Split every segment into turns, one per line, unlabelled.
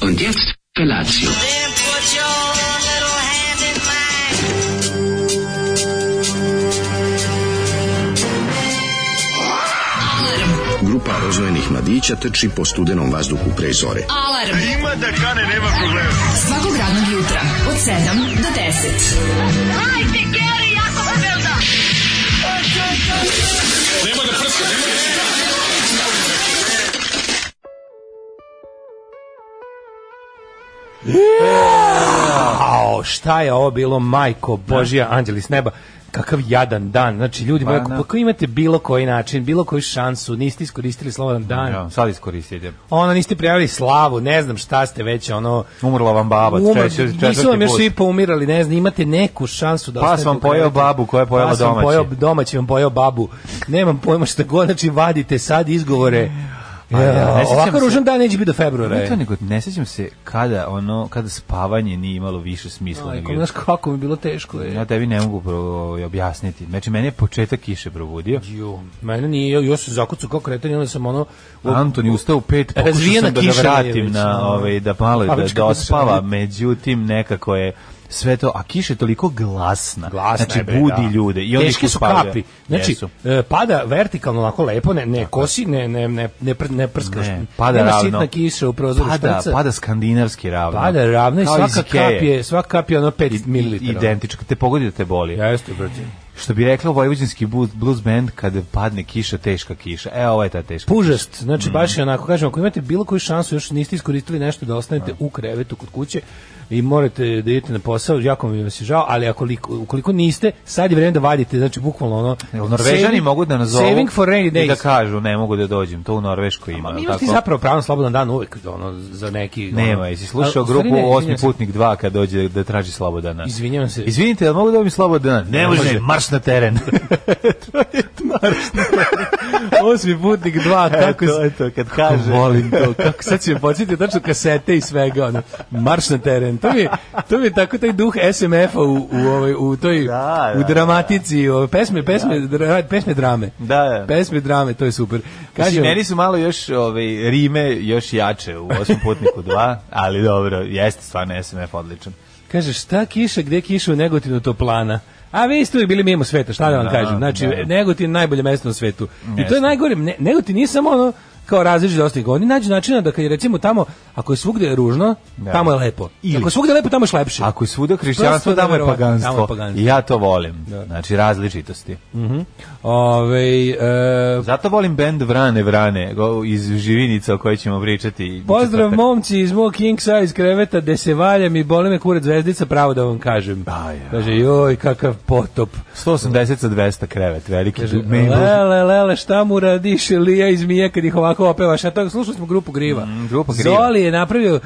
und jetzt Felatio.
Then put your little hand in mine.
Grupa rozvojenih mladića trči po studenom vazduhu pre zore.
Alarm. Ima da kane, nema problema. Svakog radnog jutra, od 7 do 10.
Ao, šta je ovo bilo, majko Božija,
Da.
anđeli s neba, kakav jadan dan. Znači, ljudi
Pa
moji, ako, ako imate bilo koji način, bilo koju šansu, niste iskoristili slobodan dan,
Ja, sad iskoristite.
ono, niste prijavili slavu, ne znam šta ste već, ono...
Umrla vam baba,
umr-
četvrti,
nisu vam
četvrti
još
put.
svi poumirali, ne znam, imate neku šansu da
Pa
ostanete
sam
u
pojeo
krevetu.
babu koja je pojela
Pa sam
domaći.
pojeo domaći, vam pojeo babu. Nemam pojma šta god, znači vadite sad izgovore.
Pa ja, ne
Ja,
sjećam
ovako
se.
ružan dan neće biti do februara. e.
Ne, to
je.
nego ne sjećam se kada ono kada spavanje nije imalo više smisla.
Majko,
nego
znaš kako mi je bilo teško. e. Je.
Ja tebi ne mogu pro- ovaj, objasniti. Znači, mene je početak kiše probudio.
Jo, mene nije, još se zakucu kao kretanje, onda sam ono... u-
Anton je ustao u pet, pokušao
Razvijena
sam da ga
kiša je
vratim
već,
na,
ono.
ovaj, da malo
Pa,
da,
već
da
kako
ospava,
se-
međutim nekako je sve to, a kiša je toliko glasna,
Glasna
znači
je, bre,
budi
da.
ljude i onda ih
Teške su
uspavlja.
kapi. Znači,
Jesu.
e, pada vertikalno onako lepo, ne, ne kosi, ne, ne, ne, ne, pr- ne prskaš.
Ne, pada
Nema
ravno.
sitna kiša u prozoru
pada,
šprca.
pada skandinavski ravno.
Pada ravno i
Kao iz
svaka
Ikeje.
kap je, svaka kap je ono 5
I-
ml.
Identičko, te pogodi da te boli.
Jeste, brate.
Što bi rekla vojvođanski bu- blues band kad padne kiša, teška kiša. E, ovo je ta teška.
Pužast,
Mm.
znači baš je onako, kažem, ako imate bilo koju šansu, još niste iskoristili nešto da ostanete u krevetu kod kuće i morate da idete na posao, jako mi vas je žao, ali ako, li- ukoliko niste, sad je vreme da vadite, znači bukvalno ono...
Jel Norvežani
saving-
mogu da nazovu
Saving for rainy
i da
days.
kažu ne mogu da dođem, to u Norveškoj ima.
Mi
jel
imaš ti
tako?
zapravo pravo na slobodan dan uvek, ono, za neki... ono-
Nema, jesi
A,
slušao
u stvari
grupu
ne, izvinjam
Osmi
se.
putnik 2 kad dođe da traži slobodana?
Izvinjavam se.
Izvinite, jel mogu da vam slobodan? Ne može, marš na teren.
Osmi putnik 2, kako
E, to je to, kad kaže.
Volim to. Kako sad će me podsjetiti tačno kasete i svega, ono, marš na teren. To mi je, to mi je tako taj duh SMF-a u, u, ovoj, u toj,
Da, da,
u dramatici, ove, pesme, pesme, dra- pesme drame.
Da, da.
Pesme drame, to je super.
Mislim,
Kažem,
meni su malo još ovaj, rime još jače u Osmi putniku 2, ali dobro, jeste stvarno SMF odličan.
kaže, šta kiša, gde kiša u negotinu toplana? A vi ste uvijek bili mimo sveta, šta da vam
Da,
kažem. Znači,
da.
Negotin je najbolje mesto na svetu. I to
Jeste.
je najgore. Ne, Negotin nije samo ono kao različit dosta Oni nađu načina da kad je recimo tamo, ako je svugde ružno,
Da.
tamo je lepo.
Ili-
Ako je svugde lepo, tamo je šlepše.
Ako je svuda hrišćanstvo,
Prosto
tamo je
neverovatno,
paganstvo.
tamo je paganstvo.
I ja to volim. Znači, različitosti.
Ove, e,
Zato volim bend Vrane Vrane go- iz Živinica o kojoj ćemo pričati.
pozdrav
Četvrtak.
momci iz mog king size kreveta, gde se valjam i boli me kurac zvezdica, pravo da vam kažem.
Aj,
Kaže, joj, kakav potop.
180 za 200 krevet, veliki
Kaže,
mejl.
lele, lele, šta mu radiš, Lija iz Mije, kad ih ovako opevaš? A to, slušali smo grupu Griva.
Mm, grupa Griva.
Zoli je napravio,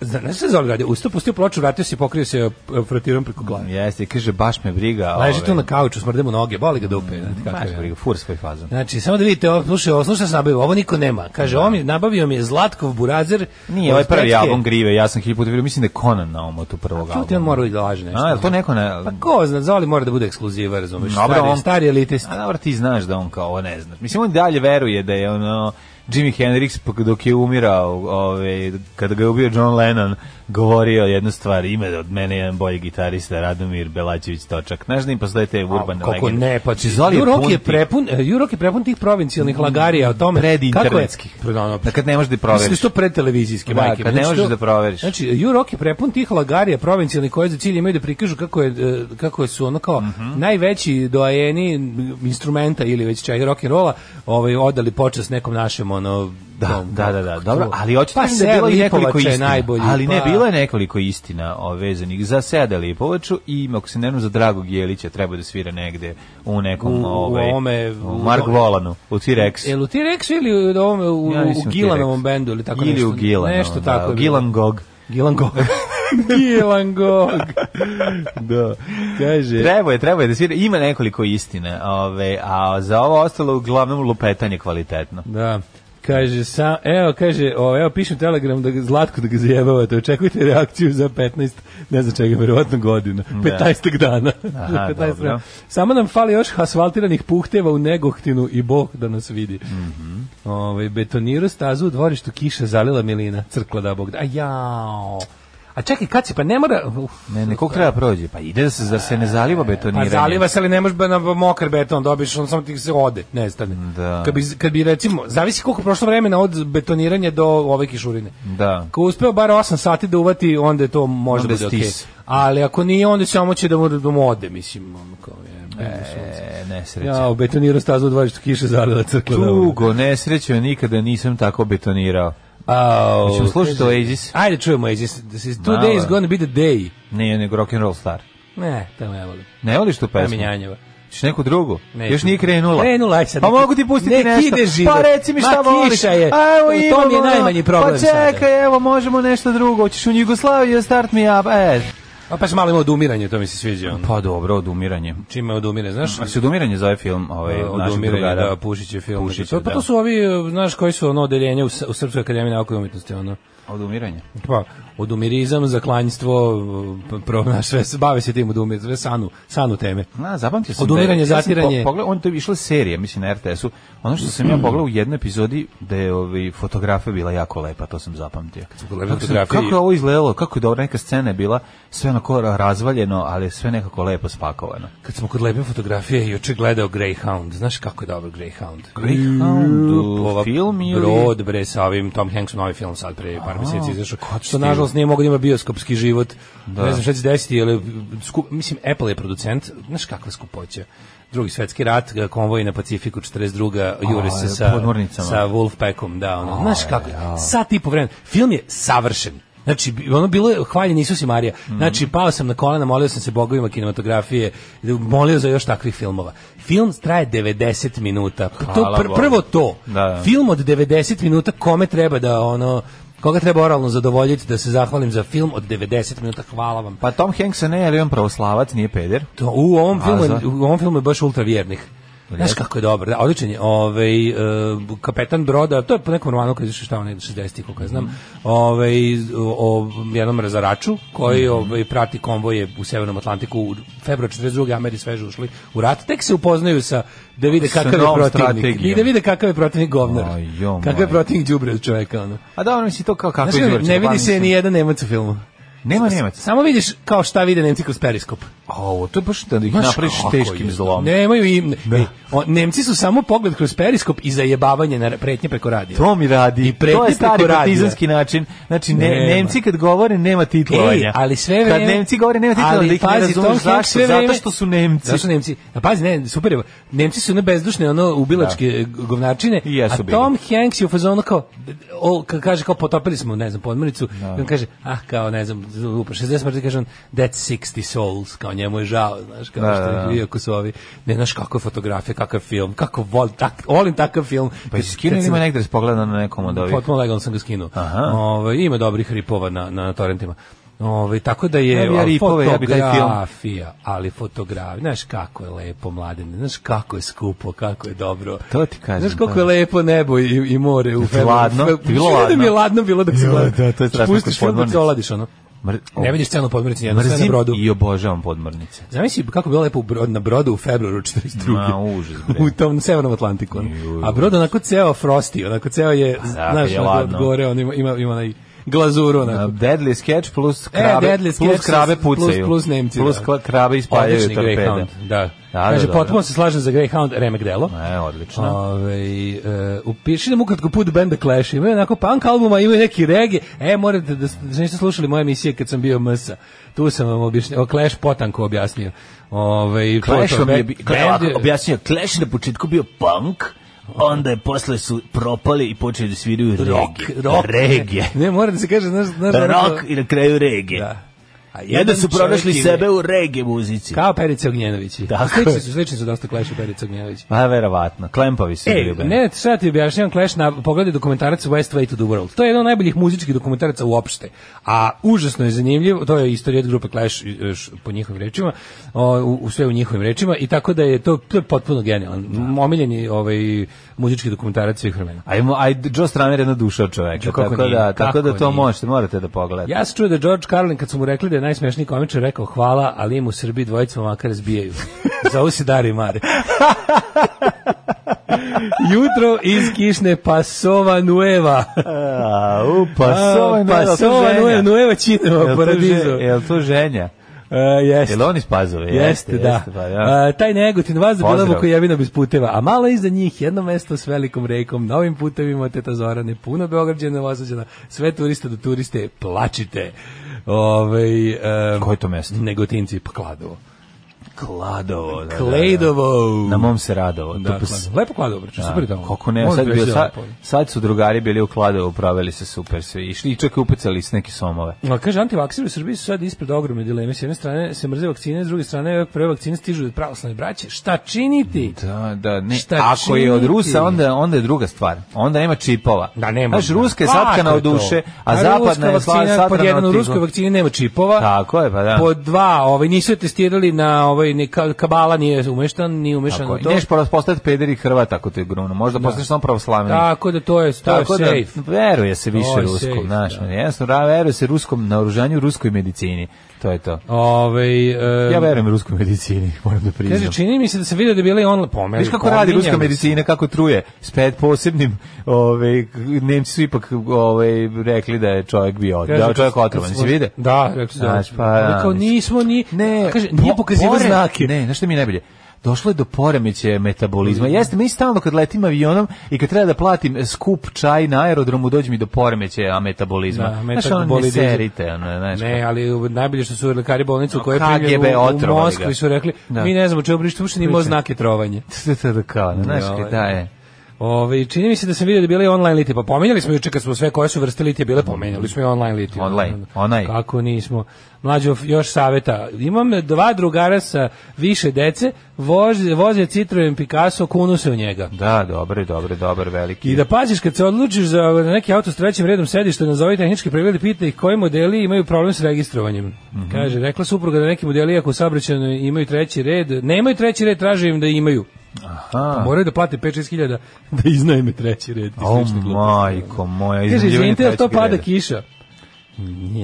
zna- znaš šta je Zoli radio? Ustao, pustio ploču, vratio se i pokrio se e, frotirom preko glave.
Jeste, kaže, baš me briga.
Leži
ove. Mm, pa
tu na kauču, smrde mu noge, boli ga dupe. znate kakav
Baš
je.
me briga, fur svoj fazan.
Znači, samo da vidite, ovo, slušaj, ovo, slušaj, sam nabavio, ovo niko nema. Kaže, ovo mi, nabavio mi je Zlatkov burazer.
Nije,
od
ovaj prvi
Spretske.
album Grive, ja sam hiljadu puta vidio, mislim da je Conan na omotu prvog
Kako ti on
albuma.
mora da laže nešto?
A, je li to neko na...
Pa ko zna, Zoli mora da bude ekskluziva, razumeš?
Dobro,
stari,
on-
stari elitist.
A dobro, ti znaš da on kao ovo ne znaš. Mislim, on i dalje veruje da je ono... Jimi Hendrix pa dok je umirao, ove, kada ga je ubio John Lennon, govorio jednu stvar, ima od mene jedan bolji gitarista, Radomir Belačević Točak. Znaš da im postoje te urbane
Kako
legende?
ne, pa ti
Zoli je
Jurok
pun
je
tih Mm,
prepun, e, Jurok je prepun tih provincijalnih lagarija o tome
predinternetskih.
kako je. Da, ono,
Da kad ne možeš da ih proveriš.
Mislim da su to predtelevizijske
Da,
majke.
kad ne
Znači,
možeš
to-
da proveriš.
Znači, Jurok je prepun tih lagarija provincijalnih koje za cilj imaju da prikažu kako, je, e, kako su ono kao
Mhm.
najveći doajeni instrumenta ili već čega rock and rolla ovaj, odali počas nekom našem ono
Da,
tom-
da, da, da,
kako
dobro,
to-
ali očito
pa,
pa, da je bilo i nekoliko
Lipovača je
istina.
najbolji,
ali ne,
pa-
bilo je nekoliko istina o, vezanih za Seda Lipovaču i, ako se ne znam, za Dragog Jelića treba da svira negde u nekom,
U- u
ovaj,
ovome-
u Mark Volanu, u T-Rex.
Jel u T-Rex ili u, ovome, u,
Ja
u
mislim
Gilanovom
T-Rex.
bendu ili tako
Ili
nešto?
u Gilanovom,
Nešto
da,
tako.
u
je bilo.
Gilan Gog.
Gilan Gog. Gilan Gog.
da.
Kaže,
Treba je, treba je da svira. Ima nekoliko istine, ove, a za ovo ostalo uglavnom lupetanje kvalitetno.
da. Kaže, sa, evo, kaže, o, evo, pišem telegram da ga, Zlatko da ga zajebavate, očekujte reakciju za 15, ne znam čega, verovatno godina, 15 dana.
Aha,
15 dana.
dobro.
Samo nam fali još asfaltiranih puhteva u Negohtinu i Bog da nas vidi. Ovaj betonirao stazu u dvorištu, kiša zalila Milina, crkla da bog da. A jao. A čekaj, kad si, pa ne mora... Uf,
Ne, ne, koliko treba prođe? Pa ide da se, zar se ne zaliva
Pa
betoniranje?
zaliva se, ali ne možeš na mokar beton dobiš, on samo ti se ode, ne stane.
Da.
Kad bi, kad bi recimo, zavisi koliko je prošlo vremena od betoniranja do ove kišurine.
Da.
Ako je uspeo bar 8 sati da uvati, onda je to možda
Onda
bude okej.
stis.
Ali ako nije, onda samo će da mu, da mu ode, mislim. Ono kao, je,
E, nesreća.
ja, u betoniru stazu u dvorištu kiše zalila crkla.
Tugo, nesrećo, nikada nisam tako betonirao.
Au,
Hoćemo slušati Oasis?
Ajde čujemo Oasis. This is
Malo.
today is gonna be the day.
Ne, nego rock'n'roll star.
Ne, to ne volim.
Ne voliš tu pesmu?
Kamenjanjeva.
Ćeš neku drugu?
Neću.
Još nije krenula.
Krenula je sad.
Pa mogu ti pustiti
Nek
nešto.
ide život.
Pa reci mi
Ma,
šta voliš.
kiša je.
A, evo
U tom
imamo
je
ono,
najmanji problem
Pa
sada.
čekaj, evo, možemo nešto drugo. Hoćeš u Jugoslaviju, start me up. E.
A pa se malo ima odumiranje, to mi se sviđa. Ono.
Pa dobro, odumiranje.
Čime odumire, znaš?
A se odumiranje zove film ovaj, od našeg
odumiranje,
drugara?
da, Pušić je film.
Pušić,
to, pa
da.
to su ovi, eh, znaš, koji su ono odeljenja u, S- u Srpskoj akademiji nauke i umetnosti, ono.
Odumiranje.
Pa, odumirizam, zaklanjstvo, eh, pro, znaš, sve, se- bave se tim odumir, sve sanu, sanu teme.
Na, zapamtio sam. da
Odumiranje,
ja sam
zatiranje. Mm.
Po, pogledao, on to je išla serija, mislim, na RTS-u. Ono što sam ja pogledao u jednoj epizodi, da je ovaj, fotografija bila jako lepa, to sam zapamtio.
pogledali
Kako, sam,
fotografije-
kako je ovo izgledalo, kako je dobra neka scena je bila, sve onako razvaljeno, ali sve nekako lepo spakovano.
Kad smo kod lepe fotografije, juče gledao Greyhound. Znaš kako je dobar Greyhound?
Greyhound,
Jup, ova
film ili-
Brod, bre, sa ovim Tom Hanksom novi film sad pre par meseci izašao. Da. Što, nažalost, nije mogao da ima bioskopski život. Ne znam šta će se desiti, ali skup, mislim, Apple je producent. Znaš kakva skupoća? Drugi svetski rat, konvoj na Pacifiku 42. jure se
je,
sa,
podmornicama.
sa Wolfpackom, da, ono, znaš kako, sat i po vremena, film je savršen, Znači, bi- ono bilo je hvaljen Isus i Marija. Znači, pao sam na kolena, molio sam se bogovima kinematografije, molio za još takvih filmova. Film traje 90 minuta. To,
Hvala
pr-
Bogu.
prvo to,
Da, da.
film od 90 minuta, kome treba da, ono, koga treba oralno zadovoljiti da se zahvalim za film od 90 minuta, hvala vam.
Pa Tom Hanks ne, ali on pravoslavac, nije peder.
To, u ovom
A,
filmu, je-
za-
u ovom filmu je baš ultra vjernih. Znaš kako je dobar, da, odličan je. Ovaj, e, kapetan broda, to je po nekom romanu koji je izašao šta onaj 60-ih, koliko ja znam, ovaj, o, o jednom razaraču koji
Mhm.
ovaj, prati konvoje u Severnom Atlantiku u februar 42. Ameri sveže ušli u rat. Tek se upoznaju sa, da vide
Sa
kakav je
novom
protivnik.
strategijom.
I da vide kakav je protivnik govnar.
Aj, jo,
Kakav je
moj.
protivnik đubre od čoveka. Ono.
A dobro, mislim to kao kako
Znaš, kako,
izvrće,
ne
pa
vidi se
mislim-
ni jedan Nemac u filmu.
Nema Nemac.
Samo vidiš kao šta vide Nemci kroz periskop.
O, to je baš da ih
Znaš
napraviš
kako
teškim
je?
zlom. Da.
Nemaju im. E, o, Nemci su samo pogled kroz periskop i zajebavanje na pretnje preko radija.
To mi radi.
I pretnje
to je stari
preko radija.
partizanski način. Znači, ne,
Nema.
Nemci kad govore, nema titlovanja.
Ej, ali sve vreme...
Kad Nemci govore, nema titlovanja,
Ali
da ih ne
pazi, Tom Hanks
razumeš. Zašto?
sve vreme-
Zato što su Nemci.
Zato što Nemci. A pazi, ne, super je. Nemci su one bezdušne, ono, ubilačke e, govnačine.
Da. I jesu
a
bili.
Tom Hanks je u fazonu kao, o, ka- kaže, kao potopili smo, ne znam, podmornicu.
Da.
I on kaže, ah, kao, ne znam, lupa, 60 mrtvi, kaže on, that's 60 souls, kao njemu je žao, znaš, kao
Da,
što
da, da.
iako su ovi, ne znaš kako je fotografija, kakav film, kako volim, tak, volim takav film.
Pa
Kad-
iz Kine
kad sam-
ima negdje da se pogleda na nekom od ovih.
Potpuno legalno sam ga skinuo.
Aha.
Ove, ima dobrih ripova na, na, torrentima. Ove, tako da je
Ja bi ja
ali
ripove, ja bi taj film.
fotografija, ali fotografija, znaš kako je lepo mladene, znaš kako je skupo, kako je dobro.
To ti kažem,
Znaš koliko
da.
je lepo nebo i, i more u februaru.
Ladno?
Fe-
Ti bilo
Čudo da
ladno?
mi je ladno bilo dok se
Jo,
gleda.
da, to je strašno
Pustiš film
kod
dok se
podmornice.
oladiš, ono.
Mr-
Ne vidiš scenu podmornice, jedno sve na
Mrzim
brodu.
i obožavam podmornice.
Zamisli kako je bilo lepo u brod, na brodu u februaru 42.
Ma, užas, bre.
u tom severnom Atlantiku. ono. A brod onako ceo frosti, onako ceo je,
da,
znaš,
je
onako
ladno.
od gore, on ima, ima, ima onaj glazuru
A,
onako.
Deadly sketch plus
E,
krabe,
Deadly
plus
Sketch
krabe
plus-
pucaju.
plus Nemci,
Plus
da.
kla- krabe ispaljaju
Odlični
torpede.
Greyhound, da.
Da,
Kaže,
da, da,
potpuno
da.
se slažem za Greyhound Remek Delo.
E, odlično.
Ove, e, upiši nam ukratko put benda Clash. Imaju onako punk albuma, imaju neki regi. E, morate da, da niste slušali moje emisije kad sam bio msa. Tu sam vam objašnjao, o Clash potanko objasnio. Ove, to-
Clash
to-
vam je,
be-
bi-
bend
Clash-
je-
objasnio, Clash na početku bio punk, onda je posle su propali i počeli da sviraju
Rock,
reggae.
rock.
Reggae.
Ne, mora da se kaže, znaš, znaš, ono-
Rock i na kraju reggae.
Da. A
Jedno
jedan
su
čovjek
pronašli
je-
sebe u reggae muzici.
Kao Perica Ognjenovići.
Tako
Slični
je.
su, slični su dosta Clash i Perica Ognjenović.
Pa verovatno, klempavi su
Ej, E, ne, sad ti objašnjam Clash na pogledaj dokumentarac West Way to the World. To je jedan od najboljih muzičkih dokumentaraca uopšte. A užasno je zanimljiv, to je istorija od grupe Clash još po njihovim rečima, o, u, u- sve u njihovim rečima i tako da je to, to je potpuno genijalan. Omiljeni ovaj muzički dokumentarac svih vremena.
Ajmo, aj Joe Stramer je jedna duša od čoveka,
Ju, kako
tako
nije,
da, tako
kako
da to
nije.
možete, morate da pogledate.
Ja sam čuo da je George Carlin, kad su mu rekli da je najsmešniji komičar, rekao hvala, ali im u Srbiji dvojica makar zbijaju. Za ovo si Dari Mare. Jutro iz kišne Pasova Nueva.
A, u, pa sova,
A, Pasova Nueva, Nueva Činova, Paradizo.
Je li to ženja?
Uh, jeste.
Je li on iz Pazove?
Jeste, da.
Jeste, pa, da.
A, taj Negotin vas za
Pozdrav.
bilavu koji jevina bez puteva, a malo iza njih jedno mesto s velikom rekom, novim putevima teta Zorane, puno Beograđana, Vosađana, sve turista do turiste, plačite. Ovaj um,
Koje to mesto?
Negotinci, pa Kladovo.
Kladovo. Da,
Kladovo.
Da, da. Na mom se radovo.
Da, Kladovo. Lepo Kladovo, brače, super je tamo.
Kako ne,
Molim
sad,
te,
bio,
ja
sad,
polje.
sad su drugari bili u Kladovu, proveli se super svi. Išli i čak i upecali s neke somove.
A kaže antivakseri u Srbiji su sad ispred ogromne dileme. S jedne strane se mrze vakcine, s druge strane ove prve vakcine stižu od pravoslavne braće. Šta činiti?
Da, da, ne.
Šta
Ako je od
činiti?
Rusa, onda, onda je druga stvar. Onda nema čipova.
Da, nema.
Znaš, Ruska je
Kako
satkana
je
od
to?
duše, a,
ruska
zapadna je sva
vakcina,
satkana
pod jedan,
od
u
tigu.
ruskoj vakcini nema čipova.
Tako je, pa da.
Pod dva, ovaj, nisu je testirali na ovaj, ni ka- kabala nije umeštan, nije umešan
Tako
u
je.
to.
Neš pora- postati peder i Hrvat ako te grunu. Možda postaneš samo pravoslavni.
Tako da to je, to
Tako
je
da
safe.
veruje se više
To je
ruskom,
safe,
znaš,
da.
jednostavno ra- veruje se ruskom naoružanju, ruskoj medicini. To je to.
Ovaj, em,
Ja verujem ruskoj medicini, moram da priznam.
Kaže, čini mi se da se vidio da je bila i on pomeli.
Viš kako radi ruska
pominjali se.
medicina, kako truje. S pet posebnim, ovaj, Nemci su ipak ovaj, rekli da je čovjek bio, od- da je čovjek otrovan. Si vide?
Da, rekli su da.
Znaš, pa,
Ali
da,
kao
mislim.
nismo ni...
Ne,
kaže, nije
po-
pokazivo
pore-
znake.
Ne, znaš što mi je najbolje? Došlo je do poremeće metabolizma. Jeste, mi stalno kad letim avionom i kad treba da platim skup čaj na aerodromu, dođe mi do poremeće a metabolizma.
Da,
znaš, ono ne
metabolizam.
serite, ono, znaš.
Ne, ali najbolje što su lekari bolnicu koja
KGB
je primljena u, u
otrovali ga.
Moskvi su rekli,
Da.
mi ne znamo čemu pričati, uopšte nije imao znake trovanja.
Kao, kao, znaš,
Da,
kad da je.
Ove, čini mi se da sam vidio da je bila i online litija. Pa pomenjali smo juče kad smo sve koje su vrste litije bile, pomenjali smo i online litiju.
Online, onaj.
Kako nismo. Mlađo, još saveta. Imam dva drugara sa više dece, voze, voze Citroen Picasso, kunu se u njega.
Da, dobro, dobro, dobro, veliki.
I da paziš kad se odlučiš za neki auto s trećim redom sedišta, nazovi tehnički pregled i pita ih koji modeli imaju problem s registrovanjem.
Mhm.
Kaže, rekla supruga da neki modeli ako u saobraćaju imaju treći red, nemaju treći red, traže im da imaju.
Aha.
Moraju da plate 5-6 hiljada da iznajme treći red. i
Pa O,
slične gluposti.
majko moja,
Kaže,
izmeđivanje
izvinite, jel to
trećeg
pada
reda.
kiša?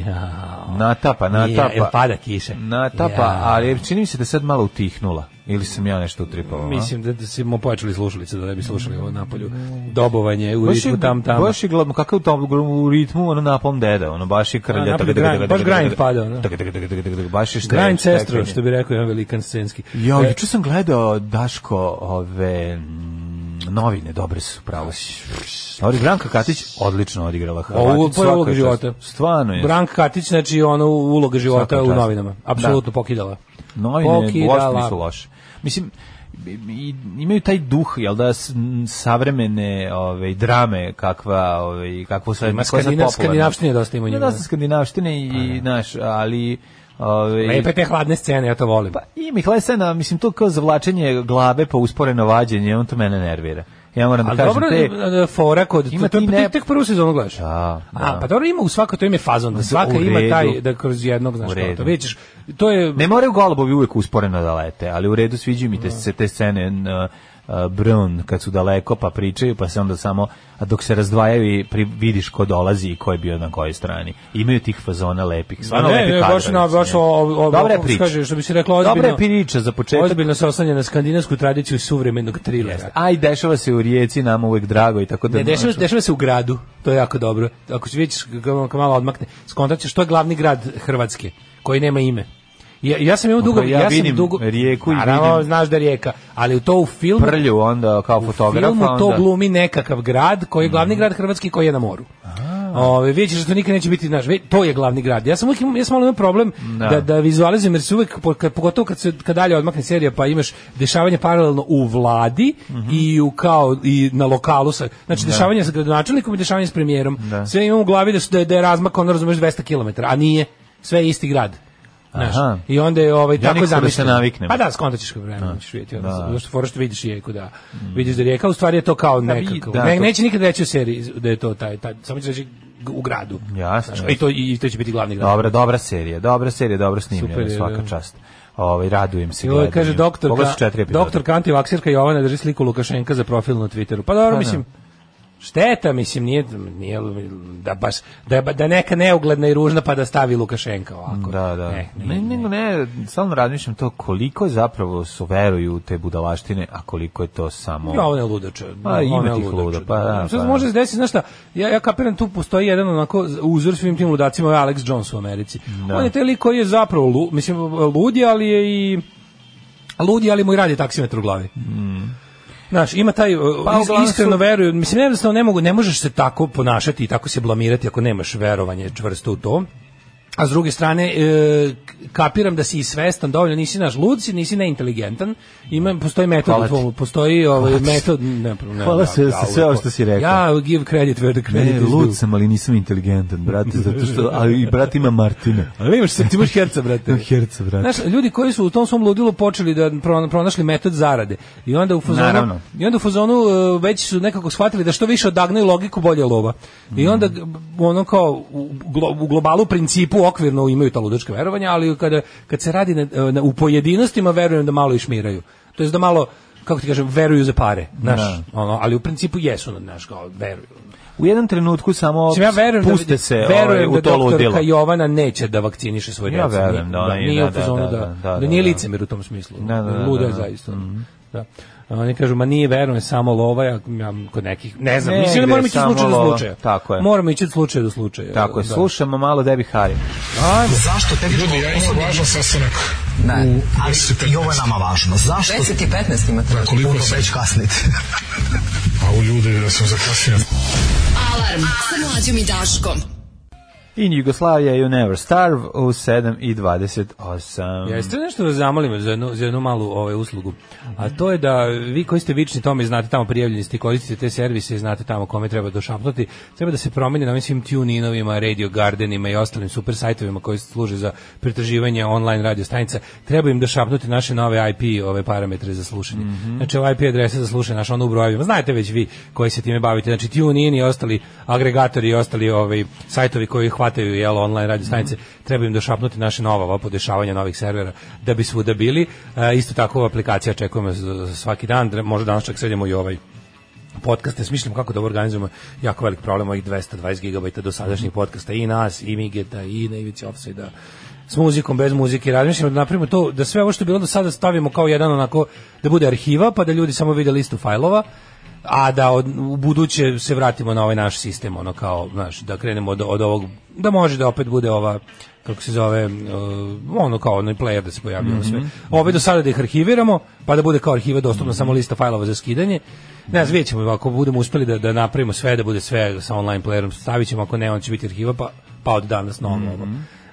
Ja,
Natapa, natapa.
jel pada kiša?
Natapa,
Ja.
ali čini mi se da je sad malo utihnula. Ili sam ja nešto utripao? a?
Mislim da, da smo pojačali slušalice da ne bi slušali ovo napolju. Dobovanje u
Baš je,
ritmu tam tam.
baš je glavno, kakav tom u ritmu, ono napom deda, ono baš je krlja.
A, napolje
tako, da- tako,
grind,
tako,
baš
tako,
grind
tako,
pada, ono.
tako, tako, tako, tako, tako, da- Baš je štreč.
Grind sestro, što bi rekao jedan velikan scenski.
Ja,
E,
juče sam gledao Daško ove mm, novine, dobre su, pravo si. Ali Branka Katić odlično odigrala Hrvatić.
Ovo je
svaka
uloga
čast.
života.
Stvarno je.
Branka Katić, znači ona uloga života
Svaka
u
čast. Da.
novinama. Apsolutno pokidala.
Novine
Pokidala.
uopšte nisu loše. Mislim, i- i- imaju taj duh, jel da, s- m, savremene ove, drame kakva, ove, kakvo sve,
Ima
koja je
skandinav-
sad popularna.
skandinavštine dosta ima u njima. Pa, da.
Da, dosta skandinavštine i, naš, ali... Ove,
Lepe E, pa te hladne scene, ja to volim.
Pa i Mihlesena, mislim, to kao zavlačenje glave pa usporeno vađenje, on to mene nervira. Ja moram da
Ali
kažem
dobro,
te...
e, fora kod...
Ima pa
Ima
ti
ti
ne-
Tek prvu sezonu gledaš.
Da, da.
A, pa dobro, ima u svako to ime fazon, da svaka
u
ima
redu.
taj, da kroz jednog, znaš,
U redu.
kao to vidjet ćeš. To je...
Ne moraju golubovi uvijek usporeno da lete, ali u redu sviđaju
Da.
mi te, se te scene n- a, Brown, kad su daleko pa pričaju, pa se onda samo, a dok se razdvajaju i pri, vidiš ko dolazi i ko je bio na kojoj strani. Imaju tih fazona lepih, stvarno
ne,
lepi
ne,
kadrovi
baš
su,
na baš
ne.
o, o, o
Dobra je
kako se
priča.
kaže, što bi se reklo ozbiljno.
Dobra je priča za početak.
Ozbiljno se oslanja na skandinavsku tradiciju suvremenog trilera.
Aj, dešava se u rijeci, nama uvek drago i tako da...
Ne, dešava, se- dešava se u gradu, to je jako dobro. Ako se vidiš kako malo odmakne, skontat ćeš, to je glavni grad Hrvatske, koji nema ime. Ja, ja sam imao dugo,
Pa ja
ja,
vidim
sam dugo,
rijeku i
naravno,
vidim-
znaš da je rijeka, ali u to u filmu,
Prlju onda kao
u
fotografa.
filmu to
onda- Mhm.
glumi nekakav grad, koji je glavni grad Hrvatski, koji je na moru. Ove, vidjet ćeš da to nikad neće biti, znaš, vi- to je glavni grad. Ja sam uvijek imao, ja sam malo imao problem
Da.
da, da, vizualizujem, jer se uvijek, po- kad- pogotovo kad se kad dalje odmakne serija, pa imaš dešavanje paralelno u vladi
Mhm.
i u kao i na lokalu sa, znači
Da.
dešavanje sa gradonačelnikom i dešavanje s premijerom. Sve imam u glavi da, su, da, je, da je razmak, ono razumeš, 200 km, a nije, sve je isti grad. Znaš,
Aha.
I onda je ovaj,
nikako
tako
da
je
se
zamišljeno.
naviknem.
Pa da, skontat ćeš kad vremenom ćeš vidjeti.
Da.
ono, Zato što fora što vidiš rijeku, da. Vidiš da je rijeka, u stvari je to kao
vi-
nekako.
da,
ne,
to-
neće nikad reći u seriji da je to taj, taj samo će reći g- u gradu.
Jasno.
Znaš, I to, i to će biti glavni grad.
Dobra, dobra serija, dobra serija, dobro
Super
snimljena,
je,
svaka
da.
čast. Ovaj radujem se
I ovo
gledanju.
je, kaže doktorka,
Pogledaj da. su četiri epizode.
doktorka antivaksirka Jovana drži sliku Lukašenka za profil na Twitteru. Pa dobro,
da.
mislim, Šteta, mislim, nije, nije da baš, da, da je neka neugledna i ružna pa da stavi Lukašenka ovako.
Da, da.
Ne, ne,
ne, nego ne, stalno razmišljam to koliko zapravo su veruju u te budalaštine, a koliko je to samo...
Ja, ovo je ludače.
Pa,
Ovo je
ima tih
ludače,
luda, pa da,
Sad
pa
može
da.
se desiti, znaš šta, ja, ja kapiram tu postoji jedan onako uzor svim tim ludacima, ovaj Alex Jones u Americi.
Da.
On je taj lik koji je zapravo, lu, mislim, ludi, ali je i ludi, ali mu i radi taksimetar u glavi. Znaš, ima taj
Mm. Pa,
pa,
uglavnom su-
iskreno veruju, mislim jednostavno ne mogu, ne možeš se tako ponašati i tako se blamirati ako nemaš verovanje čvrsto u to. A s druge strane, e, k- kapiram da si i svestan dovoljno, nisi naš lud, si, nisi neinteligentan, ima, postoji metod
Hvala
u
ti.
tvom, postoji ovaj metod, ne, ne,
Hvala
da,
se
da,
za sve
ovo-
ovo što si rekao.
Ja give credit where the credit
Ne,
is due.
lud sam, ali nisam inteligentan, brate, zato što, a i brat ima Martine.
Ali imaš, ti imaš herca, brate.
Herca, brate.
Znaš, ljudi koji su u tom svom ludilu počeli da pro- pronašli metod zarade. I onda u fazonu
Naravno.
i onda u fazonu e, već su nekako shvatili da što više odagnaju logiku bolje je lova. I onda g- ono kao u, glo- u globalu principu okvirno imaju ta ludačka verovanja, ali kada kad se radi na, e, na- u pojedinostima verujem da malo i šmiraju. To jest da malo kako ti kažem, veruju za pare, znaš, ono, ali u principu jesu, znaš, kao, veruju.
U jednom trenutku samo
Mislim, ja verujem
puste
da,
se ovaj,
verujem
u
da
to ludilo.
doktorka Jovana neće da vakciniše svoje
Ja
djecu.
verujem
Ni-
da ona je,
nije
da,
u fazonu
da,
da,
da, da, da,
nije
da.
licemir u tom smislu.
Da, da, da,
Luda je
da, da.
zaista. Da. A Oni kažu, ma nije verujem, samo lova, ja, ja kod nekih, ne znam, mislim da
Negde
moramo ići od
samo
slučaja do
lova,
slučaja.
tako je.
Moramo ići od slučaja do slučaja.
Tako je,
da.
slušamo malo Debbie Harry.
Zašto tek Ljudi, ja imam važan sastanak.
Ne, ali
10 i
i ovo je nama važno. Zašto? 10 i 15 imate. Da,
koliko
Puno
sam?
već kasnite.
A u ljudi da sam zakasnio.
Alarm sa mlađom i Daškom.
In Jugoslavia You Never Starve u 7 i 28.
Jeste nešto da zamolim za jednu, za jednu malu ovaj, uslugu, a to je da vi koji ste vični tome i znate tamo prijavljeni ste i koristite te servise i znate tamo kome treba došapnuti, treba da se promeni na ovim svim tune-inovima, radio gardenima i ostalim super sajtovima koji služe za pretraživanje online radio stanica, treba im došapnuti naše nove IP ove parametre za slušanje. Znači ova IP adresa za slušanje, naša ono u brojevima, znate već vi koji se time bavite, znači tune-in i ostali agregatori i ostali ovaj, sajtovi koji hvataju jel, online radio stanice, treba im došapnuti naše nova ova podešavanja novih servera da bi svuda bili. E, isto tako ova aplikacija čekujemo za- za svaki dan, dre- možda danas čak sredimo i ovaj podcaste, smišljamo kako da ovo organizujemo jako velik problem ovih 220 GB dosadašnjih podcasta i nas, i Migeta, i na Ivici Offside-a s muzikom, bez muzike, razmišljamo da napravimo to, da sve ovo što je bilo do sada stavimo kao jedan onako, da bude arhiva, pa da ljudi samo vide listu fajlova, a da od, u buduće se vratimo na ovaj naš sistem, ono kao, znaš, da krenemo od, od ovog, da može da opet bude ova, kako se zove, uh, ono kao onaj player da se pojavljuje mm sve. Ove do sada da ih arhiviramo, pa da bude kao arhiva dostupna samo lista fajlova za skidanje. Ne znam, vidjet ćemo, ako budemo uspeli da, da napravimo sve, da bude sve sa online playerom, stavit ćemo, ako ne, on će biti arhiva, pa, pa od danas novo. ovo.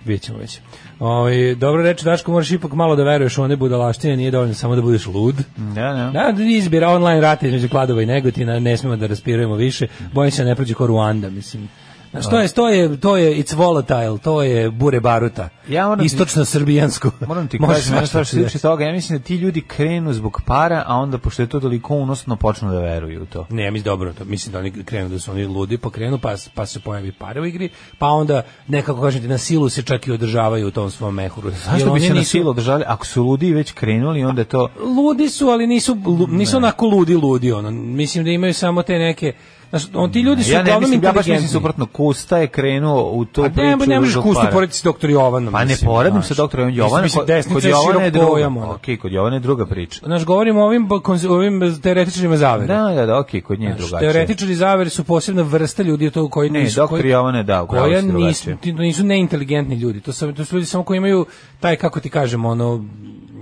Vidjet ćemo već. Ovaj, dobro reče, Daško, moraš ipak malo da veruješ u one budalaštine, nije dovoljno samo da budeš lud.
Da, da.
Da, da izbira online rata između Kladova i Negotina, ne smemo da raspirujemo više. Bojim se da ne prođe ko Ruanda, mislim. Znaš, to je, to je, to je, it's volatile, to je bure baruta.
Ja moram ti-
Istočno srbijansko.
Moram ti
Može
kažem,
svašta
ja što
se
se tiče toga, ja mislim da ti ljudi krenu zbog para, a onda pošto je to toliko unosno počnu da veruju u to.
Ne, ja mislim dobro, to, mislim da oni krenu da su oni ludi, pa krenu, pa, pa se pojavi pare u igri, pa onda nekako kažem ti, na silu se čak i održavaju u tom svom mehuru. Jer
Zašto bi
oni
se na
nisu-
silu održali? Ako su ludi već krenuli, onda je to...
ludi su, ali nisu lu- nisu onako ludi ludi ono. Mislim da imaju samo te neke Znaš, on, ti ljudi su
Ja ne
uglavnom
mislim, ja baš mislim
inteligentni.
suprotno. Kusta je krenuo u to
Pa
priču.
ne, ne možeš
zbog
kustu
para.
porediti s doktor Jovanom.
Pa ne
mislim,
poredim
znaš.
sa doktorom
Mislim,
Jovanom,
mislim,
ko-
desnica
kod
je
Jovana je
širok
druga.
pojam, ono.
Okej, kod Jovana je druga priča.
Znaš, govorim o ovim, ba- konz- ovim teoretičarima zavere.
Da, da, da, okej, kod nje je
Znaš,
drugačije.
Teoretičari zavere su posebna vrsta ljudi to koji
Ne,
nisu...
doktor
koji-
Jovane, da, u pravu
koja
si,
nisu,
drugačije.
ti- nisu neinteligentni ljudi. To, sam, to su ljudi samo koji imaju taj, kako ti kažem, ono,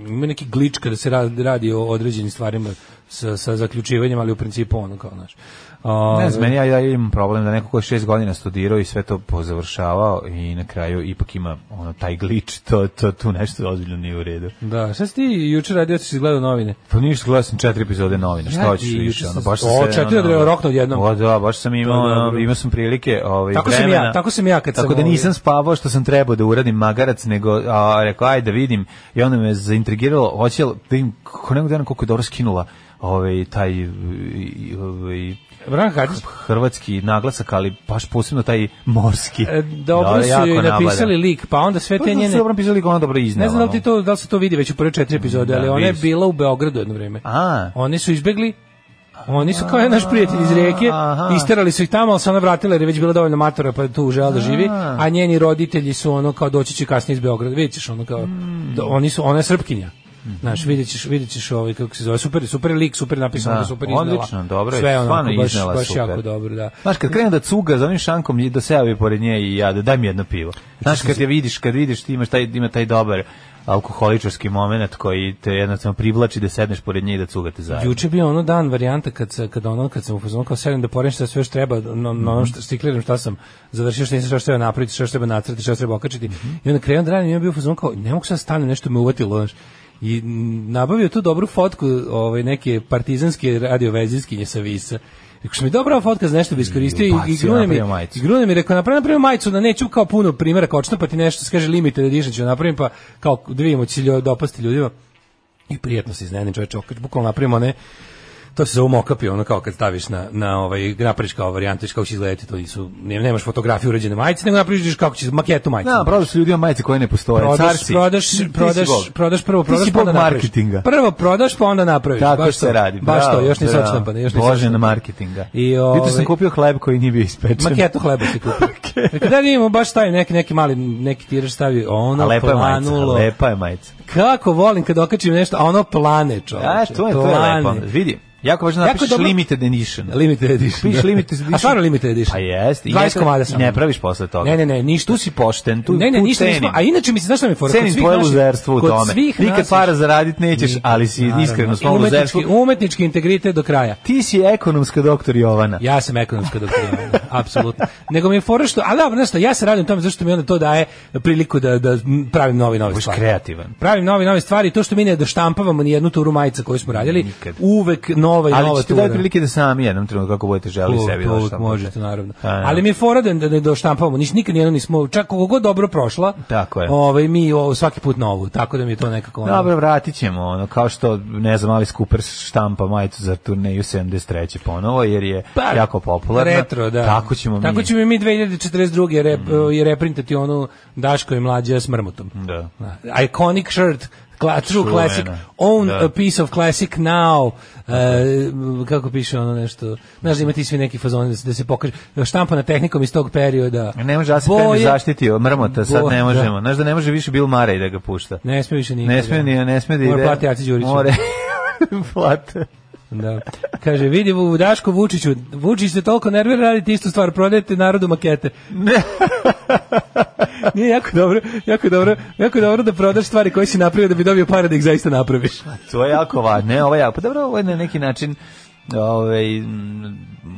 ima neki glič kada se radi, radi o određenim stvarima sa, sa zaključivanjem, ali u principu ono kao, znaš. A,
Ne znam, meni ja, ja imam problem da neko ko je šest godina studirao i sve to pozavršavao i na kraju ipak ima ono, taj glič, to, to, tu nešto ozbiljno nije u redu.
Da, šta si ti jučer radio, ti si gledao novine?
Pa ništa, gledao sam četiri epizode novina, šta
Ja,
hoćeš
i
više?
juče
Ono,
sam-
baš sam
O,
se,
četiri
ono,
od rokna odjednom.
O, da, baš sam imao,
To je dobro.
ono, imao sam prilike ovaj,
Tako sam ja,
vremena.
tako sam ja kad sam,
Tako da
ovaj-
nisam spavao što sam trebao da uradim magarac, nego a, rekao, ajde da vidim. I onda me zaintrigiralo, hoće li, da im, ko nego dana koliko je dobro skinula ovaj, taj i- i- ovaj,
Branka Katić?
hrvatski naglasak, ali baš posebno taj morski.
E, Dobro
Da,
su
jako
joj
nabada.
napisali lik, pa onda sve
Pa,
te
da
njene...
su dobro napisali ga ona dobro iznela.
Ne znam da li, ti
ono.
to, da li se to vidi već u prve četiri epizode,
Da,
ali ona je
vidiš.
bila u Beogradu jedno vrijeme.
A.
Oni su izbegli Oni su kao jedan naš prijatelj iz reke,
Aha.
isterali su ih tamo, ali se ona vratila jer je već bila dovoljno matora pa je tu žela da živi,
A.
a njeni roditelji su ono kao doći će kasnije iz Beograda, vidjet ćeš ono kao,
Mm.
da, oni su, ona je srpkinja.
Mhm.
Znaš, vidjet ćeš, vidjet ćeš ovaj, kako se zove, super, super lik, super napisano,
Da,
super iznela.
odlično, dobro je,
Sve onako,
stvarno
baš,
iznela
baš
super.
jako dobro, da.
Znaš, kad krene da cuga za onim šankom, i da se javi pored nje i ja, da daj mi jedno pivo. Znaš, kad
da
je vidiš, kad vidiš ti imaš taj, ima taj dobar alkoholičarski moment koji te jednostavno privlači da sedneš pored nje i da cugate zajedno.
Juče je bio ono dan varijanta kad se kad ono kad sam u fazonu kao sedem da porem šta sve još treba no no
Mhm.
ono što stikliram šta sam završio šta nisam šta što treba napraviti šta što treba nacrtati šta što treba okačiti
Mhm.
i onda krenuo da radim i ja bio u fazonu kao ne mogu sad da stanem nešto me uvatilo znaš i m, nabavio tu dobru fotku ovaj neke partizanske radiovezijskinje sa Visa Rekao sam mi dobra ova fotka za nešto bi iskoristio i, i
Bacio,
grune mi,
napravio majicu.
i grune mi rekao napravim, napravim majicu da neću kao puno primjera kao odštampati nešto, se kaže limited edition ću napravim pa kao da vidimo će li dopasti ljudima i prijatno se iznenadi čoveče, kad bukvalno napravimo ne to se zove mokapi, ono kao kad staviš na, na ovaj, napraviš kao varijantu, viš kako će izgledati, to nisu, ne- nemaš fotografiju uređene majice, nego napraviš viš kako će, maketu majice.
Da, prodaju su ljudima majice koje ne postoje.
prodaš,
Carsi.
prodaš,
Ti Pa si
prodaš,
bog.
prodaš, prvo
Ti si
prodaš, pa
bog
onda napraviš.
marketinga.
Prvo prodaš, pa onda napraviš.
Tako
baš
se
to.
radi.
Baš
bravo,
to, još nisam
bravo.
odštampan. Još nisam
Bože na
odštampan.
marketinga.
I,
Vidite sam
ovaj,
kupio hleb koji nije bio ispečen.
Maketu hleba si kupio. Rekao, da vidimo, baš stavi neki, neki mali, neki tiraž stavi,
A
ono
lepa je majica,
planulo.
lepa je majica.
Kako volim kad okačim nešto, a ono plane, čoveče.
A, to je, to je
plane.
lepo. Vidi, jako važno da
Jako
napišeš
dobro-
limited edition.
Limited edition. da.
Piš limited edition.
A stvarno limited edition.
Pa jest. I
20
ne-
komada samo.
I ne praviš posle toga.
Ne, ne, ne, ništa.
Tu si pošten, tu,
ne, ne,
tu
ništa nismo.
cenim.
A inače mi se znaš šta mi je fora? Kod
Cenim
svih
tvoje
naših-
luzerstvo u
kod
tome.
svih
Nikad
naših-
para zaradit nećeš,
Nikad,
ali si
naravno.
iskren u
I
svom
umetnički- um-
luzerstvu.
Umetnički integritet do kraja.
Ti si ekonomska doktor Jovana.
Ja sam ekonomska doktorina, apsolutno. Nego mi je fora što, ali dobro, nešto, ja se radim tome zašto mi onda to daje priliku da, da pravim novi, novi
Budeš
stvari.
kreativan.
Pravim nove nove stvari, to što mi ne doštampavamo ni jednu turu majica koju smo radili,
Nikad.
uvek nova i nova
Ali ćete dati
tura.
prilike da sami jednom trenutku kako budete želi
Uvek,
sebi da-
uvek
doštampate.
možete, naravno.
A, ja.
Ali mi je fora da, da ne doštampavamo, niš, nikad nijedno nismo, čak koliko god dobro prošla,
Tako je.
Ovaj, mi o, svaki put novu, tako da mi je to nekako... ono-
Dobro, vratit ćemo, ono, kao što, ne znam, Alice Cooper štampa majicu za turneju 73. ponovo, jer je
Pa,
jako popularna.
Retro, da.
Tako ćemo
Tako
mi. Mm.
ćemo i mi 2042. Rep, je reprintati onu Daško i mlađa s mrmotom.
Da.
Da. Iconic shirt, kla, true
Čuvena.
classic, own
Da.
a piece of classic now. E, kako piše ono nešto, znaš da ima ti svi neki fazoni da se, da se pokaže, štampana tehnikom iz tog perioda.
Ne može Asif Boje...
Boje-
zaštiti od mrmota, sad
Boje,
ne
da.
možemo. Znaš da ne može više Bill Murray da ga pušta.
Ne smije više nikada.
Ne sme ni ne sme da ide.
Mora plati Aci Đuriću.
More. plate.
Da. Kaže, vidi u Daško Vučiću, Vučić se toliko nervira, radite istu stvar, prodajete narodu makete. Nije jako dobro, jako dobro, jako dobro da prodaš stvari koje si napravio da bi dobio pare da ih zaista napraviš.
To je jako važno. Ne, ovo je jako. Pa dobro, ovo je na neki način ovaj m,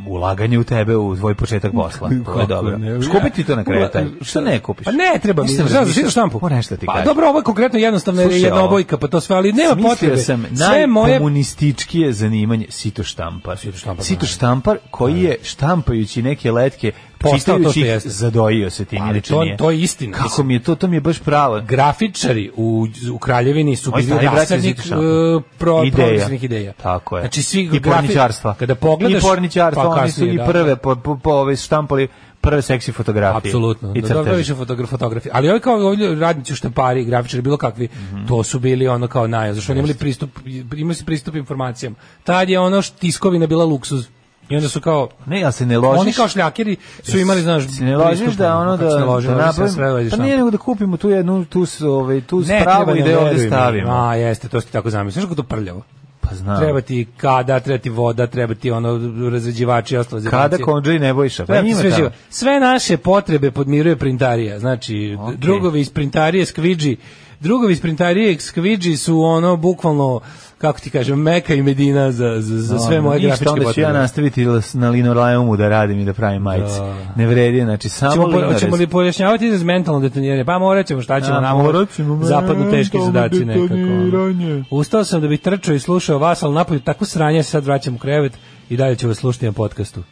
ulaganje u tebe u tvoj početak posla. To je
Kako
dobro.
ne?
Kupiti to na kraju taj.
Ula-
Šta ne kupiš?
Pa ne, treba mi.
Mislim,
Šta, za
razmišljaš-
šitu štampu?
Moram nešto ti
pa,
kažem.
dobro, ovo je konkretno jednostavna
Slušaj, ovo.
jednobojka, pa to sve, ali nema
Smislio
potrebe.
sam
sve moje
najkomunističkije zanimanje sito štampar. Sito
štampar, da.
štampar koji je štampajući neke letke,
Postao to
čitajući
što
ih,
jeste.
zadojio se tim.
Ali
inače
to-
nije.
to je istina.
Kako mi je to, to mi je baš pravo.
grafičari u, u Kraljevini su
Moji
bili
stari braća iz
rasadnik
Itiša.
e, pro,
Ideja.
progresivnih ideja.
Tako je.
Znači, svi
I
grafi-
porničarstva.
Kada pogledaš...
I porničarstva,
pa
oni su
kasnije,
i
da.
prve, po, po, po, ove, štampali prve seksi fotografije.
Apsolutno.
I
Da, dobro
crteže.
više fotogra- fotografije. Ali ovi kao ovi radnici štampari, grafičari, bilo kakvi,
Mhm.
to su bili ono kao naj, zašto oni imali pristup, imali su pristup informacijama. Tad je ono š- tiskovina bila luksuz. I onda su kao
Ne, ja se ne ložiš.
Oni kao šljakeri su imali, znaš,
se ne ložiš
pristup,
da ono
kako
da,
se ne lože,
da
loži se
napravim-
sve, loži
pa
štampa.
nije nego da kupimo tu jednu, tu, s- ovaj, tu
Ne, treba
spravu i
nam,
da je ovde
veruj mi.
stavimo.
A, jeste, to ste tako zamislili. Znaš kako to prljavo?
Pa znam.
Treba ti kada, treba ti voda, treba ti ono razređivači i ostalo.
Kada
zemaljci.
konđe i nebojša. Pa
Sve,
njima
sve,
tamo.
živo. sve naše potrebe podmiruje printarija. Znači,
Okej.
drugovi iz printarije skviđi, drugovi iz printarije skviđi su ono bukvalno kako ti kažem, meka i medina za, za, za sve
Ono,
moje
ništa,
grafičke
onda ću ja
potrebe.
nastaviti l- na linoreumu da radim i da pravim majice. Ne vredi, znači samo
Ćemo, po,
linorez.
ćemo li pojašnjavati iz mentalno detoniranje? Pa morat ćemo, šta ćemo
Da,
nama?
morat ćemo,
Zapadnu teški
mentalno
zadaci nekako.
detoniranje.
ono. Ustao sam da bi trčao i slušao vas, ali napolju tako sranje se sad vraćam u krevet i dalje ću vas slušati na podcastu.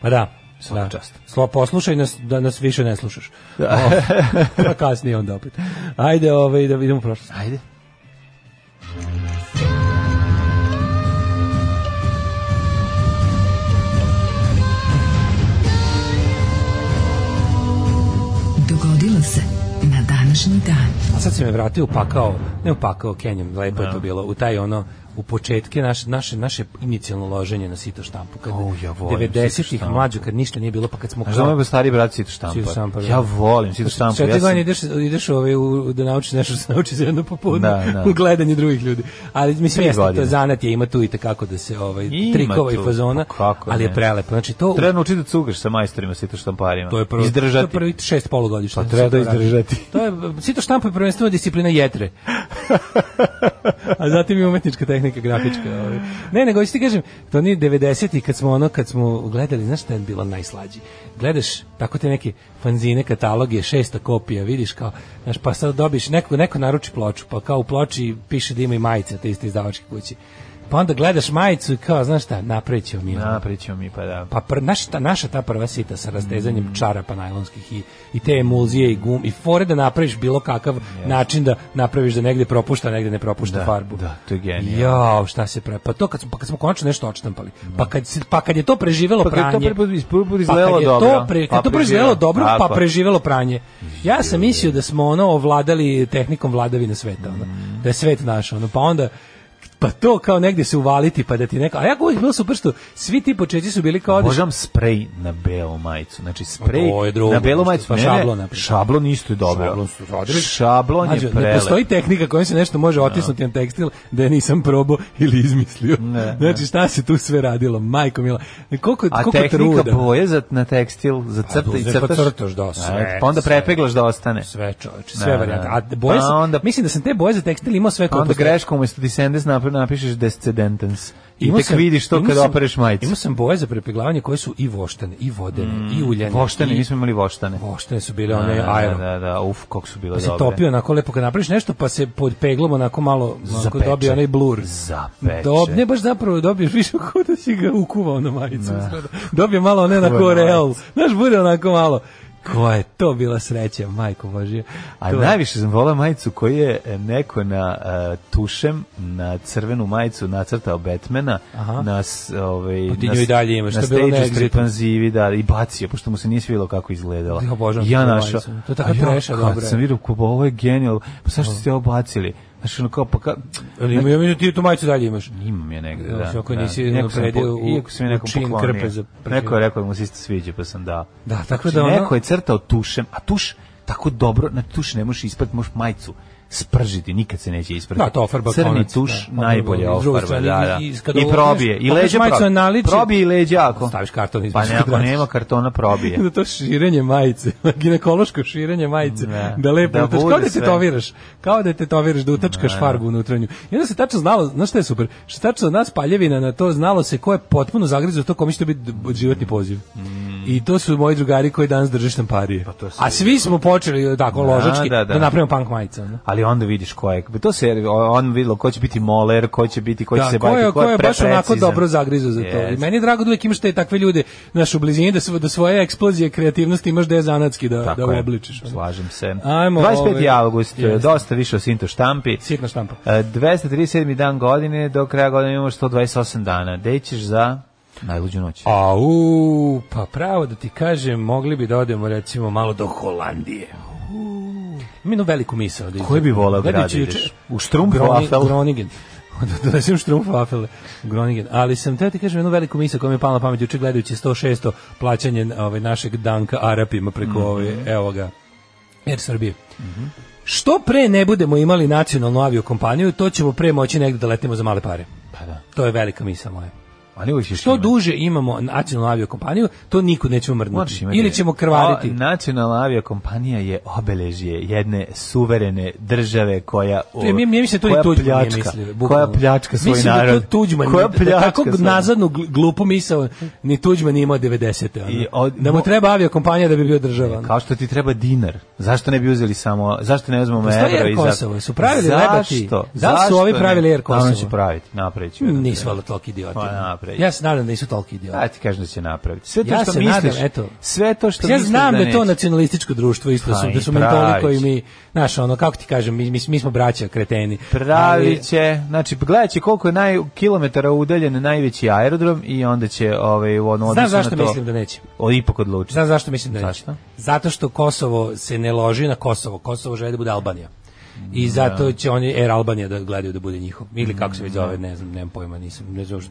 Pa da, Svaka da.
čast.
Slo, poslušaj nas, da nas više ne slušaš. Da. pa kasnije onda opet. Ajde, ovaj, da vidimo prošlost.
Ajde.
Dogodilo se na današnji dan.
Da.
A sad se me vratio upakao, ne upakao Kenjom, lepo je to bilo, u taj ono u početke naše naše naše inicijalno loženje na sito štampu kad
Au, ja volim sito
90-ih
štampu.
mlađu kad ništa nije bilo pa kad smo
Znaš da moj stari brat Sito
Sito
Štampar.
štampar,
Ja
da.
volim Sito Štampar.
Četiri
Ja sam,
godine ideš, ideš ovaj, u, da naučiš nešto što se nauči za jedno popodne
Da, da.
u gledanju drugih ljudi. Ali mislim,
Tri
jeste, to
godine.
je zanat je, ima tu i takako da se ovaj,
Ima
trikova
tu,
i fazona,
pa kako
ali
ne.
je prelepo. Znači, to,
treba naučiti da cugaš sa majstorima Sito Štamparima.
to je prvo, To
Izdržati.
je prvi šest polugodišta.
Pa treba
Sve to radi.
izdržati.
To je, sito štampa je prvenstveno disciplina jetre. A zatim i umetnička tehnika, grafička. Ovaj. Ne, nego hoću ti kažem, to nije 90-ih kad smo ono, kad smo gledali, znaš šta je bilo najslađi? Gledaš tako te neke fanzine, kataloge, šesta kopija, vidiš kao, znaš, pa sad dobiš, neko, neko naruči ploču, pa kao u ploči piše da ima i majice te iste izdavačke kući. Pa onda gledaš majicu i kao, znaš šta, napravit ćemo mi. ono.
Na, pričamo mi, pa da.
Pa pr, naš, ta, naša ta prva sita sa rastezanjem
Mm.
čarapa najlonskih i, i te emulzije i gum i fore da napraviš bilo kakav način da napraviš da negde propušta, negde ne propušta
Da,
farbu.
da, to je genijalno.
Jao, šta se pre... Pa to kad smo, pa kad smo konačno nešto odštampali. Pa, kad, se- pa kad je to preživelo
Da. Pa kad je to
pranje.
prvi put iz- prvi put
pa
izgledalo
kad je
dobro,
To pre,
pa
kad to proizvelo
preživelo.
dobro,
Tako
pa
je.
preživelo pranje. Ja sam mislio da smo ono ovladali tehnikom vladavine sveta. Ono,
Mm.
da je svet naš. Ono, pa onda pa to kao negde se uvaliti pa da ti neka a ja uvijek bilo super što svi ti početci su bili kao odeš
Obožavam sprej na belu majicu. Znači sprej
To je drugo,
na belu
što-
majicu.
pa
Ne, ne,
šablon, na primjer.
Šablon isto je dobro.
Šablon su radili.
Šablon je
Mađo,
prelep.
ne postoji tehnika kojom se nešto može otisnuti na tekstil da je nisam probao ili izmislio.
Ne,
znači šta se tu sve radilo, majko mila. Koliko,
A
koliko
tehnika
truda.
boje za, na tekstil, za crta i
doze,
crtaš.
pa crtaš, da, sve,
A, pa onda
sve.
prepeglaš da ostane.
Sve čoveče,
Da,
sve varijante.
da.
A boje
Pa
sam-
onda-
mislim da sam te boje za tekstil imao sve
Pa
koliko
onda
sam-
greškom umesto descendens napi- napišeš descendentens. I
Imao
tek
sam-
vidiš to
imao
kad
sam-
opereš majicu.
Imao sam boje za prepeglavanje koje su i voštane, i vodene,
Mm.
i uljene.
Voštane,
i-
mi smo imali voštane.
Voštane su bile
Da,
one
da,
aero.
da, da, uf, kako su bile
Pa se
dobre.
topio onako lepo kad napraviš nešto pa se pod peglom onako malo onako
Zapeče.
dobije onaj blur.
Zapeče.
Dob, ne baš zapravo dobiješ više kod da si ga ukuvao na majicu.
Da.
izgleda. Dobije malo one na
Ukuvao na
koreal. Znaš, bude onako malo. Koja je to bila sreća, majko Božje.
A
To je-
najviše sam volao majicu koju je e, neko na e, tušem, na crvenu majicu nacrtao Batmana,
Aha.
na, s- ovaj,
Pa ti
na
nju
s-
i dalje imaš,
na
to je bilo
stage-u s
neegzitno.
trepanzivi, da, i bacio, pošto mu se nije svilo kako izgledala.
Ja obožavam
I ja
tu
našao.
majicu. To je taka
a ja
treša,
kad
dobra je.
sam vidio, ko, pa ovo je genijal, pa zašto ste ovo bacili? Znaš, ono kao, pa ka...
Ali ima, ja mislim, ti tu majicu dalje imaš.
Imam je negde,
Znaš,
da.
ako
da.
nisi
Iako sam
napredio
po-
u-
iako sam je
u
nekom
čin
poklonio.
krpe za pršenje.
Neko je rekao da mu se isto sviđa, pa sam dao.
Da, tako da
Znači,
ono-
Neko je crtao tušem, a tuš tako dobro, na tuš ne možeš ispati, možeš majicu spržiti, nikad se neće isprati.
Da, to ofarba
Crni
konac,
tuš,
da,
najbolje
ofarba, iz druge
ofarba, da,
strane,
da.
i-
I,
i kada obrneš,
probije, i
pokriješ
leđa
majicu na
probije.
naličje,
Probije i leđa ako.
staviš karton između
Pa ne, ako
kvadrata.
nema kartona, probije.
da to širenje majice, ginekološko širenje majice,
Ne.
da lepo
Da
da utač,
bude
kao da
sve.
tetoviraš, kao da tetoviraš, da utačkaš farbu unutranju. I onda se tačno znalo, znaš šta je super, što tačno od nas paljevina na to znalo se ko je potpuno zagrizao to kome će to biti d- životni poziv. I to su moji drugari koji danas drže štamparije.
Mm. Pa to se
A svi smo počeli tako ložački
da,
da,
da.
napravimo punk majice. ono.
ali onda vidiš ko je. pa To se on videlo ko će biti moler, ko će biti, ko će
Da,
se
ko
baviti,
je, ko je baš onako
preprecizan.
dobro zagrizao za to. I
Jest.
meni je drago da uvijek imaš te takve ljude naš u blizini, da, svo- da svoje eksplozije kreativnosti imaš da je zanatski da, da
Tako je.
uobličiš. ono.
Slažem se.
Ajmo,
25.
ovaj,
august,
jeste.
dosta više o Sinto štampi.
Sitna štampa.
E, 237. dan godine, do kraja godine imamo 128 dana. Gde ćeš za najluđu noć?
Au, pa pravo da ti kažem, mogli bi da odemo recimo malo do Holandije. Ima jednu veliku misao. Da
Koji bi voleo
Gledajući
grad da ideš?
juče-
U Strumpfwafel?
Groni- Groningen. Da donesem Strumpfwafel Groningen. Ali sam teo ti kažem jednu veliku misao koja mi je pala na pamet juče gledajući 106. plaćanje ovaj, našeg danka Arapima preko
Mhm.
ove, evo ga, Air Srbije. Što pre ne budemo imali nacionalnu aviokompaniju, to ćemo pre moći negde da letimo za male pare.
Pa da.
To je velika misao moja.
Ali uvijek ćeš
Što
imati.
duže imamo nacionalnu aviokompaniju, to nikud nećemo
Moraš
mrdnuti.
imati.
Ili ćemo krvariti.
O, nacionalna aviokompanija je obeležje jedne suverene države koja o,
Prije, mi, mi se to i
koja
Tuđman nije
pljačka,
mislio.
koja
bukvalno.
pljačka svoj
Mislim
narod.
da to Tuđman,
koja
koja
pljačka
tako
svoj-
nazadnu gl- glupu misao, ni Tuđman nije imao 90. Ono.
I od- E,
da mu treba aviokompanija da bi bio država. ono.
Kao što ti treba dinar. Zašto ne bi uzeli samo, zašto ne uzmemo
Postoji
evro
Air
i za...
Kosovo, su pravili lebati?
Zašto?
Da li su
Zašto
ovi pravili
ne?
Air Kosovo?
Naravno će praviti, napravit ću. jedan.
Nisu valjda toliki idioti.
Pa,
ono.
napravit.
ja se nadam da nisu toliki idioti.
Ja ti kažem da će napraviti. Sve to
Ja
što
se
misliš,
nadam, eto.
sve to što
ja
misliš
znam da, je to
neće.
nacionalističko društvo isto
Pa
su,
i
da su mentoli
pravi
koji
će.
mi, znaš, ono, kako ti kažem, mi, mi, mi smo braća kreteni.
Pravi će, znači gledat će koliko je naj, kilometara udaljen najveći aerodrom i onda će ovaj, u ono,
Znaš
odnosu
zašto
na to,
mislim da neće?
O, ipak odlučiti.
Znaš zašto mislim da neće?
Zašto?
Zato što Kosovo se ne loži na Kosovo. Kosovo želi da bude Albanija. i zato će oni Air Albanija da gledaju da bude njihov. Ili kako se već
Mm.
zove, ne znam, nemam pojma, nisam, ne znam, što-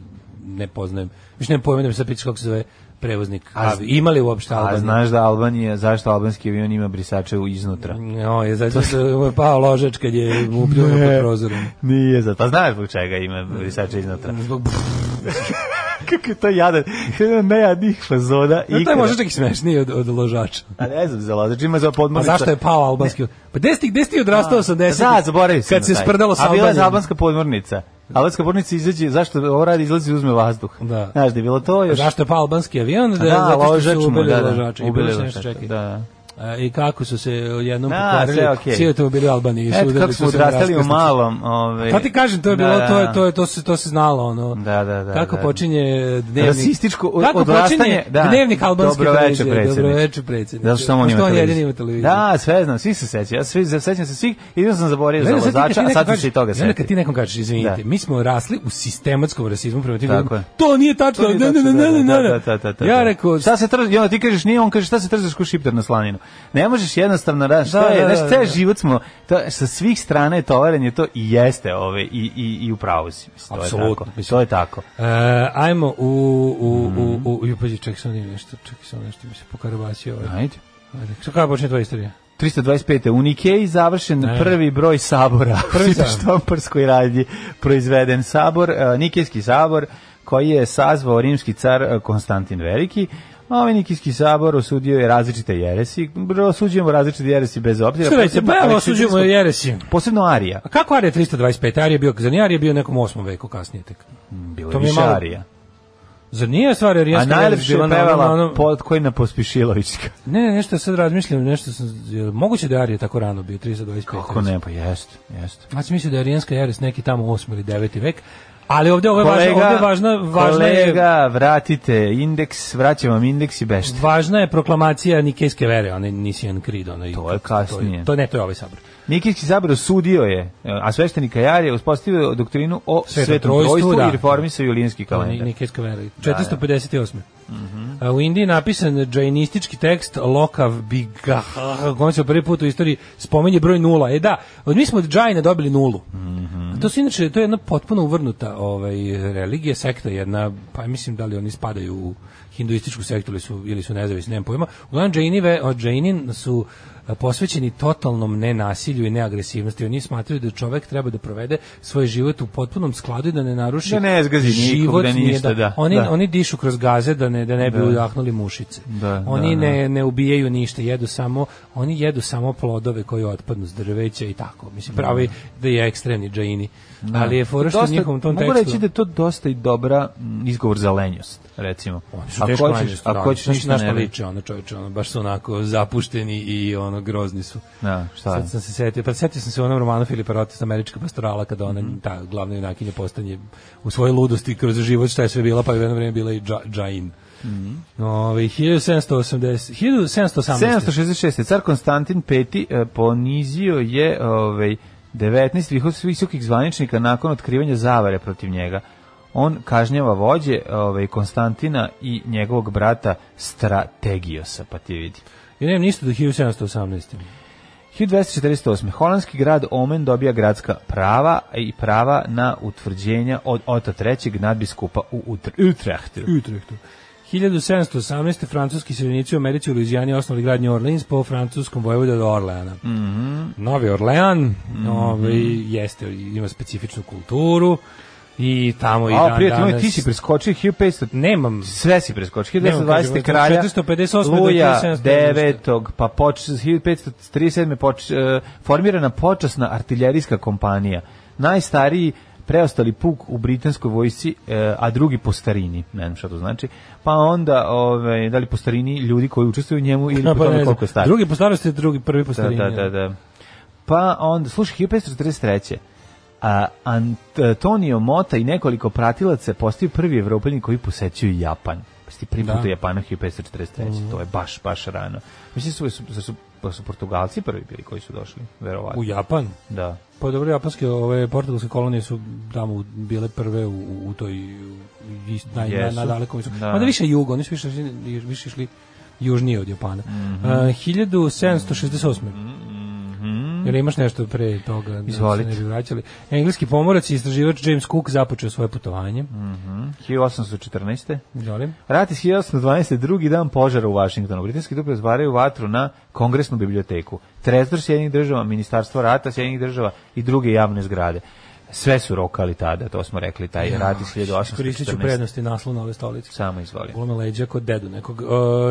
ne poznajem. Više nemam pojma da mi sad pitaš kako se zove prevoznik.
A
A,
z-
imali uopšte
A
Albanija?
znaš da Albanija, zašto albanski avion ima brisače u iznutra?
No, je zato što mu je pao ložač kad je mu pljunuo pod prozorom.
E, Nije zato. Pa znaš zbog čega ima brisače iznutra?
Zbog
Kako je to jadan? Nejadnih fazona
No, E, to
ikada.
je možda čak i smešniji od, od ložača.
A ne znam, za lozač ima za
Pa
podmornica.
zašto je pao albanski? Pa gde si, gde si ti odrastao 80?
Da, zaboravio sam. na
Kad se
taj.
sprdalo sa
A bila je za
Albanijom.
albanska podmornica. Albanska podmornica izađe, zašto ovo radi, izlazi i uzme vazduh.
Da.
Znaš da je bilo to još...
Zašto je pao albanski avion? Da,
Da,
zato što
ložač
su
mu,
ubili
da, da.
ložača. I
Ubili
bilo se nešto
ložača,
čekaj.
da, da.
A, I kako su se jednom
A,
pokvarili,
sve okej.
svi to bili Albaniji. su
Eto
udarili
kako smo
putem na
odrastali u
raskrsnicu.
malom. ovaj, da, Ove,
Pa ti kažem, to je bilo, to je, to je, to se, to se znalo, ono.
Da, da, da,
Kako
da.
počinje dnevnik...
Rasističko od-
Kako
odrastanje,
počinje
da.
dnevnik albanske
Dobro večer,
televizije?
predsjedniče.
Dobro večer, predsjedniče.
Da što on ima
Pošto on
televiziju.
jedini ima televiziju.
Da, sve znam, svi se sećaju. Ja svi se sećam se svih, jedino sam zaboravio za
Znaš da sad ti
vozača,
kad
a
ti
sad
neko
ću se i
kažeš-
toga
znaš da Kad ti
setiti.
nekom kažeš, izvinite,
Da.
mi smo rasli u sistematskom rasizmu prema tim
Tako
ljudima.
je.
To nije tačno.
To nije
Ne, ne,
tačno,
ne, ne, ne,
da,
ne,
da, da, da, da,
ne. Ja
da.
rekao,
Šta se trzi, i onda ti kažeš nije, on kaže šta se trzaš ko šiptar na slaninu. Ne možeš jednostavno, da, šta
Da,
je,
da,
znaš,
da,
ceo
da.
život smo, to, sa svih strana je tovaranje to i jeste ove, i, i, i upravo si. Mislim, to je
Apsolutno,
tako.
mislim.
To je tako.
E, ajmo u u
Mhm.
u u ju pađi ček sam nešto ček sam nešto mi se pokarabasio ovaj.
Ajde.
Ajde. Šta kako počinje tvoja istorija?
325. U Nikeji završen
Ne.
prvi broj sabora
Prvi
u
sabor.
štamparskoj radnji proizveden sabor, e, Nikejski sabor koji je sazvao rimski car e, Konstantin Veliki. A Ovaj Nikijski sabor osudio je različite jeresi. Bro, Osuđujemo različite jeresi bez obzira.
Šta reći? Pa
Posebno
evo
aleksandrijsko-
osuđujemo jeresi.
Posebno Arija.
A kako Arija 325? Arija je bio, zar nije Arija bio u nekom 8. veku kasnije tek?
Mm, Bilo
To
je
mi je
više
malo-
Arija.
Zar nije stvar da
A
Arijanska
najlepše je
bila na
pevala
onom-
pod koji na Pospišilovićka.
Ne, ne, nešto sad razmišljam, nešto sam, je li moguće da je Arija tako rano bio, 325?
Kako ne, pa jest, jest.
Ja sam mislio da je Arijanska jeres neki tamo 8. ili 9. vek, ali ovde ovo je važno,
Kolega,
ovde je važno, važno je...
kolega, vratite indeks, vraćam vam indeks i bešte.
Važna je proklamacija Nikejske vere, onaj Nisian Creed, onaj...
To je kasnije.
To, ne, to je ovaj sabor.
Nikijski sabor osudio je, a sveštenik Kajar je uspostavio doktrinu o
Svetom
svetom
trojstvu,
trojstvu
da.
i reformisao julijanski
To je
kalendar.
Nikejska vera.
da.
458. A, U Indiji je napisan džainistički tekst Lokav Bigah, on se prvi put u istoriji spomenje broj nula. E da, od mi smo od džajna dobili nulu.
Mhm.
A to su inače, to je jedna potpuno uvrnuta ovaj, religija, sekta jedna, pa mislim da li oni spadaju u hinduističku sektu ili su, ili su nezavisni, nemam pojma. Uglavnom, džainive, od džainin su a, posvećeni totalnom nenasilju i neagresivnosti. Oni smatraju da čovek treba da provede svoj život u potpunom skladu i da ne naruši
Da ne zgazi nikog, da
nije
ništa, da.
Oni,
Da.
oni dišu kroz gaze da ne, da ne bi udahnuli mušice.
Da,
oni
da,
ne, ne ubijaju ništa, jedu samo, oni jedu samo plodove koji otpadnu s drveća i tako. Mislim, pravi da je ekstremni džaini. Ali je fora što u njihovom tom
Da. mogu
tekstu...
reći da je to dosta i dobra mm, izgovor za lenjost, recimo.
Oni su teško manjinski, da,
ako hoćeš
znaš
ništa
na šta
ne liči.
liče ono čoveče, ono, baš su onako zapušteni i ono grozni su.
Da, šta je?
Sad sam se setio, pa setio sam se u onom romanu Filipa Rotis, Američka pastorala, kada ona,
Mhm.
ta glavna junakinja postanje u svojoj ludosti kroz život, šta je sve bila, pa je u jedno vrijeme bila i dža, džain.
Mhm.
Ovaj, Ove, 1780, 1718.
766. Car Konstantin V e, ponizio je ovaj, 19 viho- visokih zvaničnika nakon otkrivanja zavare protiv njega. On kažnjava vođe ovaj, Konstantina i njegovog brata Strategiosa, pa ti vidi.
Ja nemam ništa do 1718.
1248. Holandski grad Omen dobija gradska prava i prava na utvrđenja od Ota III. nadbiskupa u Utr- Utrechtu.
Utrechtu. 1718. francuski seljenici u Americi u Luizijani osnovali grad New Orleans po francuskom vojvodu od Orleana.
Mhm.
Novi Orlean ovaj, jeste, ima specifičnu kulturu i tamo i
A,
dan
prijatelj, moj,
danas...
ti si preskočio 1500
Nemam.
sve si preskočio.
Nemam
1920.
kažem,
kralja
458 do
Luja
1719.
9. pa poč, 1537. Poč, e, formirana počasna artiljerijska kompanija. Najstariji preostali puk u britanskoj vojsci, e, a drugi po starini, ne znam šta to znači, pa onda, ovaj, da li po starini ljudi koji učestvuju u njemu ili
A,
po
pa
tome
ne znam.
koliko je stari.
Drugi po starosti, drugi prvi po starini.
Da, da, da, da. Pa onda, slušaj, 1543. A, Antonio Mota i nekoliko pratilaca postaju prvi evropljani koji posećuju Japan. Pa si ti prvi put
Da. Mm.
u Japanu 1543. To je baš, baš rano. Mislim, su, su, su, su, su Portugalci prvi bili koji su došli, verovatno.
U Japan?
Da.
Pa dobro, japanske ove portugalske kolonije su tamo bile prve u, u toj u- ist, naj, na,
Jesu.
na dalekom istoku.
Da.
Da. Onda više jugo, oni su više, išli- više
Mhm.
išli južnije od Japana. Mm 1768. jer imaš nešto pre toga da se
Mhm. Izvolite.
ne bi vraćali. Engleski pomorac i istraživač James Cook započeo svoje putovanje.
Mhm. 1814.
Izvolim.
Rat iz 1812. drugi dan požara u Vašingtonu. Britanski trupe uzvaraju vatru na kongresnu biblioteku. Trezor Sjedinih država, ministarstvo rata Sjedinih država i druge javne zgrade. Sve su rokali tada, to smo rekli, taj rat iz 1814.
Koristit ću prednosti naslov na ove stolice.
Samo izvoli.
Glome leđa kod dedu nekog.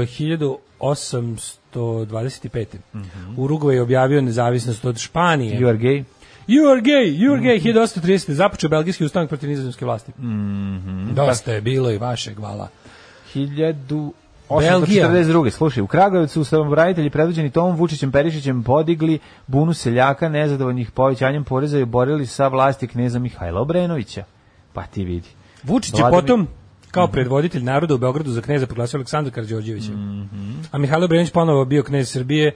E, 1825.
Mhm.
Urugvaj je objavio nezavisnost od Španije.
You are gay?
You are gay, you are gay, 1830. Započeo belgijski ustanak protiv nizozemske vlasti. Da. Dosta je bilo i vašeg vala.
1842. Slušaj, u Kragujevcu su branitelji predvođeni Tomom Vučićem Perišićem podigli bunu seljaka nezadovoljnih povećanjem poreza i oborili sa vlasti kneza Mihajla Obrenovića. Pa ti vidi.
Vučić je
Vladimir-
potom kao predvoditelj naroda u Beogradu za kneza proglasio Aleksandra Karađorđevića. A Mihajlo Brenić ponovo bio knez Srbije e,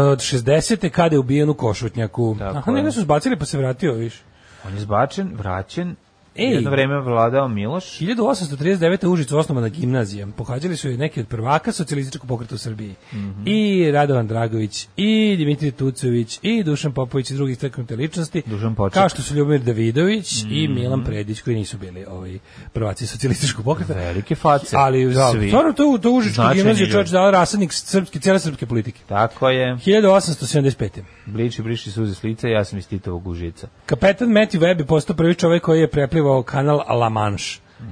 od 60. kada je ubijen u Košutnjaku.
Tako
Aha,
je.
njega su zbacili pa se vratio, viš.
On je zbačen, vraćen,
Ej.
jedno vreme vladao Miloš.
1839. u Užicu osnovana gimnazija. Pohađali su je neki od prvaka socijalističkog pokreta u Srbiji.
Mhm.
I Radovan Dragović, i Dimitrij Tucović, i Dušan Popović i drugih istaknute ličnosti.
Dušan Poček. Mhm.
Kao što su Ljubomir Davidović i Milan Predić, koji nisu bili ovaj, prvaci socijalističkog pokreta.
Velike face.
Ali da,
Svi.
stvarno to to Užičko
Značajni
gimnazije čovjek
ljudi.
dao rasadnik srpske cele srpske politike.
Tako je.
1875.
Bliči, briši suze s lica, ja sam iz Titovog užica.
Kapetan Matthew Webb je postao prvi čovjek koji je preplivao kanal La Manche.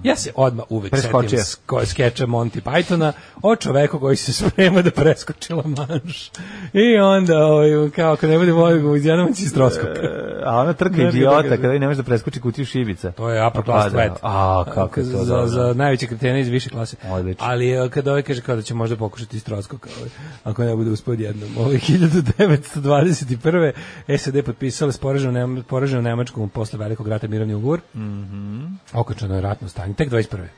Ja se odmah uvek
Preskočio.
setim s koje skeča Monty Pythona o čoveku koji se sprema da preskoči La Manche. I onda, ovaj, kao ako ne bude vojeg u Izjanović i stroskopka.
E, A ona trka
Ne bi
idiota,
događaj.
kada vi ne možeš da preskoči kutiju šibica.
To je upper
Pa
class
da.
threat.
A, kako je to
za,
dobro.
za najveće kretene iz više klase.
Odlično.
Ali e, kada ovaj kaže kao da će možda pokušati iz Trotskog, ovaj, ako ne bude uspio jednom. Ovaj 1921. SAD potpisali sporaženo, Nema, poraženo Nemačkom posle velikog rata mirovni ugovor. Mm
Mhm.
Okončano je ratno stanje. Tek 21.
E,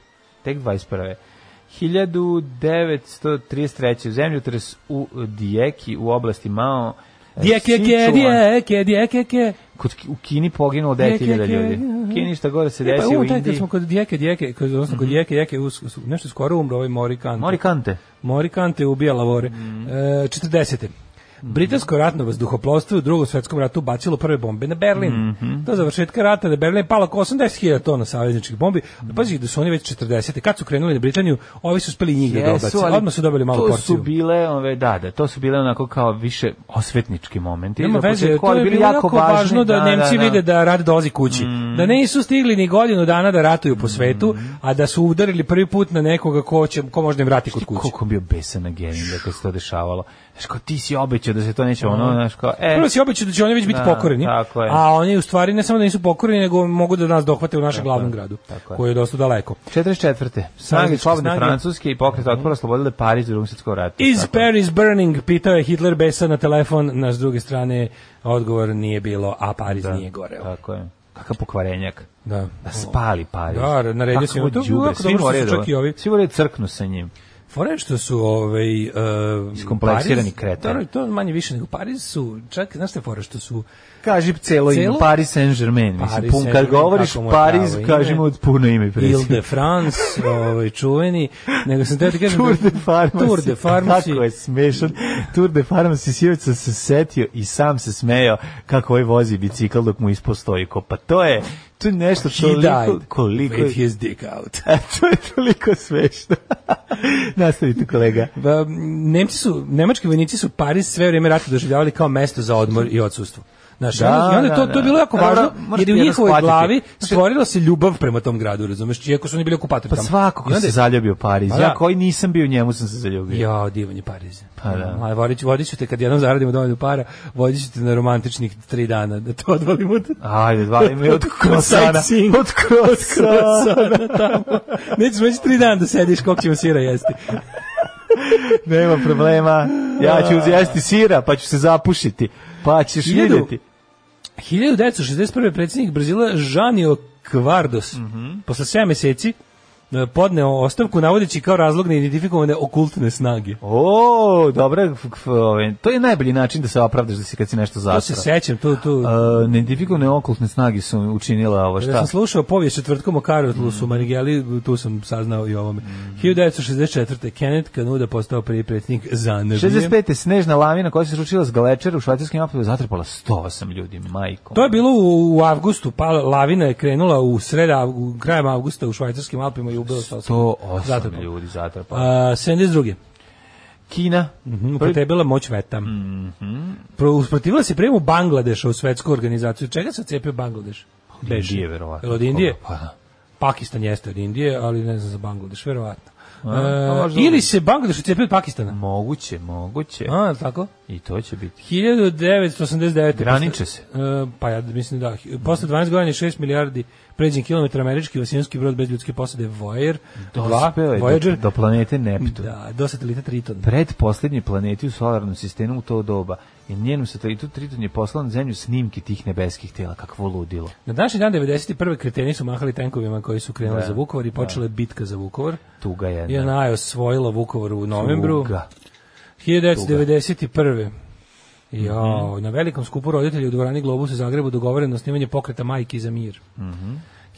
Tek 21. 1933. Zemljotres u Dijeki u oblasti Mao. e,
Dijeke, ke,
Sichuan.
dijeke, dijeke, ke.
Kod, Ki- u Kini poginulo
Dijeke,
9000
ke,
ljudi.
aha.
U Kini šta gore se
E, pa
desi u
umro taj kad
Indiji. Mhm.
smo kod dijeke, dijeke, kod, odnosno kod dijeke, dijeke, us, us- nešto je skoro umro ovaj Morikant.
Mori Kante.
Morikante je ubija Lavore.
Mhm.
E, 40. Britansko ratno vazduhoplovstvo je u drugom svetskom ratu bacilo prve bombe na Berlin.
Mhm.
Do završetka rata na Berlin je palo oko 80.000 tona savezničkih bombi.
Mhm.
Mm. Pazi da su oni već 40. Kad su krenuli na Britaniju, ovi su uspeli njih da dobace.
ali
Odmah su dobili malu
to
porciju.
su bile, ove, da, da, to su bile onako kao više osvetnički momenti.
Nema
Na
veze,
početku,
to
ali
je
bili
bilo jako
važni,
važno da, Nemci vide da rat dolazi kući.
Mhm.
Da ne su stigli ni godinu dana da ratuju po svetu, a da su udarili prvi put na nekoga ko, će, ko može da im vrati kod kuće.
Koliko je bio besan na genin da kad se to dešavalo. Znaš, kao ti si obećao da se to neće ono, znaš, kao, e,
Mhm. Prvo si obećao da će oni već biti
Da,
pokoreni,
tako je.
a oni u stvari ne samo da nisu pokoreni, nego mogu da nas dohvate u našem glavnom gradu,
tako je.
koji je dosta daleko.
44. Snage
Savezničke
slobodne
snage. Mhm.
Francuske i pokret otpora slobodile Pariz u drugom svjetskom ratu.
Is
Tako.
Paris burning? Pitao je Hitler besa na telefon, na s druge strane odgovor nije bilo, a Pariz
Da.
nije goreo.
Tako je. Kakav pokvarenjak.
Da.
Da spali Pariz.
Da, naredio
Kakvo
si mu to,
đubre,
ovako
Svi
dobro što
moraju
su
da-
čak i ovi.
Svi moraju da crknu sa njim.
Fora je što su ovaj uh,
Iskompleksirani
Pariz-
kreten.
Dobro, to manje više nego Pariz su, čak znaš šta je fora što su
Kaži celo ime,
Celo?
Paris Saint-Germain. Mislim,
Paris
pun, kad
Saint-Germain,
govoriš
kako mu je
Pariz,
pravo ime?
kaži mu od puno ime i prezime.
Ile de France, ovaj, čuveni, nego sam teo ti kažem...
Tour
da-
de Pharmacy.
Tour de Pharmacy.
Kako je smešan. Tour de Pharmacy Sivica se setio i sam se smejao kako ovaj vozi bicikl dok mu ispostoji ko. Pa to je, to je nešto
He
toliko,
died
koliko
with
je,
his dick out.
E, to je toliko smešno. Nastavite kolega.
Ba, Nemci su, nemački vojnici su Pariz sve vrijeme rata doživljavali kao mesto za odmor i odsustvo. Znaš,
Da,
ono- i onda
da,
to,
da.
to je bilo jako
Da,
važno,
da, moraš
jer je u
jedno
njihovoj
shvatiti.
glavi
Znači-
stvorila se ljubav prema tom gradu, razumeš, iako su oni bili okupatori
Pa
tamo.
svako
I
ko
onda
se
je-
zaljubio u Pariz.
Pa
Ja
da.
koji nisam bio u njemu sam se zaljubio.
Ja, divan je Pariz.
Pa da.
Aj, vodit ću, vodit ću te kad jednom zaradimo dovoljno para, vodit ću te na romantičnih tri dana, da to odvalimo od
Ajde, zvali me od krosana.
sightseeing.
Od krosana.
sada tamo. Nećeš moći tri dana da sediš koliko ćemo sira jesti.
Nema problema. Ja ću uzjesti sira, pa ću se zapušiti. Pa ćeš
Hiljadu-
vidjeti. Mhm.
1961. predsjednik Brazila Žanio Kvardos, posle 7 meseci e, podneo ostavku navodeći kao razlog neidentifikovane okultne snage.
O, dobra, f- f- ovaj, to je najbolji način da se opravdaš da si kad si nešto
To se
zasra.
sećam, to, to,
Uh, Nedifikovne okultne snage su učinila ovo
Ja
šta? Mhm.
sam slušao povijest četvrtkom o Karotlusu, mm. Marigeli, tu sam saznao i o ovome. 1964. Kenneth Kanuda postao prvi predsjednik Zanrbije.
65. snežna lavina koja se sručila s Galečera u švajcarskim Alpama zatrpala 108 ljudi, majko.
To je bilo u, u avgustu, pa lavina je krenula u sred, avgu- krajem avgusta u švajcarskim Alpima i ubeo
108
Zatrpalo.
ljudi
Uh,
zatrpala.
72.
Kina.
Mhm, upotrebila moć veta. Mm
Mhm.
-hmm. Usprotivila se prijemu Bangladeša u svetsku organizaciju. Čega se cepio Bangladeš? Beži.
Indije, verovatno.
Jel od Indije?
Pa da.
Pakistan jeste od Indije, ali ne znam za Bangladeš, verovatno.
A,
E,
pa možda
ili
od-
se Bangladeš cepio od Pakistana?
Moguće, moguće.
A, tako?
I to će biti.
1989.
Graniče
posle- E, pa ja mislim da. Posle 12 godina i 6 milijardi pređen kilometar američki vasijanski brod bez ljudske posade Voyager 2,
Dospeo je
Voyager,
do, do planete Neptun.
da, do satelita Triton.
Predposlednji planeti u solarnom sistemu u to doba. I njenom satelitu Triton je poslan na zemlju snimke tih nebeskih tela. Kakvo ludilo.
Na današnji dan 91. kreteni su mahali tenkovima koji su krenuli
Da,
za Vukovar i počela je bitka za Vukovar.
Tuga jedna.
JNA je osvojila Vukovar u novembru.
Tuga.
1991.
Mhm.
Jo, na velikom skupu roditelja u dvorani Globus u Zagrebu dogovoreno osnivanje pokreta Majki za mir. Mhm.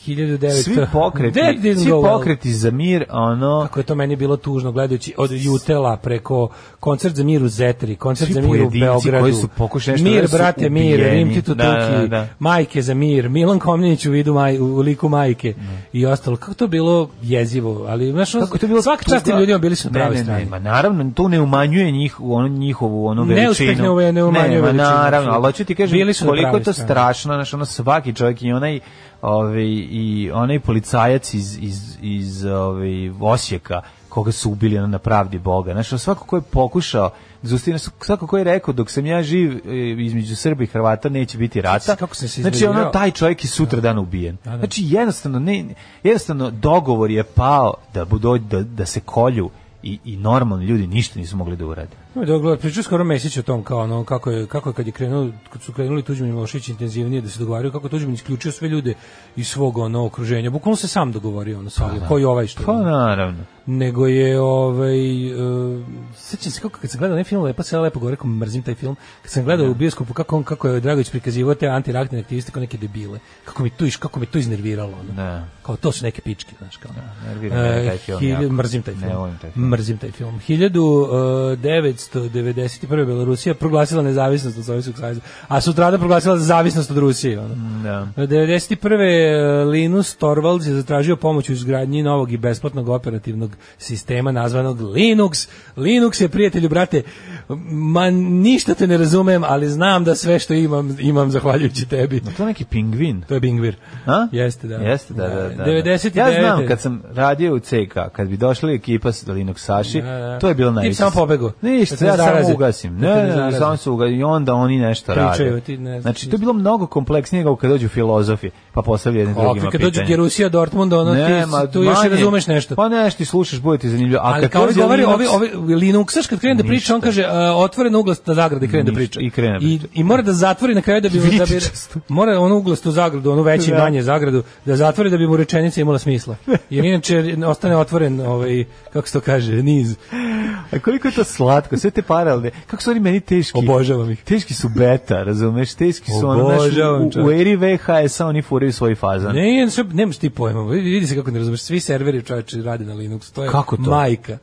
1900.
Svi pokreti,
That didn't
svi
go well.
pokreti za mir, ono...
Kako je to meni bilo tužno gledajući od Jutela preko koncert za mir u Zetri, koncert
Svi
za mir u
pojedinci
Beogradu.
koji su pokušali nešto
mir,
da su
brate, mir,
ubijeni.
Rim Tito
Da,
Tuki,
da, da.
Majke za mir, Milan Komnenić u vidu maj, u liku majke i ostalo. Kako to bilo jezivo, ali znaš,
Kako je to bilo
svaka čast tim
tuga?
ljudima bili su na
Ne,
pravoj
ne,
strani.
Ne, ma naravno, to ne umanjuje njih, u ono, njihovu ono
Neuspeh
veličinu.
ne uve- ne umanjuje
ma
veličinu.
naravno, ali hoću ti kažem
Bili su na
koliko je
pravoj
to
strani.
strašno, znaš, ono svaki čovjek i onaj ovaj, i onaj policajac iz, iz, iz ovaj, Osijeka koga su ubili ono, na pravdi Boga. Znaš, ono, svako ko je pokušao Zustina, svako ko je rekao dok sam ja živ e, između Srba i Hrvata neće biti rata.
Kako sam se Da.
znači ono
iznervirao.
taj čovjek je sutra dan ubijen. Znači jednostavno ne jednostavno dogovor je pao da budu da, da se kolju i, i normalni ljudi ništa nisu mogli da urade.
Ima dogovor, pričao skoro Mesić o tom kao ono kako je kako je kad je krenuo kad su krenuli Tuđman i Milošević intenzivnije da se dogovaraju kako je Tuđman isključio sve ljude iz svog ono okruženja. Bukvalno se sam dogovorio ono sa ovim, koji ovaj što.
Pa naravno.
Nego je ovaj uh, sećam se kako kad sam gledao onaj film Lepa sela lepo gore, kako mrzim taj film. Kad sam
Da.
gledao u bioskopu kako on kako je Dragović prikazivao te antiraktne aktiviste kao neke debile. Kako mi to iš kako me to iznerviralo ono.
Da.
Kao to su neke pičke, znaš kao.
nervira me taj film
hilj-
jako.
mrzim taj
Ne
film.
volim taj film.
Mrzim taj film. eh, 1991. Belorusija proglasila nezavisnost od Sovjetskog saveza, a sutrada proglasila zavisnost od Rusije. Ono.
Da.
91. e, Linus Torvalds je zatražio pomoć u izgradnji novog i besplatnog operativnog sistema nazvanog Linux. Linux je, prijatelju, brate, ma ništa te ne razumem, ali znam da sve što imam, imam zahvaljujući tebi.
No, to je neki pingvin.
To je Bingvir.
A?
Jeste, da.
Jeste, da, da, da.
99.
Ja znam, kad sam radio u CK, kad bi došla ekipa sa Linux Saši,
Da, da.
to je bilo
Ti bi
najviše.
samo pobegao.
Ništa,
Da te ne
ja samo
zaraze.
ugasim.
Da
Ne,
te ne
ne, ne,
zaraze.
samo se ugasim. I onda oni nešto
Pričaju,
rade.
ti ne znaš
Znači, to
ništa.
je bilo mnogo kompleksnije nego kad dođu filozofi, pa postavljaju jednim drugima
Opet
pitanje.
kad dođu Gerusija, Dortmund, ono, ti,
ma,
tu još i
manje.
razumeš nešto.
Pa nešto i slušaš, bude ti zanimljivo. A
ali
kad
kao ovi
dođe
govori,
Linux-
ovi, ovi Linuxaš kad krene da priča, on kaže uh, otvoren uglasto zagrada i krene da
Ništa,
priča.
i krene da
I,
priča.
I mora da zatvori na kraju da bi, da bi
Vičičasto.
mora onu uglastu zagradu, onu veći i
Da.
manje zagradu, da zatvori da bi mu rečenica imala smisla. Jer inače ostane otvoren, ovaj, kako se to kaže, niz.
A koliko je to slatko, sve te paralelne. Kako su oni meni teški?
Obožavam ih.
Teški su beta, razumeš? Teški su ono, znaš,
Obožavam,
u, u
čovječe.
eri VHS-a oni furaju svoj fazan.
Ne, ne, sve- nemaš ti pojma. Vidi vidi se kako ne razumeš. Svi serveri čoveče rade na Linuxu. To je
Kako to?
majka.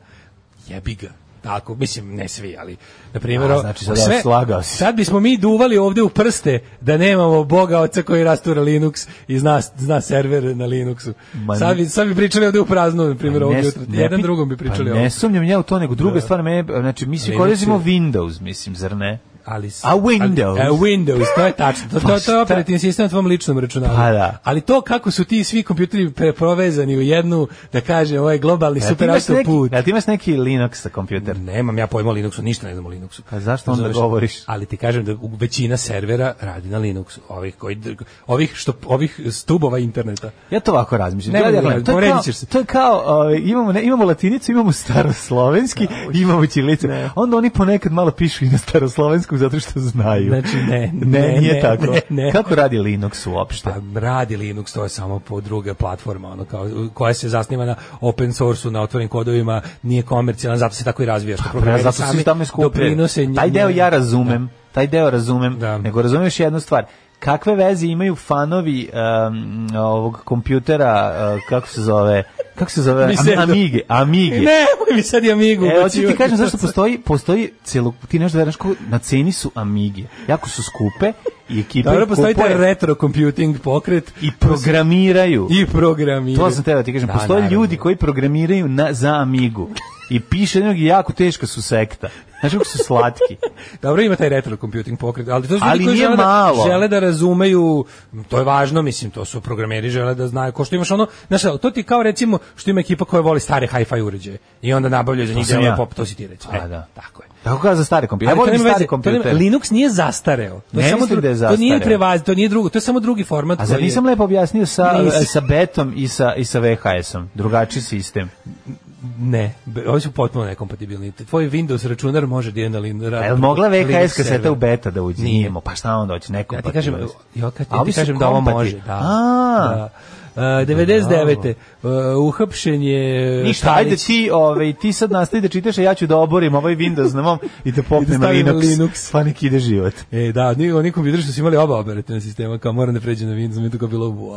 Jebi ga. Tako, mislim, ne svi, ali, na primjer,
A,
o-
znači, sad slagao si.
sad bismo mi duvali ovde u prste da nemamo Boga oca koji rastura Linux i zna, zna server na Linuxu.
Ma ne-
sad, bi, sad bi pričali ovde u prazno, na primjer,
Pa
ovdje
ne-
jutro.
ne
Jedan
pi-
drugom bi pričali Da.
pa
ovo.
Ne sumnjam ja u to, nego druga stvar, me, znači, mi svi
Linux
koristimo
je-
Windows, mislim, zar ne?
Ali, s-
A Windows?
Ali, a Windows, to je tačno. To,
Pa
to, to
šta?
je operativni sistem na tvom ličnom računaru.
Pa da.
Ali to kako su ti svi kompjuteri pre- provezani u jednu, da kažem, ovaj globalni
Jel E, ti
super
imaš neki-
autoput.
jel ti imaš neki Linux sa kompjuter?
Nemam ja pojma o Linuxu, ništa ne znam o Linuxu.
A Pa zašto onda
Razumeš?
govoriš?
Ali ti kažem da u- većina servera radi na Linuxu, ovih koji dr- ovih što ovih stubova interneta.
Ja to ovako razmišljam.
Ne,
Ja-
ne,
ja
ne,
gledam, to je
povredit
kao,
ćeš se.
to je kao ovaj, imamo, ne, imamo
Da,
latinicu, imamo staroslovenski, imamo ćirilicu. Onda oni ponekad malo pišu i na staroslovenskom muziku zato što znaju.
Znači, ne,
ne,
ne,
nije
ne,
tako.
ne, ne.
Kako radi Linux uopšte?
Pa radi Linux, to je samo po druge platforma, ono kao, koja se zasniva na open source-u, na otvorenim kodovima, nije komercijalan, zato se tako i razvija. Što
Pa,
programeri
zato su
sami
svi tamo skuplje.
doprinose nje-
Taj deo ja razumem, taj deo razumem,
Da.
nego razumeš jednu stvar. Kakve veze imaju fanovi um, ovog kompjutera, uh, kako se zove, kako se zove,
Mi se-
Am- Amige, Amige.
Ne, moj mi sad i Amigu. pa
E, hoću ti
ubacivati.
kažem zašto postoji, postoji celo, ti nešto veraš, ko- na ceni su Amige, jako su skupe i ekipe
Dobro, postoji taj
kupuje
retro computing pokret
i programiraju.
i programi.
To sam teo da ti kažem,
Da,
postoje
naravno.
ljudi koji programiraju na, za Amigu i piše jednog i jako teška su sekta. Znaš kako su slatki.
Dobro, ima taj retro computing pokret, ali to su ljudi
Ali
koji
nije
žele
malo.
da, žele da razumeju, to je važno, mislim, to su programeri, žele da znaju, ko što imaš ono, znaš, to ti kao recimo što ima ekipa koja voli stare hi-fi uređaje i onda nabavljaju za njih
sam
delove
ja.
pop, to si ti recimo.
A,
E,
da.
Tako je.
Tako kao za stare kompjutere. Ja
Ali to
volim
nema
stare
veze, to nema-
kompjutere.
Linux nije zastareo. To
Ne
je samo
mislim
dru-
da je
To nije
zastareo.
prevaz, to nije drugo, to je samo drugi format.
A zar
koji je-
nisam lepo objasnio sa,
Nisi.
sa betom i sa, i sa VHS-om? Drugačiji sistem.
Ne, be- ovi su potpuno nekompatibilni. Tvoj Windows računar može da je na lin,
A
rad,
je li mogla
Linux
VHS kaseta
server.
u beta da uđe?
Nije.
Nije. Pa šta onda hoće? Nekom
Ja ti kažem, ja, kad, ja ti kažem da ovo može. Da,
A,
da. Uh, 99. Uh, uhapšen je
Ništa,
Tadić.
ajde ti, ovaj, ti sad nastavi da čitaš, a ja ću da oborim ovaj Windows na mom i da popnem na
stavim na
Linux.
Linux.
Pa nek ide život.
E, da, ni- oni kompjuter što su imali oba operativna sistema, kao moram da pređem na Windows, mi je to kao bilo wow.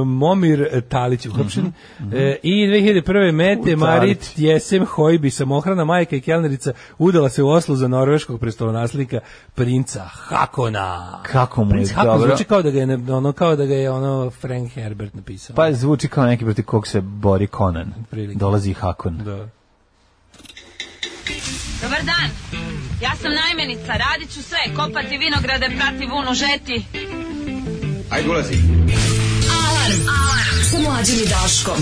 e, Momir Talić uhapšen. e, I 2001. Mete
U,
Marit
Talić.
Jesem Hojbi, samohrana majka i kelnerica, udala se u Oslo za norveškog prestolonaslednika princa Hakona.
Kako mu je
Princ Hakon
dobro.
zvuči kao da ga je, ne- ono, kao da ga je ono Frank Herbert napisao.
Pa zvuči kao neki protiv kog se bori Conan.
Prilike.
Dolazi Hakon.
da.
Dobar dan. Ja sam najmenica, radit ću sve, kopati vinograde, prati vunu, žeti.
Ajde, ulazi.
Alarm, alarm, sa mlađim i Daškom.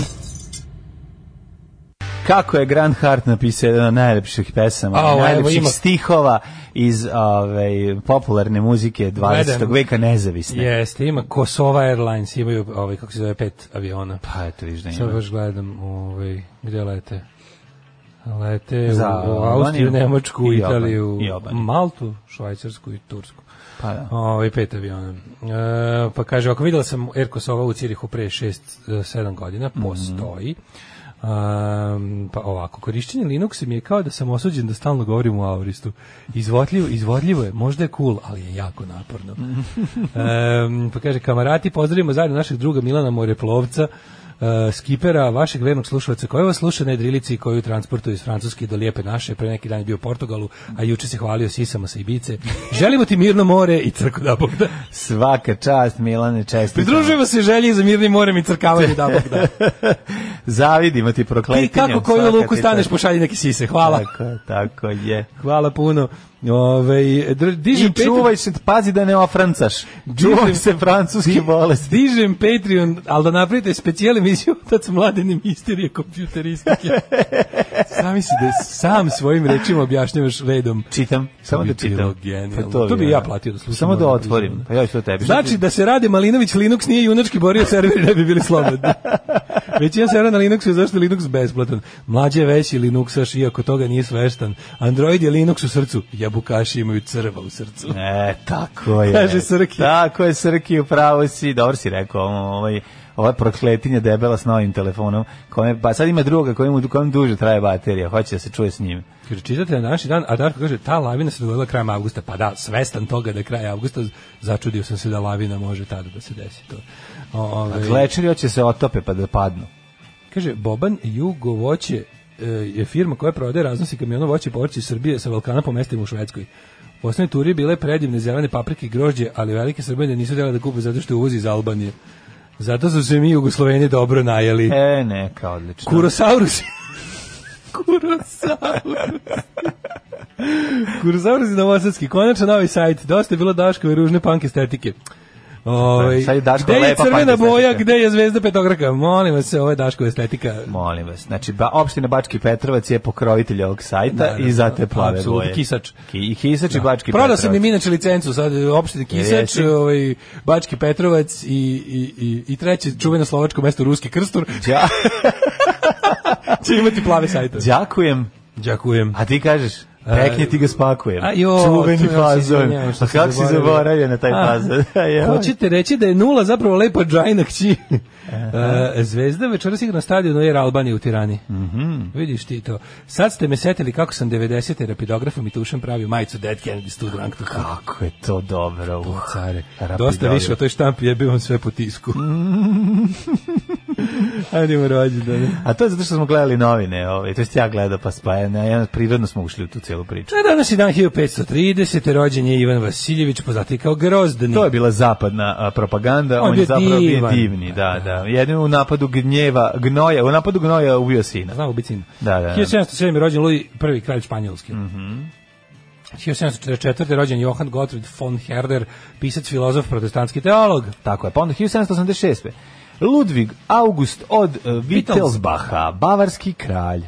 Kako je Grant Hart napisao jedan od najlepših pesama,
A,
oh,
evo,
najlepših
ima-
stihova iz ove, popularne muzike 20.
Gledam.
veka nezavisne.
Jeste, ima Kosova Airlines, imaju ovaj, kako se zove, pet aviona.
Pa eto viš da
Sad
ima.
baš gledam, ovaj, gde lete? Lete
Za
u, u Austriju,
Albaniju
Nemačku,
i Albaniju,
Italiju,
i Albaniju.
Maltu, Švajcarsku i Tursku.
Pa da.
Ovaj pet aviona. E, pa kaže, ako videla sam Air Kosova u Cirihu pre 6-7 godina,
Mhm.
postoji. Um, pa ovako, korišćenje Linuxa mi je kao da sam osuđen da stalno govorim u auristu. Izvodljivo, izvodljivo je, možda je cool, ali je jako naporno. um, pa kaže, kamarati, pozdravimo zajedno našeg druga Milana Moreplovca, uh, skipera, vašeg vernog slušalca koji vas sluša na jedrilici koju transportuje iz Francuske do lijepe naše, pre neki dan je bio u Portugalu, a juče se hvalio sisama sa Ibice. Želimo ti mirno more i crku da Bogda.
Svaka čast Milane čestitam.
Pridružujemo se želji za mirnim morem i crkavanje da Bogda.
Zavidimo ti prokletinjom.
Ti kako koju
svaka
luku
ti
staneš
čast.
pošalji neke sise. Hvala.
Tako, tako je.
Hvala puno. Ove, dr- dižem
I
Patreon-
čuvaj se, pazi da ne ofrancaš.
Dižem-
Čuvaj se francuski bolesti.
Dižem Patreon, ali da napravite specijal emisiju otac mladene misterije kompjuteristike. Sami si da sam svojim rečima objašnjavaš redom.
Čitam, samo
bi
da
bilo
čitam.
genijalno. Pa To bi ja platio da slušam,
Samo da
moram
otvorim.
priznati.
Pa ja ću to tebi. Šta
Znači
ti-
da se radi Malinović Linux nije junački borio serveri da bi bili slobodni. Većina servera na Linuxu je zašto je Linux besplatan. Mlađe je veći Linuxaš iako toga nije sveštan. Android je Linux u srcu, jabukaši imaju crva u srcu.
E, tako je.
Kaže Srki.
Tako je, Srki, upravo si, dobro si rekao, ovaj, ova prokletinja debela s novim telefonom, kome, pa sad ima druga kojem, kojem duže traje baterija, hoće da se čuje s njim.
Kaže, čitate na naši dan, a Darko kaže, ta lavina se dogodila krajem avgusta. Pa da, svestan toga da je kraj avgusta, začudio sam se da lavina može tada da se desi to. O, ove,
Glečeri Pa hoće se otope pa da padnu.
kaže, Boban Jugo voće e, je firma koja prodaje raznosi kamionom voće i povrće iz Srbije sa Balkana po mestima u Švedskoj. U osnovnoj turi bile predivne zelene paprike i grožđe, ali velike Srbije nisu djela da kupe zato što je uvoz iz Albanije. Zato su se mi Jugosloveni dobro najeli.
E, neka, odlično.
Kurosaurus. Kurosaurus. Kurosaurus je novosadski. Konačno novi sajt. Dosta je bilo Daškove ružne punk estetike. Ove,
Da, Sad je Daško
gde je
lepa punk
crvena
estetika.
boja, gde je zvezda petokraka? Molim vas, ovo je Daškova estetika.
Molim vas, znači ba, opština Bački Petrovac je pokrovitelj ovog sajta
Naravno,
i zato je plave
apsolutno,
boje.
kisač. Da.
Ki, I kisač i Bački
Prodao
Petrovac.
sam im inače licencu, sad e, opštini Kisač,
Jesi.
ovaj, Bački Petrovac i, i, i, i treće čuveno slovačko mesto Ruski Krstur
Ja,
će imati plave sajte.
đakujem,
Đakujem.
a Pa ti kažeš? Pekne ti ga spakujem.
A jo,
Čuveni
to ja se
fazon.
izvinjavam što
A
sam
kako si
zaboravio.
zaboravio na taj
A,
fazon? Ja.
Hoćete reći da je nula zapravo lepa džajna kći. E, Zvezda večeras igra na stadionu Air Albanije u Tirani.
Mhm.
Vidiš ti to. Sad ste me setili kako sam 90. rapidografom i tušem pravio majicu Dead Kennedys to drunk to Kill.
Kako je to dobro.
O,
Uh,
care.
rapidograf.
Dosta više o toj štampi, jebe vam sve po tisku. Ajdemo rođendane.
A to je zato što smo gledali novine, ovaj, to jest ja gledao pa spajane, ja prirodno smo ušli u tu celu priču.
To je danas i dan 1530. rođen je Ivan Vasiljević, poznati kao Grozdani.
To je bila zapadna a, propaganda,
On
on,
je
je zapravo bio
divan.
divni, da, da. Jedno u napadu gnjeva, gnoja, u napadu gnoja ubio sina.
Znamo biti sin.
Da, da, da.
1707. je rođen Louis I, kralj Španjolski. 1744. je rođen Johan Gottfried von Herder, pisac, filozof, protestantski teolog.
Tako je, pa onda 1786. Ludvig August od e, Wittelsbacha, bavarski kralj.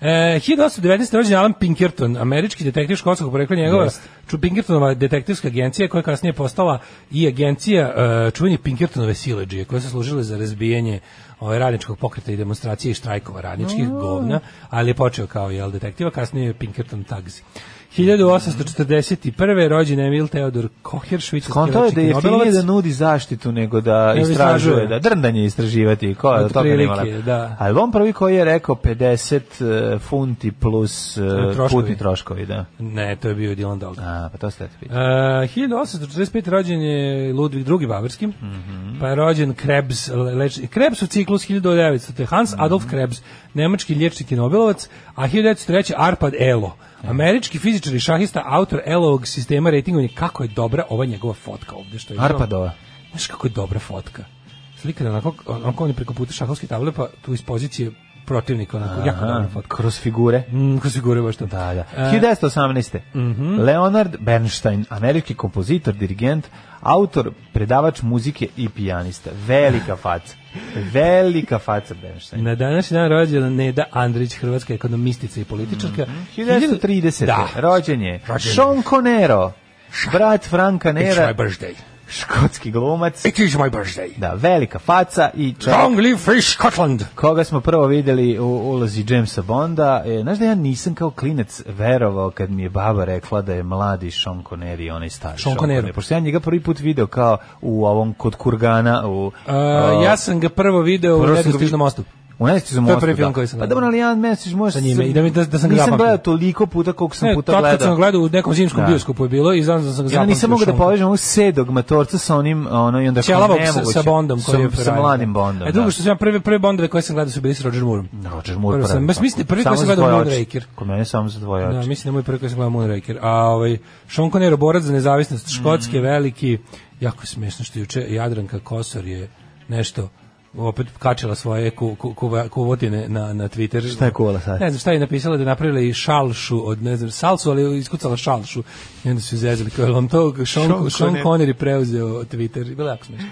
E, 1819. je rođen Alan Pinkerton, američki detektiv školskog porekla njegova.
Jeste.
Ču Pinkertonova detektivska agencija koja je kasnije postala i agencija e, čuvanje Pinkertonove sileđije koje su služile za razbijanje ovaj, radničkog pokreta i demonstracije i štrajkova radničkih govna, ali je počeo kao jel, detektiva, kasnije je Pinkerton Tagzi. 1841. je rođen Emil Theodor Koher, švicarski
Konto je da
levački
je jeftinije
Nobelovac.
da nudi zaštitu nego da
Nego istražuje.
istražuje, da drndanje istraživati. Ko je
Od
od toga nema
prilike,
lep.
da.
Ali on prvi koji je rekao 50 e, funti plus e,
Troškovi.
putni troškovi, da.
Ne, to je bio Dylan Dog.
A, pa to ste te
Uh,
pitali.
1845. rođen je Ludvig II. Bavarski, pa je rođen Krebs, leč, Krebs u ciklus 1900. Te Hans Adolf Krebs, nemački liječnik i nobelovac, a 1903. Arpad Elo, američki fizičar i šahista, autor Elovog sistema ratingovanja. Kako je dobra ova njegova fotka ovde. Što je imam.
Arpadova.
Znaš kako je dobra fotka? Slika je onako, onako on je preko puta šahovske table, pa tu iz pozicije protivnika, onako, jako dobra fotka.
Kroz figure.
Mm, kako se gore baš to.
Da, da.
E, Mhm.
1918. Leonard Bernstein, američki kompozitor, dirigent, autor, predavač muzike i pijanista. Velika faca. Velika faca Bernstein.
Na današnji dan rođena Neda Andrić, hrvatska ekonomistica i političarka.
1930.
Mhm. Da.
Rođen je
Rođen je.
Sean Conero, brat Franka
It's
Nera,
my birthday.
škotski glumac.
It is my birthday.
Da, velika faca i čovjek
Long live free Scotland.
koga smo prvo vidjeli u ulozi Jamesa Bonda. E, znaš da ja nisam kao klinec verovao kad mi je baba rekla da je mladi Sean Connery onaj stari
Sean Connery.
Pošto ja njega prvi put video kao u ovom kod Kurgana u
Uh, ja sam ga prvo video u
Prvo sam ga
nedostižnom
vi-
mostu.
U Nesci za
To je
mostu.
prvi film
da.
koji sam
Pa
gledao.
dobro, ali ja mesiš možda
Sa njime i da mi- da- da sam ga
Nisam
zapamtio.
gledao toliko puta koliko sam
Ne,
puta
tad
gledao.
kad sam gledao u nekom zimskom
Da.
bioskopu je bilo i znam da sam ga
Ja
zapamtio.
nisam mogao da
Sean-
povežem ovog sedog matorca sa onim, ono, i onda kao
Ćelavog sa,
nemoguće.
sa Bondom koji
Sa-
je
Sa
radio.
mladim Bondom,
E drugo
da.
što sam ja prve prve Bondove koje sam gledao su bili sa Roger Mooreom.
Roger Moore
Prvo sam-
pravi,
baš
tako.
mislim, prvi
Samo
koji sam
za
gledao
tvoje
Moonraker.
oči. Kod mene samo za tvoje
Da,
oči.
mislim da moj prvi koji sam gledao Moonraker. A ovaj, Sean Connery, borac za nezavisnost Škotske,
Mm.
veliki, jako je smiješno što juče Jadranka Kosor je nešto opet kačila svoje ku, ku, kuva- kuvotine na, na Twitter.
Šta je kuvala sad?
Ne znam šta je napisala da je napravila i šalšu od, ne znam, salsu, ali je iskucala šalšu. I onda su izrezali kao, je vam to Sean, Sean,
Sean Connery.
Connery preuzeo Twitter. Bilo je jako smiješno.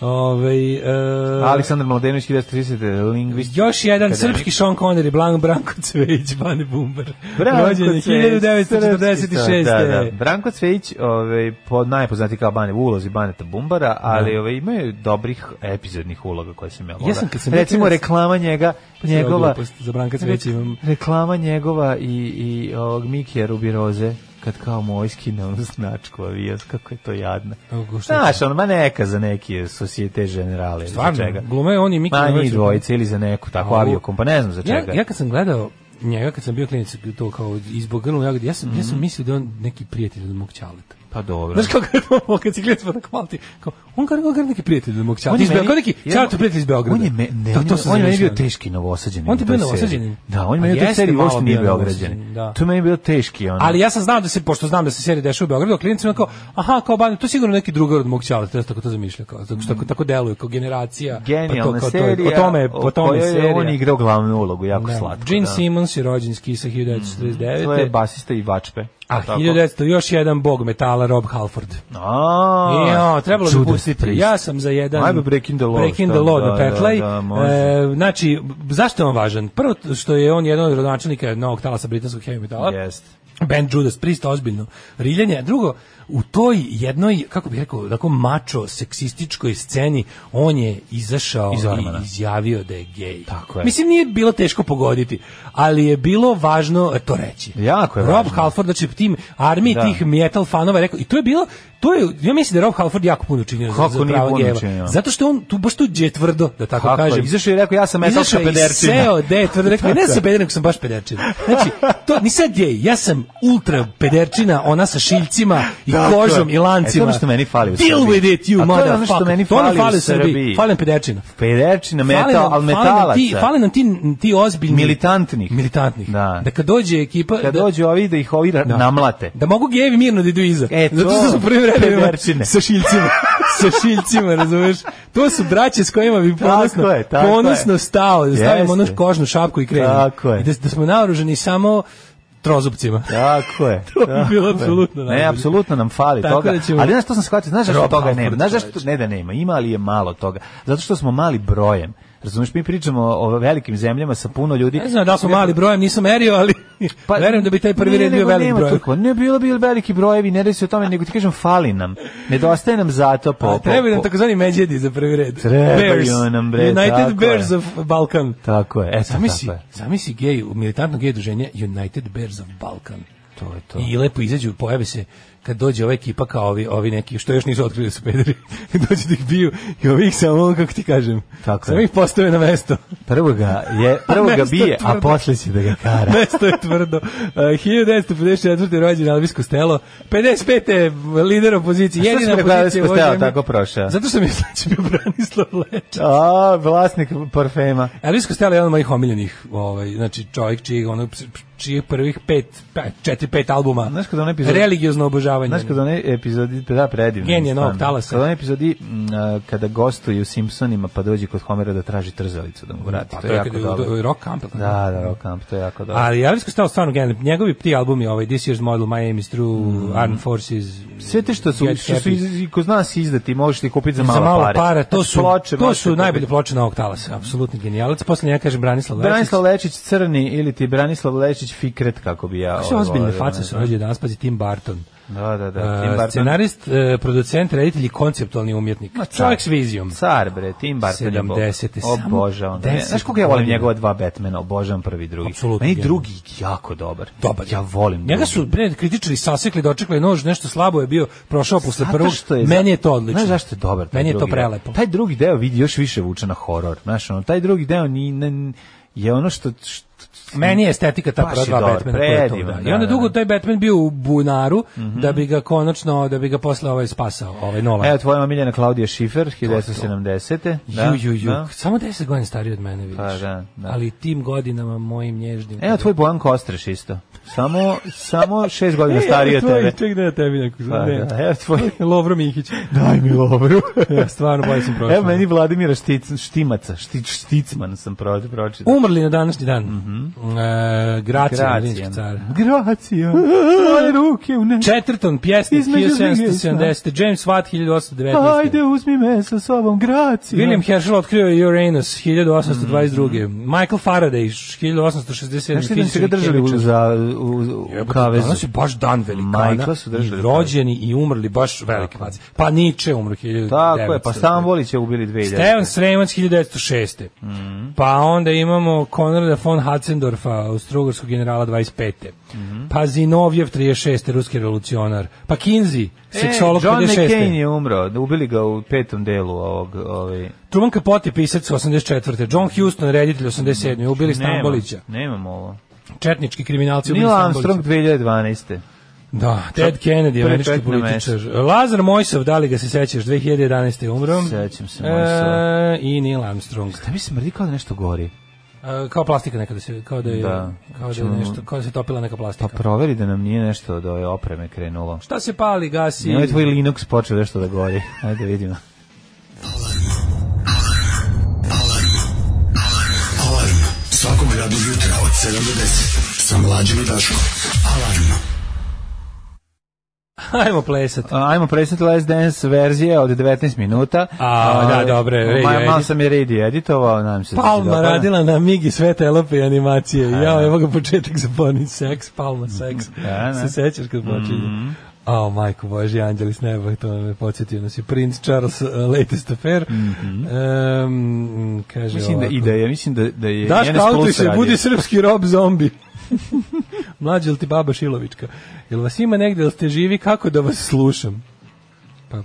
Ovaj, e,
Aleksandar Mladenović, 1930. lingvist.
još jedan
Akademik.
srpski Sean Connery, Blan, Branko Cvejić, Bane Bumbar.
Branko
Rođen je
Cvejić,
1946.
Da, da. Branko Cvejić, ovaj, pod najpoznati kao Bane, u ulozi Baneta
Da.
Bumbara, ali ovaj, imaju dobrih epizodnih uloga koje sam ja volao.
sam kad sam bio
Recimo,
klinac-
reklama njega,
sam ja
njegova...
glupost, za Branka Cvejića imam-
Reklama njegova i, i ovog Mikija Rubiroze, kad kao moj skine onu značku avijas, kako je to jadno.
Kako, šta je
Znaš, on, ma neka za neke Societe Generale. ili za
Stvarno?
čega.
Glume on i Miki
Ma,
Rubiroze?
njih dvojice ili za neku, tako
Au.
aviokom, pa ne znam za
Ja,
čega.
ja kad sam gledao njega, kad sam bio klinic, to kao izbog grlu jagode, ja sam, ja
Mhm.
sam mislio da je on neki prijatelj od mog ćaleta.
Pa dobro.
Znaš kako je to, kad si klinac pa tako malo ti, kao, on kao, on kao neki prijatelj od mog ćaleta,
On je
iz Beograda,
meni-
kao neki
ja-
ćaleta prijatelj iz Beograda.
On je, me, ne,
To-
on,
to
je-
sam
on je meni bio
zamišljao.
teški novosađen.
On ti je bio novosađenin?
novosađen? Da, on je
A
meni bio
jeste
teški,
malo
uopšte nije
bio
Beograđanin.
Novosađen, da.
To je meni bio teški. Ono.
Ali ja sam znao da se, pošto znam da se serija dešava u Beogradu, a klinici, kao, aha, kao ban, to je sigurno neki drugar od mog ćaleta, ja sam tako to zamišljao, kao, tako, što tako, tako deluje, kao generacija.
Genijalna
pa to, kao, to je-
serija,
po tome, po
o
tome
kojoj je
serija.
on igrao glavnu ulogu, jako
Da.
slatko.
Gene
da.
Simmons je rođen s Kisa 1939.
To je basista i vačpe.
A
Tako.
1900 još jedan bog metala Rob Halford.
A,
Jo, trebalo bi
Judas
pustiti.
Priest.
Ja sam za jedan
Ajme, Breaking the Law,
Breaking
šta?
the Law
Da,
na Petlay.
da, da, može.
E, znači, zašto je on važan? Prvo što je on jedan od rodonačelnika novog talasa britanskog heavy metala.
Jest.
band Judas Priest ozbiljno riljanje. A Drugo, u toj jednoj, kako bih rekao, tako mačo seksističkoj sceni on je izašao
Iz ormana.
i izjavio da je gej.
Tako je.
Mislim, nije bilo teško pogoditi, ali je bilo važno e, to reći.
Jako je
Rob
važno.
Halford, znači tim armiji
Da.
tih metal fanova je rekao, i to je bilo, to je, ja mislim da je Rob Halford jako puno učinio
Kako
za, za
nije
pravo
puno
gejeva.
učinio?
Zato što je on tu baš tu je tvrdo, da tako
Tako je,
kažem.
izašao je i rekao, ja sam metal
Izašao je i
pederčina.
Seo, de, tvrdo rekao, ne sam peder, nego sam baš pederčina. Znači, to nisam gej, ja sam ultra pederčina, ona sa šiljcima i
Tako je.
kožom i lancima.
E, to je ono što meni fali u
Deal
Srbiji.
with it, you
A to je ono što
motherfucker.
meni
To ono
fali u
fali u Srbiji.
Srbiji.
Fali nam pederčina.
Pederčina,
Fali
metal,
nam-
al
fali nam ti-
metalaca.
Fali nam ti, ti ozbiljni...
Militantnih.
Militantnih.
Da.
Da kad dođe ekipa...
Kad
da-
dođu ovi da ih ovi ra- namlate.
da mogu gejevi mirno da idu iza.
E, to-
Zato što su u prvim redovima
Pederčine.
sa šiljcima. sa šiljcima, razumeš? To su braće s kojima bi ponosno,
Tako je, tako
ponosno
je.
stao. Da stavimo
Jeste.
onu kožnu šapku i krenemo.
Tako je.
I Da, da smo naoruženi samo trozupcima.
Tako je.
To bi
Tako
bilo
je.
apsolutno
Ne,
najbolje.
apsolutno nam fali
Tako
toga.
da ćemo-
Ali znaš što sam shvatio? Znaš zašto
Rob
toga
Halford,
nema? Znaš zašto
čoveče.
ne da nema? Ima ali je malo toga. Zato što smo mali brojem. Razumeš, mi pričamo o velikim zemljama sa puno ljudi.
Ne znam da li smo mali brojem, nisam merio, ali verujem da bi taj prvi
ne,
red bio
Pa, nego
velik
nema
broj.
toliko. Ne bilo bi veliki brojevi, ne radi se o tome, nego ti kažem fali nam. Nedostaje nam zato po.
A da
po-
Pa, Trebaju nam
po-
takozvani međedi za prvi red.
Pa, Trebaju
Bears.
nam, bre, tako
United
je.
Bears of Balkan.
Tako je. Eto,
Zamisli,
tako je.
zamisli gej, militantno gej druženje United Bears of Balkan.
To je to.
I lepo izađu, pojave se kad dođe ova ekipa kao ovi, ovi neki, što još nisu otkrili da su pederi, dođu da ih biju i ovi ih samo, kako ti kažem,
Tako je.
samo ih postave na mesto.
Prvo ga je, prvo ga
Mesto
bije, a
tvrdo.
posle će da ga kara.
Mesto je tvrdo. Uh, 1954. rođen Elvis Costello, 55. je lider opozicije,
A što si
jedina
rekao da je
opozicija u
Elvis
ovoj
Costello
zemlji.
tako pa? prošao?
Zato što mi je znači bio Branislav Leč.
A, vlasnik parfema.
Elvis Costello je jedan od mojih omiljenih, ovaj, znači čovjek čiji, ono, čijih prvih pet, pet, četiri, pet albuma
Znaš kada onaj epizod-
religiozno obožavanje.
Znaš kada onaj epizodi, da, predivno.
Genije novog
stvarno.
talasa.
Kada onaj epizodi m, a, kada gostuje u Simpsonima pa dođe kod Homera da traži trzalicu da mu vrati.
Pa
to, je jako
kad
dobro.
do- Rock Campbell.
Da, da, Rock Camp, to je jako dobro.
Ali Elvis Costello stvarno genijalni. Njegovi ti albumi, ovaj This Year's Model, My Aim is True, Armed Forces,
Mm. sve te što su,
Get
što su
Happy.
iz, i kod nas izdati, možeš ti kupiti za malo,
za malo
pare.
para, to su,
Ploče
to
možeš
su
kupiti.
najbolje ploče na ovog talasa, apsolutni genijalac. Posle njega kažem Branislav Lečić.
Branislav Lečić crni ili ti Branislav Lečić fikret kako bi ja.
Kako se
ovo
ozbiljne
govorio,
face
ne
se
znam.
rođe danas, pazi Tim Barton.
Da, da, da.
Uh,
Tim Burton.
scenarist, uh, producent, reditelj i konceptualni umjetnik.
Ma, car.
Čovjek s vizijom.
Car, bre, Tim Burton je bog.
70-te, samo
Obožavam. ga.
10
Znaš koga ja volim
godina.
njegova dva Batmana, obožavam prvi i drugi.
Apsolutno,
Meni
genijalno.
drugi jako dobar.
dobar.
Ja volim
Njega
drugi.
su bre kritičari sasekli, dočekali nož, nešto slabo je bio, prošao posle
Zato
prvog.
što je-
meni je to odlično.
Znaš zašto je dobar taj
Meni je to
drugi deo?
prelepo.
Taj drugi deo vidi još više vuče na horor. Znaš, ono, taj drugi deo ni, ne, je ono što... što
Meni je estetika ta
Baš
prva
je
dva
dobar,
Batmana koja je to,
predivan,
da. I onda
da,
dugo
da. Mhm.
taj Batman bio u bunaru da bi ga konačno da bi ga posle ovaj spasao, ovaj Nolan.
Evo tvoja omiljena Klaudija Schiffer, 1970.
ju, ju, ju.
da.
Samo 10 godina stariji od mene, vidiš.
Pa, da, da.
Ali tim godinama mojim nježnim.
Evo tvoj Bojan Kostreš isto. Samo, samo šest godina stariji od
Evo E, tvoj,
tebe.
Ček da ja tebi neko.
Pa,
ne.
da, evo tvoj...
Lovro Mihić.
Daj mi lovru.
Ja, stvarno bolje sam prošao.
Evo meni Vladimira Štic, Štimaca, Štic, Šticman sam pro, pročitao.
Umrli na današnji dan.
Mhm.
Mm -hmm. e, Gracija, rimski car.
Gracija. Gracija. Tvoje ruke u ne...
Četvrton pjesnik
Između
1770. James Watt 1819.
Pa Ajde, uzmi me sa sobom, Gracija.
William Herschel otkrio je Uranus 1822. Michael Faraday 1867.
Mm. Znaš ti da su
fizičar
ga
i
držali u,
hemičar.
za, u, u
Jebote,
kavezu?
Danas je baš dan velikana.
Michaela su držali
I rođeni i umrli baš veliki maci. Pa Niče umro 1900.
Tako je, pa Stambolić je ubili 2000.
Stevan Sremac 1906.
Mhm.
Pa onda imamo Konrada von Hatzendorfa, austrougarskog generala 25.
Mhm.
Pa Zinovjev 36. ruski revolucionar. Pa Kinzi, seksolog
e, John
56.
McCain je umro, ubili ga u petom delu ovog, ovaj,
Truman Capote, pisac 84. John Houston, reditelj 87. Ubili Stambolića.
Nemam, nemam ovo.
Četnički kriminalci ubili
Znači, Neil Armstrong
Stambolića.
2012.
Da, Ted Kennedy, američki
Prepetno
političar. Lazar Mojsov, da li ga se sećaš, 2011. je umro.
Sećam se Mojsova.
E, I Neil Armstrong.
Da mi se mrdi kao da nešto gori.
E, kao plastika nekada se, kao da je,
Da.
kao da je nešto, kao da se topila neka plastika.
Pa proveri da nam nije nešto od ove opreme krenulo.
Šta se pali, gasi?
Nemoj tvoj Linux počeo nešto da gori. Ajde vidimo.
Alarm svakog radnog jutra od 7 do 10 sa mlađom i Daškom. Alarm.
Ajmo plesati.
Ajmo presjeti Last Dance verzije od 19 minuta.
A, da, dobre,
Ma-
radio
Malo
edit.
sam je redi editovao, nam se. da se
Pa Palma
dopada.
radila na Migi sve telope i animacije. Ja, evo ga početak za Bonin seks, Palma seks.
Da, Mhm. da.
Se sećaš kad počinje? A, majko Boži, Anđeli s neba, to me podsjetio nas je Prince Charles uh, Latest Affair. Em, kaže
Mhm. Mislim da
ovako.
ideja, mislim da da je
Daš
NS
kautu i
Plus
se
radio.
budi srpski rob zombi. Mlađe li ti baba Šilovička? Jel vas ima negde, jel ste živi, kako da vas slušam? Pa,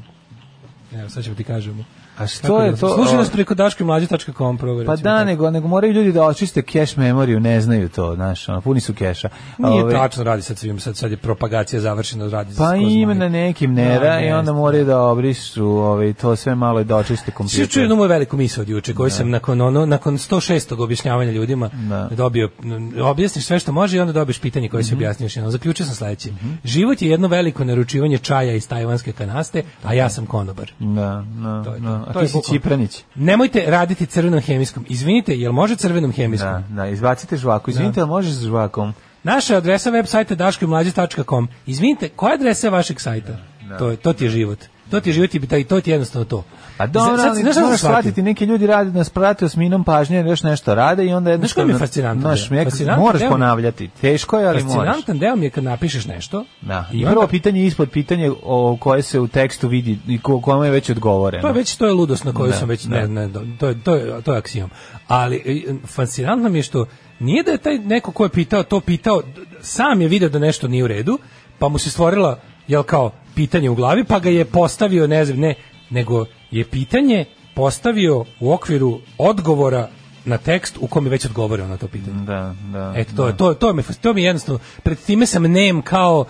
evo, sad ćemo ti kažemo.
A što
Kako
je
da-
to?
Slušaj
o,
nas preko daškomlađe.com proveri.
Pa da, nego, nego moraju ljudi da očiste cache memoriju, ne znaju to, znaš, ono, puni su keša.
Pa Nije
Ove,
tačno radi sad svim, sad, sad je propagacija završena, radi
Pa ima na nekim nera
Da,
i
ne
onda
znam.
moraju da obrišu ovaj, to sve malo i da očiste
Svi čuju
kompjuter.
jednu moju veliku misao od juče, koju sam nakon, ono, nakon 106. objašnjavanja ljudima
Da. Mhm.
dobio, m, objasniš sve što može i onda dobiješ pitanje koje se objasnio još jednom. Zaključio sam sledeće. Život je jedno veliko naručivanje čaja iz tajvanske kanaste, a ja sam konobar.
Da, da,
To je to.
da. A
To
ti
je
si
bukvalno.
Čipranić.
Nemojte raditi crvenom hemijskom. Izvinite, jel može crvenom hemijskom?
Da, da, izbacite žvaku. Izvinite,
Da.
ali možeš s žvakom?
Naša adresa web sajta daškomlađe.com. Izvinite, koja adresa je vašeg sajta?
Da,
To, je, to ti je život. To ti je život i bi- taj- to ti je jednostavno to.
Pa dobro,
Sad- sad-
ali
znaš šta da sam
moraš
shvatio?
shvatiti, neki ljudi rade nas prate s minom pažnje, jer još nešto rade i onda
Znaš koji mi je
jednostavno...
fascinantan
znaš,
deo?
nek-
Fascinantan
moraš
deo mi-
ponavljati. Teško je, ali moraš.
Fascinantan deo mi je kad napišeš nešto.
Da.
I
I
onda-
prvo pitanje ispod pitanje o koje se u tekstu vidi i ko, kome je već odgovoreno.
To je Pa već to je ludost na koju sam već ne,
da.
ne, do- to je to je to je aksiom. Ali e, fascinantno mi je što nije da je taj neko ko je pitao to pitao d- d- sam je video da nešto nije u redu, pa mu se stvorila jel kao pitanje u glavi, pa ga je postavio ne znam ne, nego je pitanje postavio u okviru odgovora na tekst u kom je već odgovorio na to pitanje.
Da, da.
Eto, to, je, to, je- to, me, fas- to mi je jednostavno, pred time sam nem kao,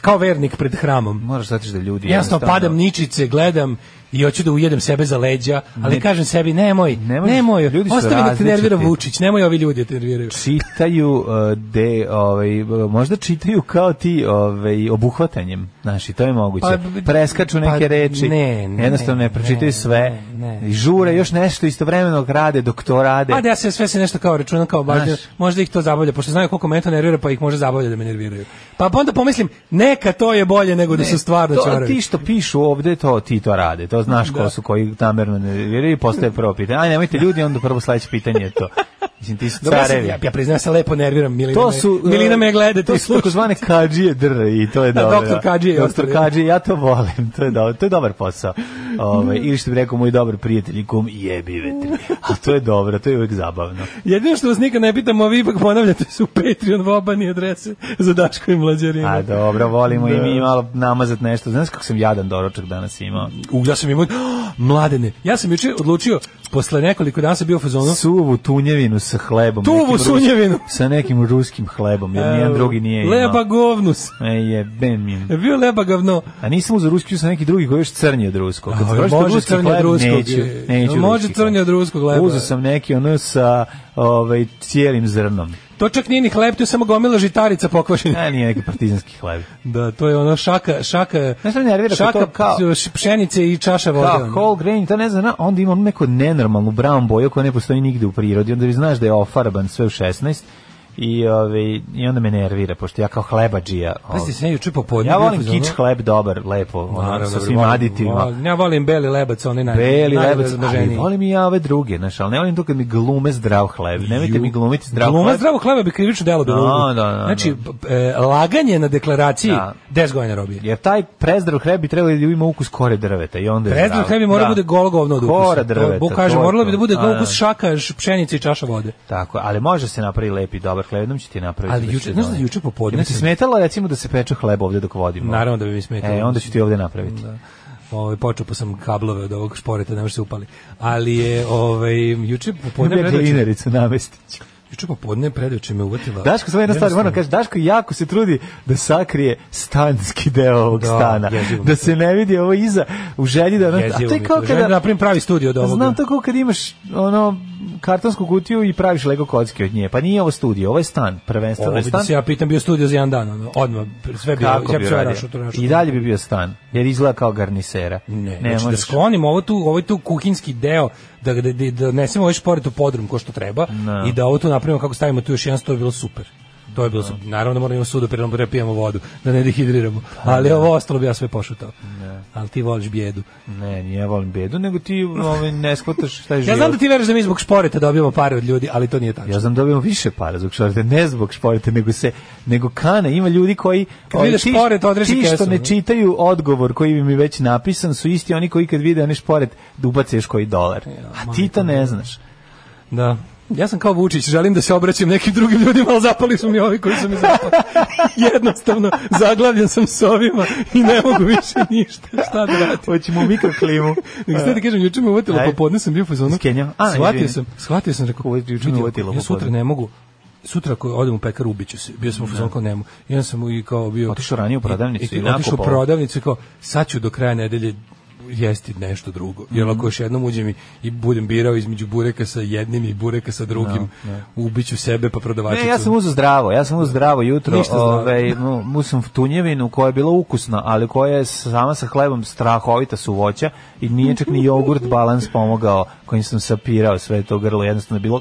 kao vernik pred hramom.
Moraš shvatiti da ljudi...
Jasno, padam ničice, gledam i hoću da ujedem sebe za leđa, ali
Ne.
kažem sebi, nemoj, nemoj,
Nemoj, ljudi su
ostavi da te
različiti.
nervira Vučić, nemoj ovi ljudi da te nerviraju.
čitaju uh, de ovaj možda čitaju kao ti ovaj obuhvatanjem znači to je moguće
Pa, b-
preskaču neke
pa,
reči
ne, ne,
jednostavno ne pročitaju
ne,
sve
ne, ne.
i žure još nešto istovremeno rade dok to rade
A da ja se sve se nešto kao računam kao baš, da
Znaš.
možda ih to zabavlja, pošto znaju koliko mene to nervira, pa ih može zabavlja da me nerviraju. Pa onda pomislim, neka to je bolje nego da Da. su stvarno
to,
čoravi.
ti što pišu ovde, to ti to rade. To znaš ko su koji namerno ne vjeruju i postaje prvo pitanje. Aj, nemojte ljudi, onda prvo sledeće pitanje je to. Mislim, ti su
Dobro, ja se-
carevi.
ja, ja priznajem se lepo nerviram, Milina,
To su e,
me, Milina me gleda,
to
ti
su
slušaš.
takozvane kadžije dr i to je
Da,
dobro.
doktor kadžije i
Doktor
ostali.
kadžije, ja to volim. To je dobar, to je dobar posao. Ovaj ili što bi rekao moj dobar prijatelj i kum jebi vetri. A to je dobro, to je uvek zabavno.
Jedino što vas nikad ne pitamo, a vi ipak ponavljate su Patreon vobani adrese za Daško i mlađarinu.
A dobro, volimo
Da.
i mi malo namazat nešto. Znaš kako sam jadan doručak danas imao?
U, ja sam imao, mladene, ja sam juče odlučio, posle nekoliko dana sam bio u fazonu,
Suvu tunjevinu sa hlebom.
Tuvu
nekim rus-
sunjevinu.
Sa nekim ruskim hlebom, jer nijedan drugi nije imao.
Leba govnus.
E, jebem im.
Je bio leba gavno.
A nisam uz ruski, uz neki drugi koji je još crnji od ruskog. Kad
A,
pročitaš
može
ruski
crnji od
hleb,
ruskog,
Neću,
je.
neću
Može
ruski
crnji
hleb.
od ruskog hleba.
Uzeo sam neki ono sa ovaj, cijelim zrnom.
To čak nije ni hleb, to je samo gomila žitarica pokvašena.
A nije neki partizanski hleb.
Da, to je ono šaka, šaka,
Znaš šta me nervira kod
šaka
tog kao-
š- pšenice i čaša vode.
Kao
ono.
whole Da, grain, to ne znam, na- onda ima ono neko nenormalnu brown boju koja ne postoji nigde u prirodi, onda vi znaš da je ofarban sve u 16 i, ovaj, i onda me nervira, pošto ja kao hlebađija.
Pa
ovaj,
ste se ja juče popodne.
Ja
bio u
volim
fazonu-
kič hleb dobar, lepo, ono,
Naravno,
sa svim
volim-
aditivima.
volim- Ja volim beli lebac, onaj naj.
Beli lebac, ali
najrazmaženiji.
volim i ja ove druge, znaš, ali ne volim to kad mi glume zdrav hleb. Nemojte
Ju.
mi glumiti zdrav
Gluma
hleb.
zdravog hleba bi krivično delo bilo.
Da,
uludo.
da, da,
Znači, e, laganje na deklaraciji
Da.
10 godina robije.
Jer taj prezdrav hleb bi trebalo da ima ukus kore drveta i onda je
Prezdrav
zdrav.
hleb bi morao
Da.
bude golo govno od ukusa.
Kora drveta.
To, bo kaže,
to je
moralo bi
to.
da bude
A, da.
ukus šaka, ž- pšenice i čaša vode.
Tako, ali može se napravi lepi dobar hleb, jednom će ti napraviti.
Ali juče, znaš da juče popodne
Jel bi ti
sam-
smetalo recimo da se peče hleb ovde dok vodimo?
Naravno da bi mi smetalo.
E, onda ću ti ovde napraviti.
Ovaj počupo sam kablove od ovog šporeta, ne može se upali. Ali je ovaj juče popodne
Onda bi
predveče,
dinaricu namestić.
juče popodne predveče me uvatila.
Daško samo jedna stvar, moram kaži, Daško jako se trudi da sakrije stanski deo ovog
Da,
stana.
jezivo mi
Da
je
se ne vidi ovo iza, u želji da... ono-
Jezivo
a to je
mi
kao
to. Želim
kada...
da napravim pravi studio od ovoga.
Znam to kao kad imaš ono kartonsku kutiju i praviš Lego kocke od nje. Pa nije ovo studio, ovo je stan, prvenstveno
Ovo
je
bi da
stan.
se ja pitam bio studio za jedan dan, ono, odmah, sve bi, ja
Kako
bi
bi
sve
radio?
našao to našao.
I dalje bi bio stan, jer izgleda kao garnisera.
Ne, znači da sklonim ovo tu, ovaj tu kuhinski deo, da, da, da, da nesemo ovaj šporet u podrum ko što treba i da ovo tu napravimo kako stavimo tu još jedan, to je bilo super. To je bilo, su- naravno da moramo imati sudu, prirodno da pijemo vodu, da ne dehidriramo.
Pa da.
Ali ovo ostalo bi ja sve pošutao. Ali ti voliš bijedu.
Ne, nije ja volim bedu, nego ti ovaj, ne shvataš šta je život.
Ja znam da ti veruješ da mi zbog šporeta dobijamo pare od ljudi, ali to nije tačno.
Ja znam da dobijemo više para zbog športa, ne zbog športa, nego se nego kane, ima ljudi koji
Kad
ovi,
vidiš
ti-
šporet, odreži
ti što
kesu,
ne
ne?
čitaju odgovor koji im je već napisan su isti oni koji kad vide oni šporet da ubace još koji dolar. A ti to ne znaš.
Da. Ja sam kao Vučić, želim da se obraćam nekim drugim ljudima, ali zapali su mi ovi koji su mi zapali. Jednostavno, zaglavljen sam s ovima i ne mogu više ništa. Šta da radim?
Hoćemo u mikroklimu.
Nego
Da.
sad ti kažem, juče me uvatilo
Ajde.
popodne, sam bio u fazonu.
Skenjao? A,
shvatio
izvini.
sam, shvatio sam, rekao,
Uvat- juče me
vidi,
uvatilo
ja sutra
popodne. Da.
ne mogu sutra ako odem u pekar ubiću se. Bio sam u fazonu kao nemu. I onda sam i kao bio...
Otišao ranije u prodavnicu
I, i,
i
otišao u
nakupovao.
prodavnicu i kao, sad ću do kraja nedelje jesti nešto drugo. Jer
Mhm.
ako još jednom uđem i, i budem birao između bureka sa jednim i bureka sa drugim, ubiću sebe pa prodavačicu.
Da, Ne, ja sam uzeo zdravo, ja sam uzeo zdravo jutro,
Ništa zdravo.
ovaj, mu- musam tunjevinu koja je bila ukusna, ali koja je sama sa hlebom strahovita su voća i nije čak ni jogurt balans pomogao kojim sam sapirao sve to grlo, jednostavno je bilo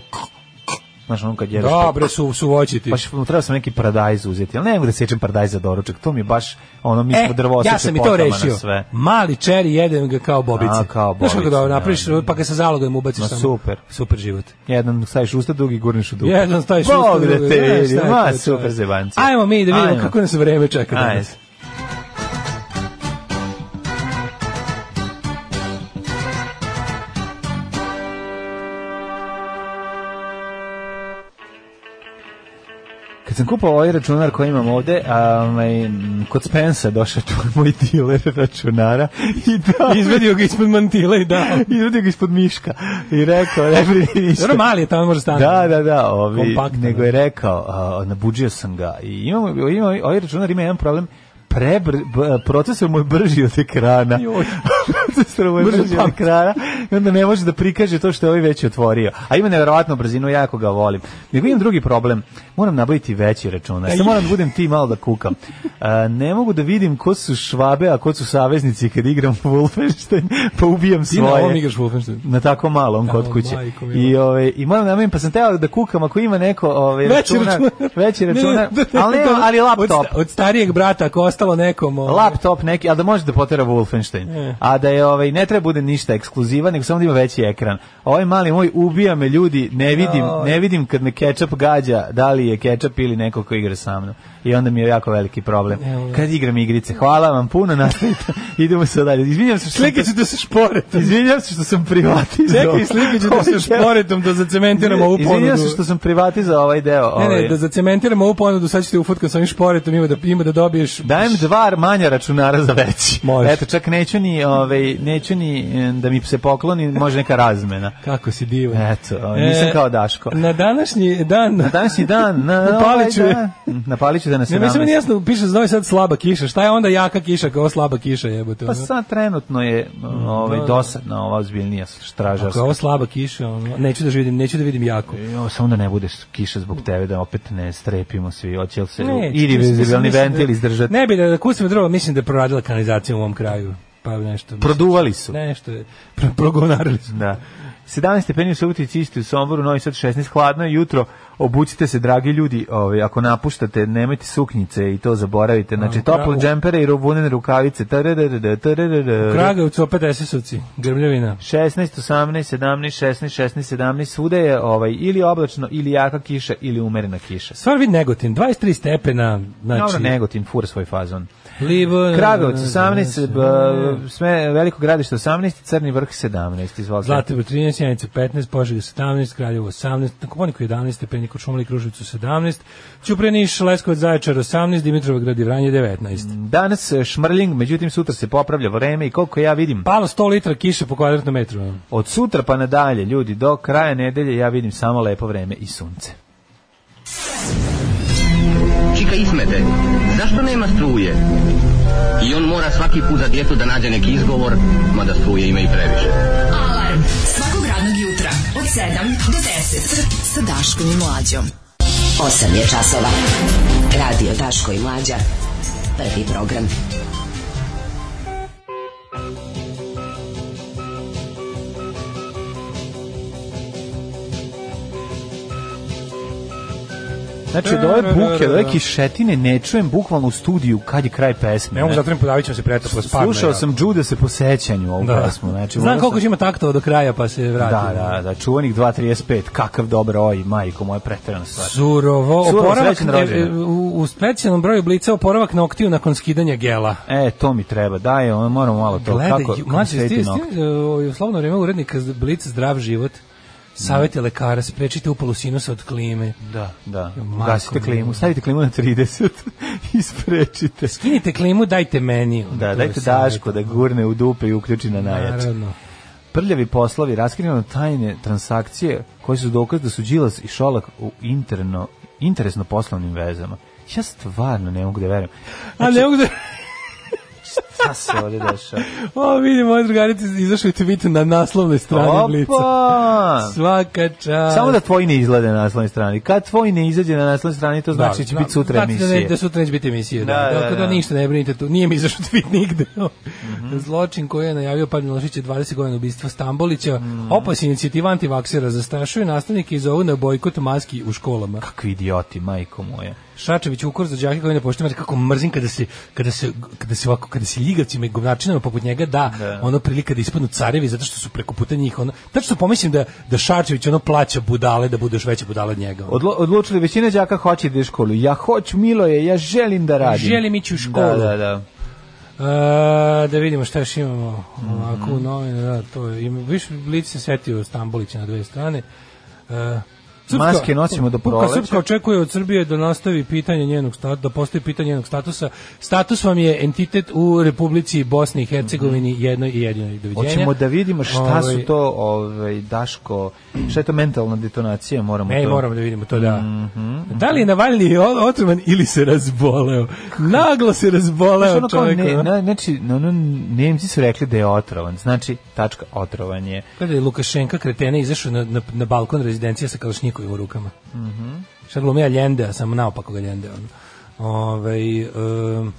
Znaš, ono kad jedeš to-
Dobre su, su voći ti.
Baš mu trebao sam neki paradajz uzeti, ali ne mogu da sečem paradajz za doručak, to mi je baš, ono, mi smo drvo
E, ja sam i to rešio.
sve.
Mali čeri jedem ga kao bobice.
A, kao
Znaš
bobice,
kako da
da,
napraviš,
da.
pa ga sa zalogom ubaciš
Ma,
tamo.
super.
Super život.
Jedan staviš u usta, drugi gurneš u dupe.
Jedan staviš
Bog
usta,
da
drugi-
te
Znaš
vidi,
šta je
ma,
to,
super
čovječe.
zebanci.
Ajmo mi da vidimo
Ajmo.
kako nas vreme čeka
Ajde.
danas.
Kad sam kupao ovaj računar koji imam ovde, a, ovaj, m, kod Spensa došao tu moj diler računara i da...
Izvedio ga ispod mantile i da.
I ljudi ga ispod miška i rekao, ne brini ništa.
Dobro, mali je tamo može stanu.
Da, da, da, ovi,
Kompaktno,
nego
da.
je rekao, a, nabuđio sam ga. I imamo, imamo, ovaj računar ima jedan problem, prebr, b, procesor mu je brži od ekrana.
Joj.
procesor mu je
Brže
brži od
pamti.
ekrana i onda ne može da prikaže to što je ovaj već otvorio. A ima nevjerovatnu brzinu, ja jako ga volim. Nego imam drugi problem, moram nabaviti veći računar. Sad moram da budem ti malo da kukam. A, ne mogu da vidim ko su švabe, a ko su saveznici kad igram Wolfenstein, pa ubijam
Ti na
svoje
ovom igraš Wolfenstein.
na tako malom
Tamo,
kod kuće.
majko mila.
I ovaj i moram da namenim, pa sam teo da kukam ako ima neko ovaj
Veći
računar,
računar.
veći
Ne, ne,
računar,
ne, ne,
ali
ne,
nema, ali
Od,
laptop.
sta- od starijeg brata, ako ostalo nekom... ovaj,
Laptop neki, ali da može da potera Wolfenstein.
E.
A da je ovaj ne treba bude ništa ekskluziva, nego samo da ima veći ekran. A Ovaj mali moj ubija me ljudi, ne vidim, ne vidim kad me ketchup gađa, da li je ketchup ili neko ko igra sa mnom. I onda mi je jako veliki problem. Kad igram igrice, hvala vam puno, nastavite. Idemo sad dalje. Izvinjavam se što sam
Slikat ću da se šporetom.
Izvinjam se što sam privatizovao.
Čekaj, slikat ću da se
Ovaj deo.
šporetom da zacementiramo ovu ponudu.
Izvinjam se što sam privatizovao ovaj deo.
Ne, ne,
ovaj.
da zacementiramo ovu ponudu, sad ću te ufotkan sa ovim šporetom, ima da, ima da dobiješ...
Dajem dva manja računara za veći.
Može.
Eto, čak neću ni, ovaj, neću ni em, da mi se pokloni, može neka razmena.
Kako si divan.
Eto, ovaj, nisam
E,
kao Daško.
Na današnji dan...
Na današnji dan, na
U Paliću
ovaj
je.
dan, na Paliću danas
Ne, mislim, meni
17.
jasno, piše za ovaj sad slaba kiša. Šta je onda jaka kiša kao slaba kiša, jebote?
Pa
ono?
sad trenutno je ovaj, dosadna ova ozbiljnija
Da, Ako
stražarska.
je ovo slaba kiša, ono, neću da vidim, neću da vidim jako.
Jo, samo da ne bude kiša zbog tebe, da opet ne strepimo svi, hoće li se
Ne,
irreverzibilni ventil izdržati?
Ne bi da, da kustim drvo, mislim da je proradila kanalizacija u ovom kraju. Pa nešto. mislim,
Produvali su.
Nešto je. Pro, progonarili su.
Da. 17 stepeni u Subotici, isti u Somboru, Novi Sad 16, hladno je jutro. Obucite se, dragi ljudi, ovaj, ako napuštate, nemojte suknjice i to zaboravite. Znači,
u Kragu-
tople džempere i rovunene rukavice. Tararara, tararara.
Kragovcu opet SS-ovci. Grmljavina.
16, 18, 17, 16, 16, 17, svuda je ovaj, ili oblačno, ili jaka kiša, ili umerena kiša.
Stvar vid Negotin, 23 stepena, znači... E, da,
Dobro, Negotin, fur svoj fazon.
Libo,
Kragovac 18,
znači-
b- sve, veliko gradište 18, Crni vrh 17, izvolite.
Zlatibor 13, Janica 15, Požega 17, Kraljevo 18, na Koponiku 11, Stepenik u Šumali, Kruševicu 17, Ćupreniš, Leskovac, Zaječar 18, Dimitrovgrad i Vranje 19.
Danas e, šmrling, međutim sutra se popravlja vreme i koliko ja vidim,
Palo 100 litra kiše po kvadratnom metru.
Od sutra pa nadalje, ljudi, do kraja nedelje ja vidim samo lepo vreme i sunce.
Čika Ismete, zašto nema struje? I on mora svaki put za djetu da nađe neki izgovor, mada struje ima i previše.
Alarm. Svakog radnog jutra od 7 do 10.
Sa Daškom i Mlađom. 8 je časova. Radio Daško i Mlađa. Prvi program.
Znači, od
Da,
ove buke, od ove kišetine ne čujem bukvalno u studiju kad je kraj pesme. Znači,
Ne mogu da zatvorim, podavit ćemo se pretoplo spadne. Da.
Slušao sam Juda se po sećanju ovu pesmu. Znači,
Znam
volao
koliko
sam-
će ima taktova do kraja pa se vrati.
Da, da, da, čuvanih 2.35, kakav dobar oj, majko moja preterana stvar.
Surovo,
Surovo,
oporavak
srećan
e,
rođendan.
e, u, u specijalnom broju blica oporavak noktiju nakon skidanja gela.
E, to mi treba, daj, ono, moramo malo to.
Gledaj,
kako, kako
mlađe,
sveti
sti, sti,
nok-
u slobodno e, vreme urednika z- Blic zdrav život, savete lekara, sprečite upalu sinusa od klime.
Mm. Da, da.
Majko
Gasite klimu,
mila.
stavite klimu na 30 i sprečite.
Skinite klimu, dajte meni. Ono, to
Da,
je
dajte
savjet.
Daško da gurne u dupe i uključi na najjače.
Naravno.
Prljavi poslovi, raskrivano tajne transakcije koje su dokaz da su Đilas i Šolak u interno, interesno poslovnim vezama. Ja stvarno ne mogu da verujem.
A ne mogu da...
Šta se ovdje dešava?
O, vidim, moja drugarica izašla u tweetu na naslovnoj strani Blica.
Opa!
Svaka čast.
Samo da tvoj ne izgleda na naslovnoj strani. Kad tvoj ne izađe na naslovnoj strani, to znači da, će
da,
biti sutra
znači da ne-
emisije.
Da, sutra neće biti emisije. Da,
Da,
da,
da,
Tako da,
da. Mhm.
ništa ne brinite tu. Nije mi izašao tweet nigde. Zločin koji je najavio Pad Milošić je 20 godina ubistva Stambolića.
Mhm.
Opas inicijativa antivaksera zastrašuje nastavnike i zovu na bojkot maski u školama.
Kakvi idioti, majko moja.
Šačević ukor za đake koji ne poštuju kako mrzim kada se kada se kada se ovako kada se ljigavcima i govnačinama poput njega da ono prilika da ispadnu carevi zato što su preko puta njih ono tačno pomislim da da Šačević ono plaća budale da budeš veća budala od njega. ono.
Odlo, odlučili, većina đaka hoće da ide u školu. Ja hoću, milo je, ja želim da radim.
Želim ići u školu.
Da, da, da.
E, da vidimo šta još imamo ovako
Mhm.
u novinu, da, to je. Ima, više Blic se setio Stambolića na dve strane. E,
Maske nosimo do
Puka
proleća.
Srpska očekuje od Srbije da nastavi pitanje njenog statusa, da postavi pitanje njenog statusa. Status vam je entitet u Republici Bosni i Hercegovini jednoj i jedinoj. Doviđenja.
Mhm. Hoćemo da vidimo šta su
Ovaj,
to, ovaj, Daško, šta je to mentalna detonacija, moramo
Ne,
to...
moramo da vidimo to, da.
Mhm.
Da li je Navalni o- otrovan ili se razboleo? Naglo se razboleo
Znaš, ono kao
čovjek.
ne,
ono.
na, znači, no, no, Nemci su rekli da je otrovan, znači, tačka, otrovan je.
Kada je Lukašenka kretena izašao na, na, na balkon rezidencije sa kalašnjikovim u rukama. Mm
Mhm.
-hmm. Sad glumija Ljende, samo naopako ga Ljende. Ono. Ovaj, em,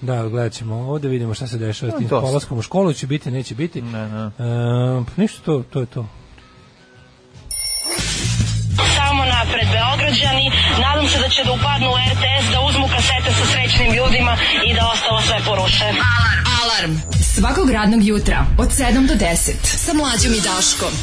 da, gledat ćemo ovde, vidimo šta se dešava s
No,
tim
dosta.
polaskom u školu, će biti, neće biti.
Ne, ne.
Em, pa ništa, to, to je to.
Samo napred Beograđani, nadam se da će da upadnu u RTS, da uzmu kasete sa srećnim ljudima i da ostalo sve poruše.
Alarm.
Alarm. Svakog radnog jutra od 7 do 10. Sa Mlađom i Daškom.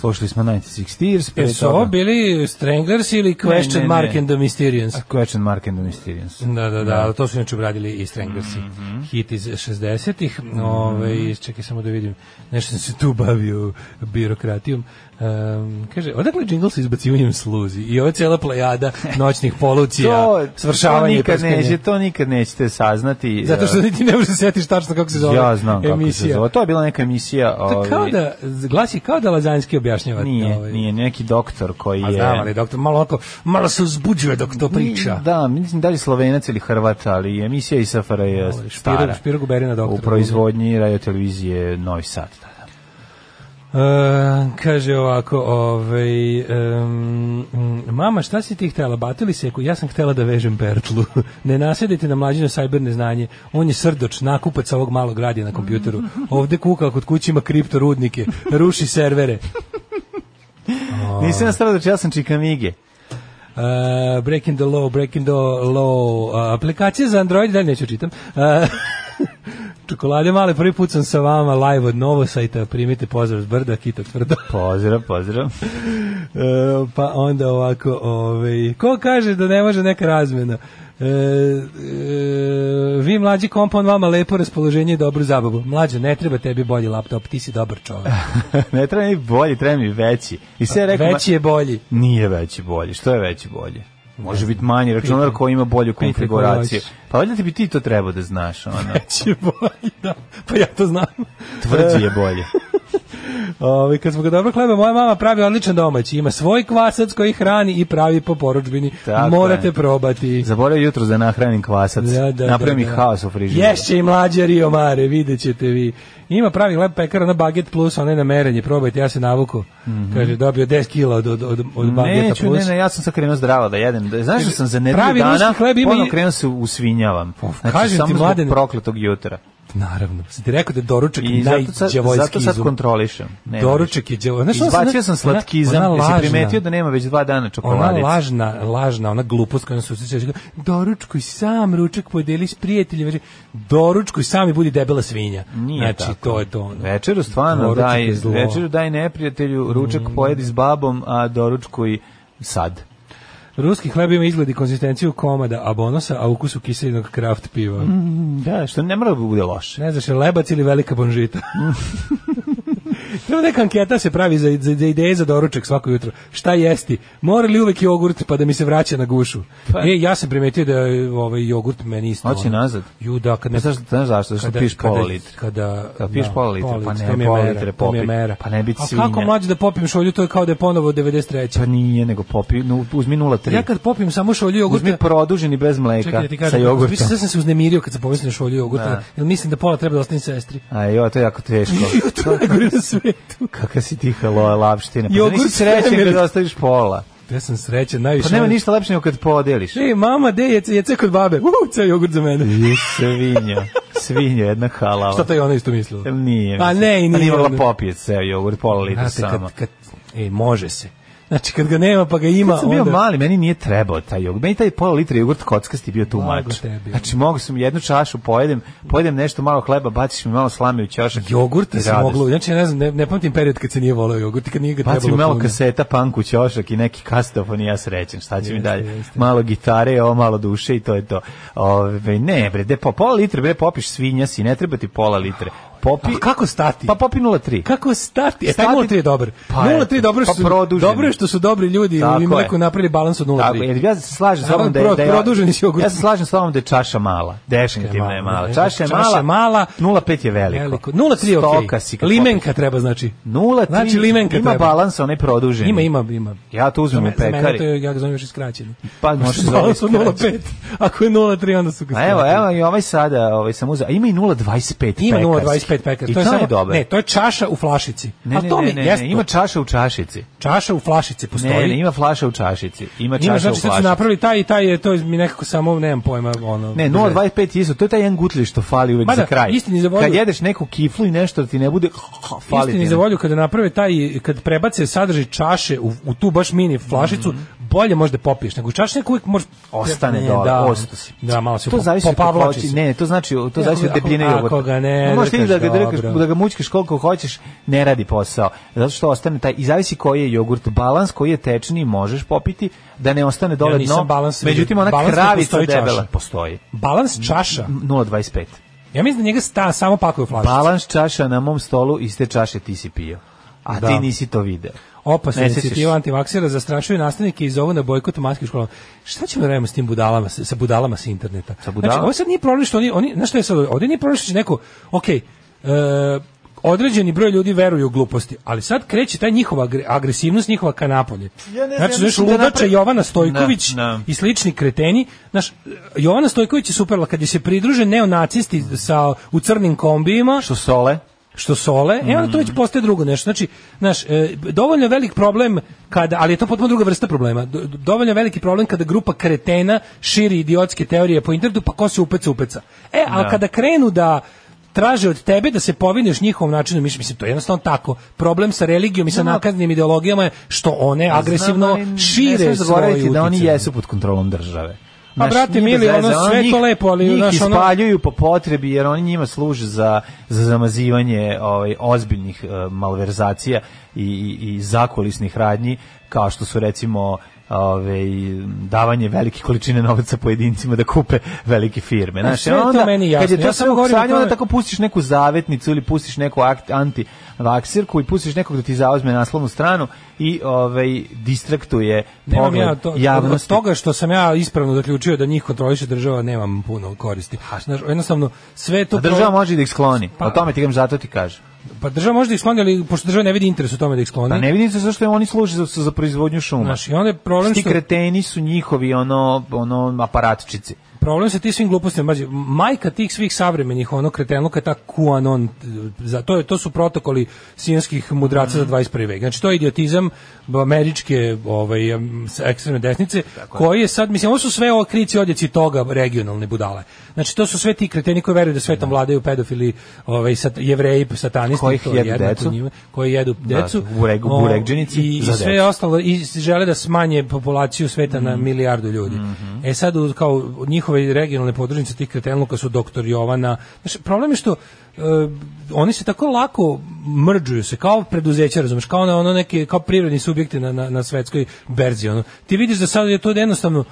Slušali smo 96 Tears, pre
Jesu ovo
toga...
bili Stranglers ili Question
ne, ne.
Mark and the Mysterians?
Question Mark and the Mysterians.
Da, da, da, ali to su inače obradili i Strangersi.
Mhm.
Hit iz 60-ih. Ovaj, čekaj samo da vidim. Nešto sam se tu bavio birokratijom. Ehm, kaže, odakle džingl sa izbacivanjem sluzi? I ova cijela plejada noćnih polucija, svršavanje i
to nikad
prskanje.
neće, to nikad nećete saznati. eh,
Zato što ti ne možeš se sjetiti tačno kako se zove
ja znam kako se
emisija.
zove. To je bila neka emisija,
To
ovaj.
je kao da, glas je kao da Lazanski objašnjava.
Nije,
ovaj.
nije neki doktor koji
A
je
znam, ali doktor, malo, oko, malo se uzbuđuje dok to priča.
Da, mislim da li Slovenac ili Hrvat, ali emisija iz SFRJ je
Ovaj, Špiro-
stara.
Špiro Guberina, doktor.
U proizvodnji radiotelevizije Novi Sad. Da, da.
E, kaže ovako, ovaj, em, mm, mama, šta si ti htela? Batili se, ja sam htela da vežem pertlu. ne nasjedajte na mlađino sajber neznanje. On je srdoč, nakupac ovog malog radija na kompjuteru. Ovde kuka kod kući ima kriptorudnike, ruši servere. E,
Nisam nastavio da ja sam Čikamige.
Uh, breaking the law, breaking the law. Uh, aplikacija za Android, dalje neću čitam. Uh, Čokolade male, prvi put sam sa vama live od Novosajta, primite pozdrav s brda, kita tvrdo.
Pozdrav, pozdrav.
E, pa onda ovako, ovaj, ko kaže da ne može neka razmena? E, e, vi mlađi kompon vama lepo raspoloženje i dobru zabavu. Mlađo, ne treba tebi bolji laptop, ti si dobar čovjek.
ne treba mi bolji, treba mi veći. I sve je rekao,
Veći je bolji.
Nije veći bolji. Što je veći bolji? Može biti manji računar koji ima bolju
Pitaj koga
konfiguraciju.
hoćeš.
Pa valjda ti bi ti to trebao da znaš. Ono.
Veći je bolji, da. Pa ja to znam.
Tvrđi je bolje.
Ovi, kad smo ga dobro hleba, moja mama pravi odličan domaći. Ima svoj kvasac koji hrani i pravi po poručbini.
Tako
Morate
je.
probati.
Zaboravio jutro da nahranim kvasac.
Da, da,
Napravio
da,
mi
da.
haos u frižideru.
Ješće i mlađe Rio Mare, vidjet ćete vi. Ima pravi lep pekar, ona baget plus, onaj na merenje, probajte, ja se navuku. Kaže, dobio 10 kila od, od, od, od bageta
Mhm. Neću,
plus.
ne, ne, ja sam sad krenuo zdravo da jedem. Da- Znaš da sam za nedelju
Pravi ruski
dana
hleb ima i-
ponovno krenuo se usvinjavam. Znači,
kažem ti,
samo zbog
Mladene.
prokletog jutra.
Naravno. Sam ti rekao da je doručak
I zato sad,
najdjevojski
zato sad
izum.
kontrolišem. Nema
Doručak
više.
je đavo. Znaš, ona-
Izbacio sam
ona-
slatkizam,
ona
jer
lažna.
sam primetio da nema već dva dana
Ona
čokoladice.
lažna, lažna, ona glupost koja nas usjeća. Doručkuj sam, ručak podeli s prijateljima. Znači, Doručkuj sam i budi debela svinja.
Nije
znači,
tako.
to je to. ono.
Večeru stvarno
Doručak
daj,
je zlo.
večeru daj neprijatelju, ručak pojedi s babom, a doručkuj sad.
Ruski hleb ima izgled i konzistenciju komada abonosa, a ukus u kiselinog kraft piva.
Da, što ne mora da bude loše.
Ne znaš, je lebac ili velika bonžita? Treba neka anketa se pravi za, za, za ideje za doručak svako jutro. Šta jesti? Mora li uvek jogurt pa da mi se vraća na gušu?
Pa-
E, ja sam primetio da je ovaj jogurt meni isto...
Hoće
ono-
nazad?
Ju, da, kad ne...
Ne znaš, znaš zašto, zašto
Kada-
piješ pola
kada-
litre.
Kada,
Kad piješ
da,
pola litre, pa ne,
to mi je
pola
mera,
litre
to mi je
popi,
mera.
pa ne bi
A
svinja.
kako mlađe da popim šolju, to je kao da je ponovo 93.
Pa nije, nego popi, no, uzmi 0,3.
ja kad popim samo šolju jogurta...
Uzmi produženi bez mleka
Čekaj da ti
sa
kažem,
jogurtom.
mislim, sad sam se uznemirio kad sam pomislio na šolju jogurta,
Da.
jer mislim da pola treba da ostane sestri.
A jo, to je jako teško.
to je najgore na svetu.
Kakva si ti halo, lapština. Pa da
Jogurt
nisi srećen
svemirski.
kad ostaviš pola.
Ja sam srećan, najviše.
Pa nema ništa lepše nego kad podeliš.
Ej, mama, de, jece, jece kod babe. Uuu, ceo jogurt za mene.
I svinja. Svinja, jedna halava.
Šta to je ona isto mislila?
Jel Pa Nije.
A ne, i
mislim.
nije.
A nije mogla
ona.
popije ceo jogurt, pola litra
Znate,
sama.
kad, kad, ej, može se. Znači, kad ga nema, pa ga ima,
Kad sam bio
onda...
mali, meni nije trebao taj jogurt. Meni taj pola litra jogurt kockasti bio tu
Blago
mač.
tebi.
Znači, mogu sam jednu čašu, pojedem, pojedem nešto malo hleba, baciš mi malo slame u ćošak.
Jogurta
i
se
radost.
moglo, znači, ja ne znam, ne, ne pamtim period kad se nije voleo jogurt i kad nije ga
Baci
trebalo.
mi malo
puno.
kaseta, punk u ćošak i neki kastofon i ja srećen. Šta će mi
Jeste,
dalje?
jeste.
Malo gitare, ovo malo duše i to je to. Ove, ne, bre, de, po, pola litre, bre, popiš svinja si, ne treba ti pola litre. Popi,
A kako stati?
Pa popi 0,3.
Kako stati? E, taj
Stati-
0,3 je dobar.
Pa
0,3 je
eto,
dobro što,
pa
su,
produženi.
dobro je što su dobri ljudi
Tako
i
je.
mleko napravili balans od 0,3.
Tako, jer ja se slažem s
Naravno,
vama da je,
pro-
da je
produženi si jogurt.
Ja se slažem s vama da je čaša mala. Definitivno je mala. Čaša je mala.
Čaša je mala.
0,5 je veliko.
Veliko. 0,3 je okej.
Stoka si kad
Limenka treba, znači.
popiš. 0,3.
Znači, limenka
ima
treba.
balans onaj produženi.
Ima, ima, ima.
Ja to uzmem
Za
u
me- za mene to
pekari.
je, ja ga zovem još i skraćeno.
Pa može se
Balans
zovesti.
od 0,5. Ako je 0,3, onda su ga
A evo,
skratili.
evo i ovaj sada, ovaj sam uzeo. A Ima i 0,25
Ima
pekarski.
0,25 pekar.
I
To je, samo,
dobar.
Ne, to je čaša u flašici.
Ne,
A
ne,
to
ne,
mi
ne,
jest
ne, ima čaša u čašici.
čaša u flašici
Ne,
postoji.
ne, ima flaša u čašici. Ima čaša
Ima,
u
znači sad su
flašici.
napravili taj i taj je, to je mi nekako samo, nemam pojma, ono...
Ne, 0,25 je isto, to je taj jedan gutlj što fali uvek
Mada,
za kraj.
da, istini za volju-
Kad jedeš neku kiflu i nešto da ti ne bude, fali ti.
Istini
ne-
za volju kada naprave taj kad prebace sadržaj čaše u, u tu baš mini flašicu, bolje možda popiješ nego čaša nek uvijek može
Mhm. Ostane
Ne,
dole,
da,
ostao si.
Da, malo se
to
po-
zavisi od
popavlači
kakvoće-
se.
Ne, to znači to
Ne,
zavisi od
ako-
debljine
ako
jogurta.
ga ne
A možeš ti da
drkaš,
ga drkaš,
dobro.
da ga mućkaš koliko hoćeš, ne radi posao. Zato što ostane taj i zavisi koji je jogurt, balans koji je tečni možeš popiti da ne ostane dole
Ja nisam
dno.
balans vidio.
Međutim ona
Balans ne
kravica
postoji čaša.
debela postoji.
Balans čaša.
0,25.
Ja mislim da njega sta samo pakuje u flašicu.
Balans čaša na mom stolu iste čaše ti si pio. A
Da.
ti nisi to video.
Opasna
Ne sećaš
inicijativa da antivaksera zastrašuje nastavnike i zovu na bojkot maske u školama. Šta ćemo da radimo s tim budalama, sa sa budalama sa interneta?
Sa budalama?
Znači, ovo sad nije problem što oni, oni znaš šta je sad, ovdje nije problem što će neko, ok, e, određeni broj ljudi veruju u gluposti, ali sad kreće ta njihova agre- agresivnost, njihova kanapolje.
Ja ne znam,
znači,
ja
znaš,
mislim da
ludača
napre-
Jovana Stojković
Ne, ne.
i slični kreteni, znaš, Jovana Stojković je superla, kad je se pridruže neonacisti sa, u crnim kombijima,
Što sole?
što sole, e onda to
Mhm.
već postaje drugo nešto. Znači, znaš, e, dovoljno je velik problem kada, ali je to potpuno druga vrsta problema. Do- Dovoljno je veliki problem kada grupa kretena širi idiotske teorije po internetu, pa ko se upeca, upeca. E, ali
Da.
kada krenu da traže od tebe da se povineš njihovom načinu mišljenja, mislim, to je jednostavno tako. Problem sa religijom i sa nakaznim ideologijama je što one agresivno
Da. Znam, ali Ne
šire
smeš zaboraviti
svoj
da oni
uticaj.
jesu pod kontrolom države.
A, brate,
nije bez
mili, ono,
veze,
sve
njih-
to lepo, ali,
njih
znaš, ono-
ispaljuju po potrebi jer oni njima služe za za zamazivanje ovaj ozbiljnih eh, malverzacija i, i, i zakulisnih radnji kao što su recimo ovaj davanje velike količine novca pojedincima da kupe velike firme. Znaš,
E, sve je to
onda,
meni jasno.
Kad je to
Ja
sve
samo
u
govorim o
sanju, onda
tome-
tako pustiš neku zavetnicu ili pustiš neku akt, anti vaksirku i pustiš nekog da ti zauzme naslovnu stranu i ovaj distraktuje
Nemam
pogled
ja to, od
javnosti.
toga što sam ja ispravno zaključio da njih kontroliše država, nemam puno koristi. Znaš, jednostavno, sve to...
A država može da ih skloni.
Pa-
o tome ti kažem, zato ti kažem.
Pa država može da ih skloni, ali pošto država ne vidi interes u tome da ih skloni.
Pa ne vidim se zašto je oni služe za, za proizvodnju šuma.
Znaš, i onda je problem
Ti
što-
kreteni su njihovi ono, ono aparatčici.
problem sa ti svim glupostima, mađe, majka tih svih savremenih ono kretenluka je ta QAnon, za to je to su protokoli sijanskih mudraca
Mhm.
za 21. vek. Znači to je idiotizam američke ovaj em, s- ekstremne desnice koji je sad mislim ovo su sve okrici odjeci toga regionalne budale. Znači to su sve ti kreteni koji veruju da svetom vladaju pedofili, ovaj sat, jevreji, satanisti,
Kojih
to je
jedu
jednako
decu.
njima, koji jedu
Da,
decu.
bureg-
o,
buregdžinici
i, i
za
sve
decu.
ostalo i žele da smanje populaciju sveta
Mhm.
na milijardu ljudi. E sad u- kao njihove regionalne podružnice tih kretenluka su doktor Jovana. Znači, problem je što e, oni se tako lako mrđuju se kao preduzeća, razumeš, kao na ono neke kao privredni subjekti na, na, na svetskoj berzi. Ono. Ti vidiš da sad je to jednostavno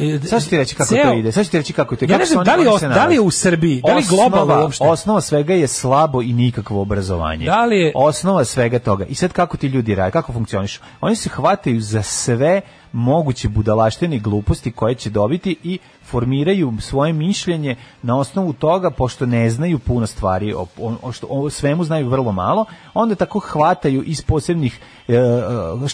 e,
Sad ću ti reći kako to
ceo-
ide. Sad ću ti reći kako to ide.
Ja
kako
ne
se
znam,
oni-
da li, je
oni
os-
se
da li je u
nalaze.
Srbiji, da li je globalno
Osnova-
uopšte?
Osnova svega je slabo i nikakvo obrazovanje.
Da li je-
Osnova svega toga. I sad kako ti ljudi rade, kako funkcionišu? Oni se hvataju za sve moguće budalaštine i gluposti koje će dobiti i formiraju svoje mišljenje na osnovu toga, pošto ne znaju puno stvari, o, o- o što, o svemu znaju vrlo malo, onda tako hvataju iz posebnih e, e,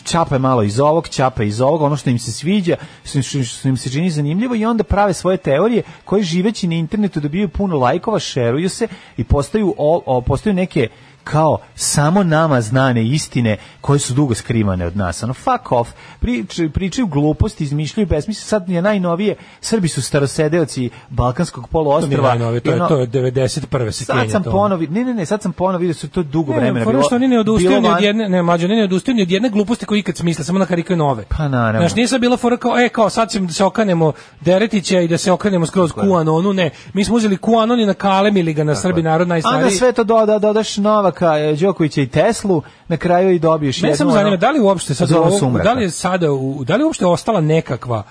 čape malo iz ovog, čape iz ovog, ono što im se sviđa, što, što- što im se čini zanimljivo i onda prave svoje teorije koje živeći na internetu dobijaju puno lajkova, šeruju se i postaju, o, o- postaju neke kao samo nama znane istine koje su dugo skrivane od nas. Ono, fuck off. Prič, pričaju gluposti, izmišljaju besmisli. Sad je najnovije, Srbi su starosedeoci Balkanskog
To mi je
poluostrva.
najnovije, to
I
je,
ono-
to je 91. se
Sad
kenja
sam
to.
ponovi, ne, ne, ne, sad sam ponovi vidio su to dugo
Ne,
vremena
ne, fora što oni ne odustaju
bilo
ni od
van-
jedne, ne, mlađe, oni ne odustaju ni od jedne gluposti koju ikad smisle, samo na karikaju nove.
Pa naravno.
Znaš, nije sad bila fora kao, e, kao sad ćemo da se okanemo Deretića i da se okanemo skroz Kuanonu, ne. Mi smo uzeli Kuanon i nakalemili ga na Srbi narod
A na
najstariji.
sve to doda, dodaš Novaka, e, Đokovića i Teslu, na kraju i dobiješ
Mene
jednu,
samo
ono, pa
zanima, da li uopšte sad
zonu
ovo-
sumraka.
da li je sada, u- da li je uopšte ostala nekakva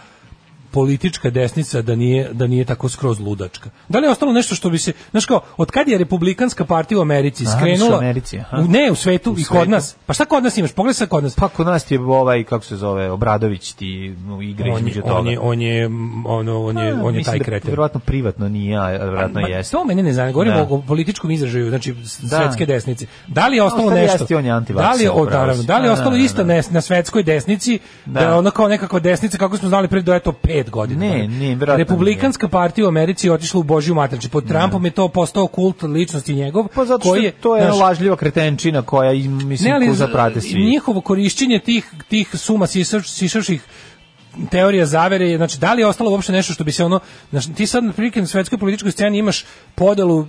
politička desnica da nije, da nije tako skroz ludačka. Da li je ostalo nešto što bi se, znaš kao, od kad je republikanska partija u Americi
Aha,
skrenula?
u Americi, aha.
U- ne, u svetu i kod
svetu.
nas. Pa šta kod nas imaš? Pogledaj sad kod nas.
Pa kod nas ti je ovaj, kako se zove, Obradović ti u igre
on
između
je,
toga.
on je, on je, mm, ono, on je,
A,
on je
mislim
taj
da
kreten.
Vjerojatno privatno nije, a vjerojatno
Ma,
jeste.
To mene ne zanima, govorimo
Da.
o političkom izražaju, znači s-
Da.
svetske desnice. Da li je ostalo
Ostalo
nešto?
jeste, on je antivakser,
da li je, o,
upravo si.
naravno, da li je
Da,
ostalo
da, da,
isto
da.
nes- na svetskoj desnici, da.
Da.
je ono kao nekakva desnica, kako smo znali pre do eto pet godina. Da.
Ne, ne, vjerojatno Da.
Republikanska partija u Americi je otišla u Božju matricu. Pod Trumpom je to postao kult ličnosti njegov,
Pa zato što
koji
je, to je jedna
znaš,
lažljiva kretenčina koja, i, mislim,
ne, ali
koju zaprate
z-
svi.
Njihovo korišćenje tih, tih suma sisaš- sišaših teorija zavere je, znači, da li je ostalo uopšte nešto što bi se ono, znači, ti sad na prilike na svetskoj političkoj sceni imaš podelu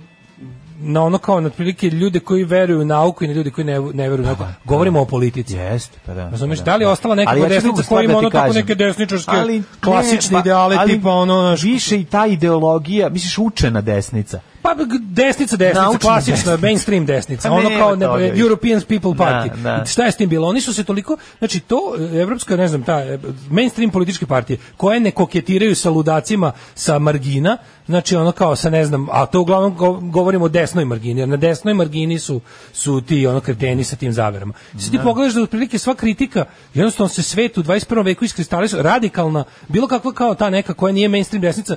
na ono kao na prilike ljude koji veruju u nauku i na ljude koji ne, ne veruju u nauku. Govorimo o politici.
Jeste, pa da.
Razumeš,
pa
da li je ostala neka
Ali ja ću
desnica
drugu stvar
koja ima
da ti
ono tako
kažem.
neke desničarske,
Ali ne, pa-
klasične ideale
ali
tipa ono, znaš,
Više i ta ideologija, misliš učena desnica.
Pa g- desnica, desnica,
Naučna
klasična,
desnica.
mainstream desnica,
Pa
ono
nema
kao ne,
toga više.
European People Party.
da.
Šta je s tim bilo? Oni su se toliko, znači to, e, evropska, ne znam, ta e, mainstream političke partije, koje ne koketiraju sa ludacima, sa margina, znači ono kao sa, ne znam, a to uglavnom go- govorimo o desnoj margini, jer na desnoj margini su, su ti ono kreteni sa tim zaverama. Sad ti pogledaš da otprilike sva kritika, jednostavno se svet u 21. veku iskristalisao, radikalna, bilo kakva kao ta neka koja nije mainstream desnica,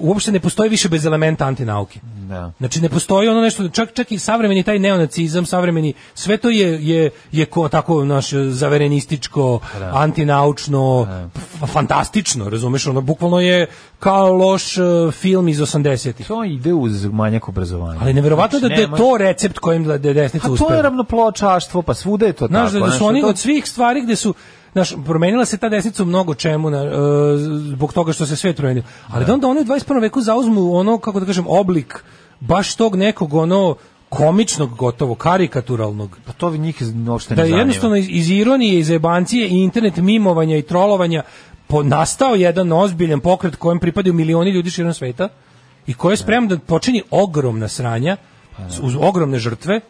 uopšte ne postoji više bez elementa antinauke.
Da.
Znači ne postoji ono nešto čak čak i savremeni taj neonacizam, savremeni sve to je je je ko tako naš zaverenističko,
Da.
antinaučno, f- fantastično, razumeš, ono bukvalno je kao loš e, film iz 80-ih.
To ide uz manjak obrazovanja.
Ali neverovatno
Znači,
da, da je
nema-
to recept kojim da je desnica
A to
uspela.
je ravnopločaštvo, pa svuda je to
Znaš,
tako.
da, da su
znaš,
oni
to-
od svih stvari gde su Znaš, promenila se ta desnica u mnogo čemu na, e, zbog toga što se svet promenio. Ali da onda oni u 21. veku zauzmu ono, kako da kažem, oblik baš tog nekog ono komičnog gotovo, karikaturalnog.
Pa to njih uopšte ne
Da je
zanima.
jednostavno iz, iz ironije, iz jebancije i internet mimovanja i trolovanja po, nastao jedan ozbiljan pokret kojem pripadaju milioni ljudi širom sveta i koji je spreman da počini ogromna sranja
Pa da.
uz ogromne žrtve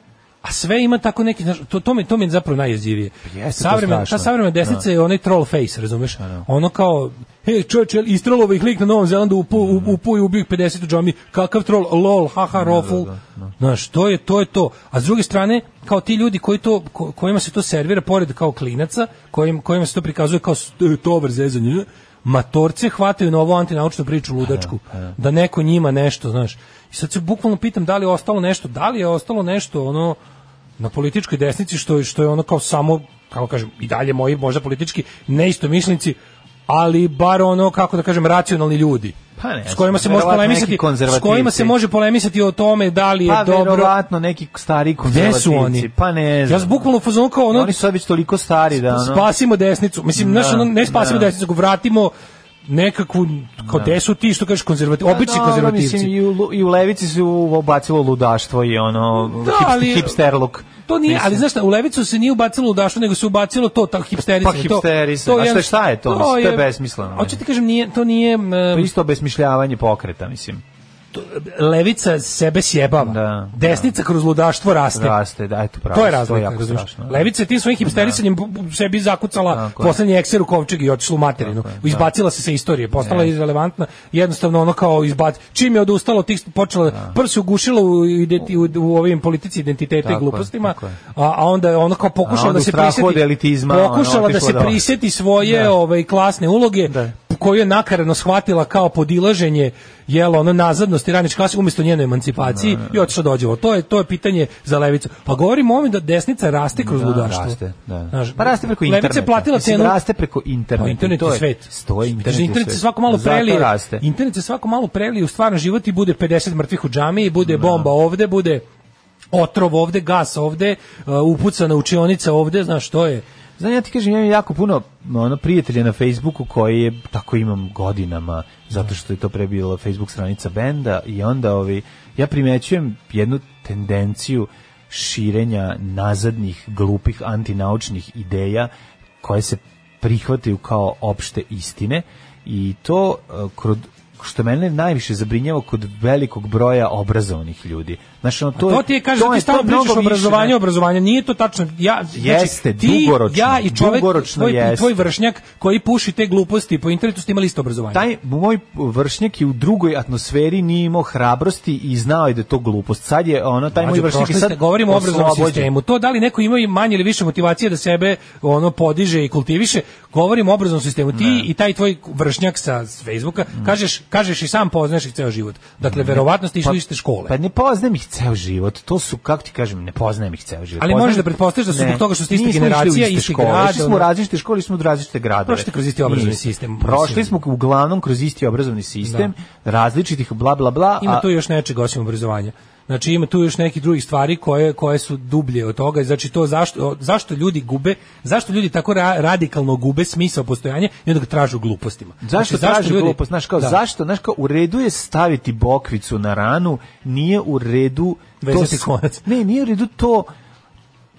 a sve ima tako neki znaš, to to mi to mi je zapravo najjezivije.
Pa jeste to
Savremena ta
strašno. Da. Pa
savremena desnica je onaj troll face, razumeš? Ono kao hej čoveče, istrolovo ih lik na Novom Zelandu u
Da,
pu, u, u pu i ubio ih 50 u džami. Kakav troll, lol, haha, roful.
da,
Znaš, to je to je to. A s druge strane, kao ti ljudi koji to ko- kojima se to servira pored kao klinaca, kojim kojima se to prikazuje kao s- e, tovar zezanje, matorce hvataju na ovu antinaučnu priču ludačku,
Pa
da neko njima nešto, znaš. I sad se bukvalno pitam da li je ostalo nešto, da li je ostalo nešto ono na političkoj desnici što je, što je ono kao samo kako kažem i dalje moji možda politički neistomišljenici ali bar ono, kako da kažem, racionalni ljudi.
Pa ne,
s kojima se može
verovatno
polemisati,
neki konzervativci.
s kojima se može polemisati o tome da li je
pa
dobro.
verovatno neki stari
Gde
konzervativci.
su oni?
Pa ne
Ja
znam.
sam bukvalno u fazonu kao ono,
Oni su sad već toliko stari da... Ono,
spasimo desnicu. Mislim, znaš,
Da,
ono, ne spasimo
da.
desnicu, nego vratimo nekakvu, kao
Da.
desu ti što kažeš konzervativci,
Pa
obični
dobro,
konzervativci.
Mislim, i, u, lu- i u levici su obacilo ludaštvo i ono
Da,
hip,
ali-
hipster look.
To nije,
Mislim.
ali znaš šta, u Levicu se nije ubacilo u Dašu, nego se ubacilo to, tako hipsterisanje.
Pa hipsterisanje. A šta-
jedno-
šta je to, mislim, to je besmisleno.
Hoću ti kažem, nije, to nije... um,
To je isto besmišljavanje pokreta, mislim.
levica sebe sjebava.
Da,
Desnica kroz ludaštvo raste.
Raste, da, eto pravo.
To je razlika,
jako
razumiješ?
strašno. da.
Levica je tim svojim hipsterisanjem bu- bu- sebi zakucala
Tako je. da.
poslednji ekser u kovčeg i otišla u materinu. Izbacila se sa istorije,
E.
postala je irrelevantna, jednostavno ono kao izbat. Čim je odustalo, od tih počela
Da.
prvo se ugušila u, identi, u, u ovim politici identiteta
Tako
i
je,
glupostima,
tako je.
a, a onda je ono kao
A
pokušala
onda
da
u
se
strahu od
priseti
elitizma, ono,
pokušala da
otišla
se
dole.
priseti svoje
Da.
ovaj klasne uloge
Da.
koju je nakaradno shvatila kao podilaženje jelo ono nazadnosti radničke klase umjesto njene emancipaciji
Da.
i otišla dođe ovo. To je to je pitanje za levicu. Pa govorimo o ovome da desnica raste kroz
Da,
ludaštvo.
Raste, da.
Znaš,
pa raste preko interneta.
Levica je platila
Mislim,
cenu.
Raste preko interneta.
Pa internet
i to
je
je-
svet.
Stoji internet.
Znači,
je
internet se
svet.
svako malo prelije.
Zato raste.
Internet se svako malo prelije u stvarno život i bude 50 mrtvih u džamiji,
Da.
bude bomba ovde, bude otrov ovde, gas ovde, uh, upucana učionica ovde, znaš što je.
Znam, ja ti kažem, ja imam jako puno ono, prijatelja na Facebooku koji je, tako imam godinama, zato što je to pre bila Facebook stranica benda i onda ovi, ja primećujem jednu tendenciju širenja nazadnih, glupih, antinaučnih ideja koje se prihvataju kao opšte istine i to e, kroz što mene najviše zabrinjava kod velikog broja obrazovanih ljudi. Znači, ono, to,
To, ti je kaže da ti
je-
stalno
to je mnogo
pričaš o
više,
obrazovanju,
ne?
obrazovanje, nije to tačno. Ja znači,
Jeste,
ti,
dugoročno,
ja i čovjek
dugoročno
tvoj, i tvoj
jeste.
vršnjak koji puši te gluposti po internetu ste imali isto obrazovanje.
Taj moj vršnjak je u drugoj atmosferi nije imao hrabrosti i znao je da je to glupost. Sad je ono, taj moj
Mlađo,
vršnjak je
prošli
sad
ste, govorimo o obrazovnom
oslobođen.
sistemu. To da li neko ima i manje ili više motivacije da sebe ono podiže i kultiviše, govorimo o obrazovnom sistemu. Ti i taj tvoj vršnjak sa s Facebooka, kažeš, kažeš i sam poznaš ih ceo život. Dakle, verovatno ste išli iz iste škole.
Pa ne poznajem ih ceo život. To su, kako ti kažem, ne poznajem ih ceo život.
Ali
Poznajem-
možeš da pretpostaviš da su
Ne,
zbog toga što ste iste
nismo išli u
generacije,
iste
isti
škole.
grad,
Išli smo
ono.
u različite škole, išli smo u različite gradove.
Prošli ste kroz isti obrazovni
Nismo.
sistem,
Prošli
mislim. Da.
smo uglavnom kroz isti obrazovni sistem, različitih bla bla bla.
ima
a-
tu još nečeg osim obrazovanja. Znači ima tu još nekih drugih stvari koje koje su dublje od toga. Znači to zašto o, zašto ljudi gube, zašto ljudi tako ra- radikalno gube smisao postojanja i onda ga traže u glupostima.
Zašto
znači,
traži
ljudi-
glupost? Znaš, kao,
Da.
zašto? Znaš, kao, u redu je staviti bokvicu na ranu, nije u redu... to
Vezati
s-
konac.
Ne, nije u redu to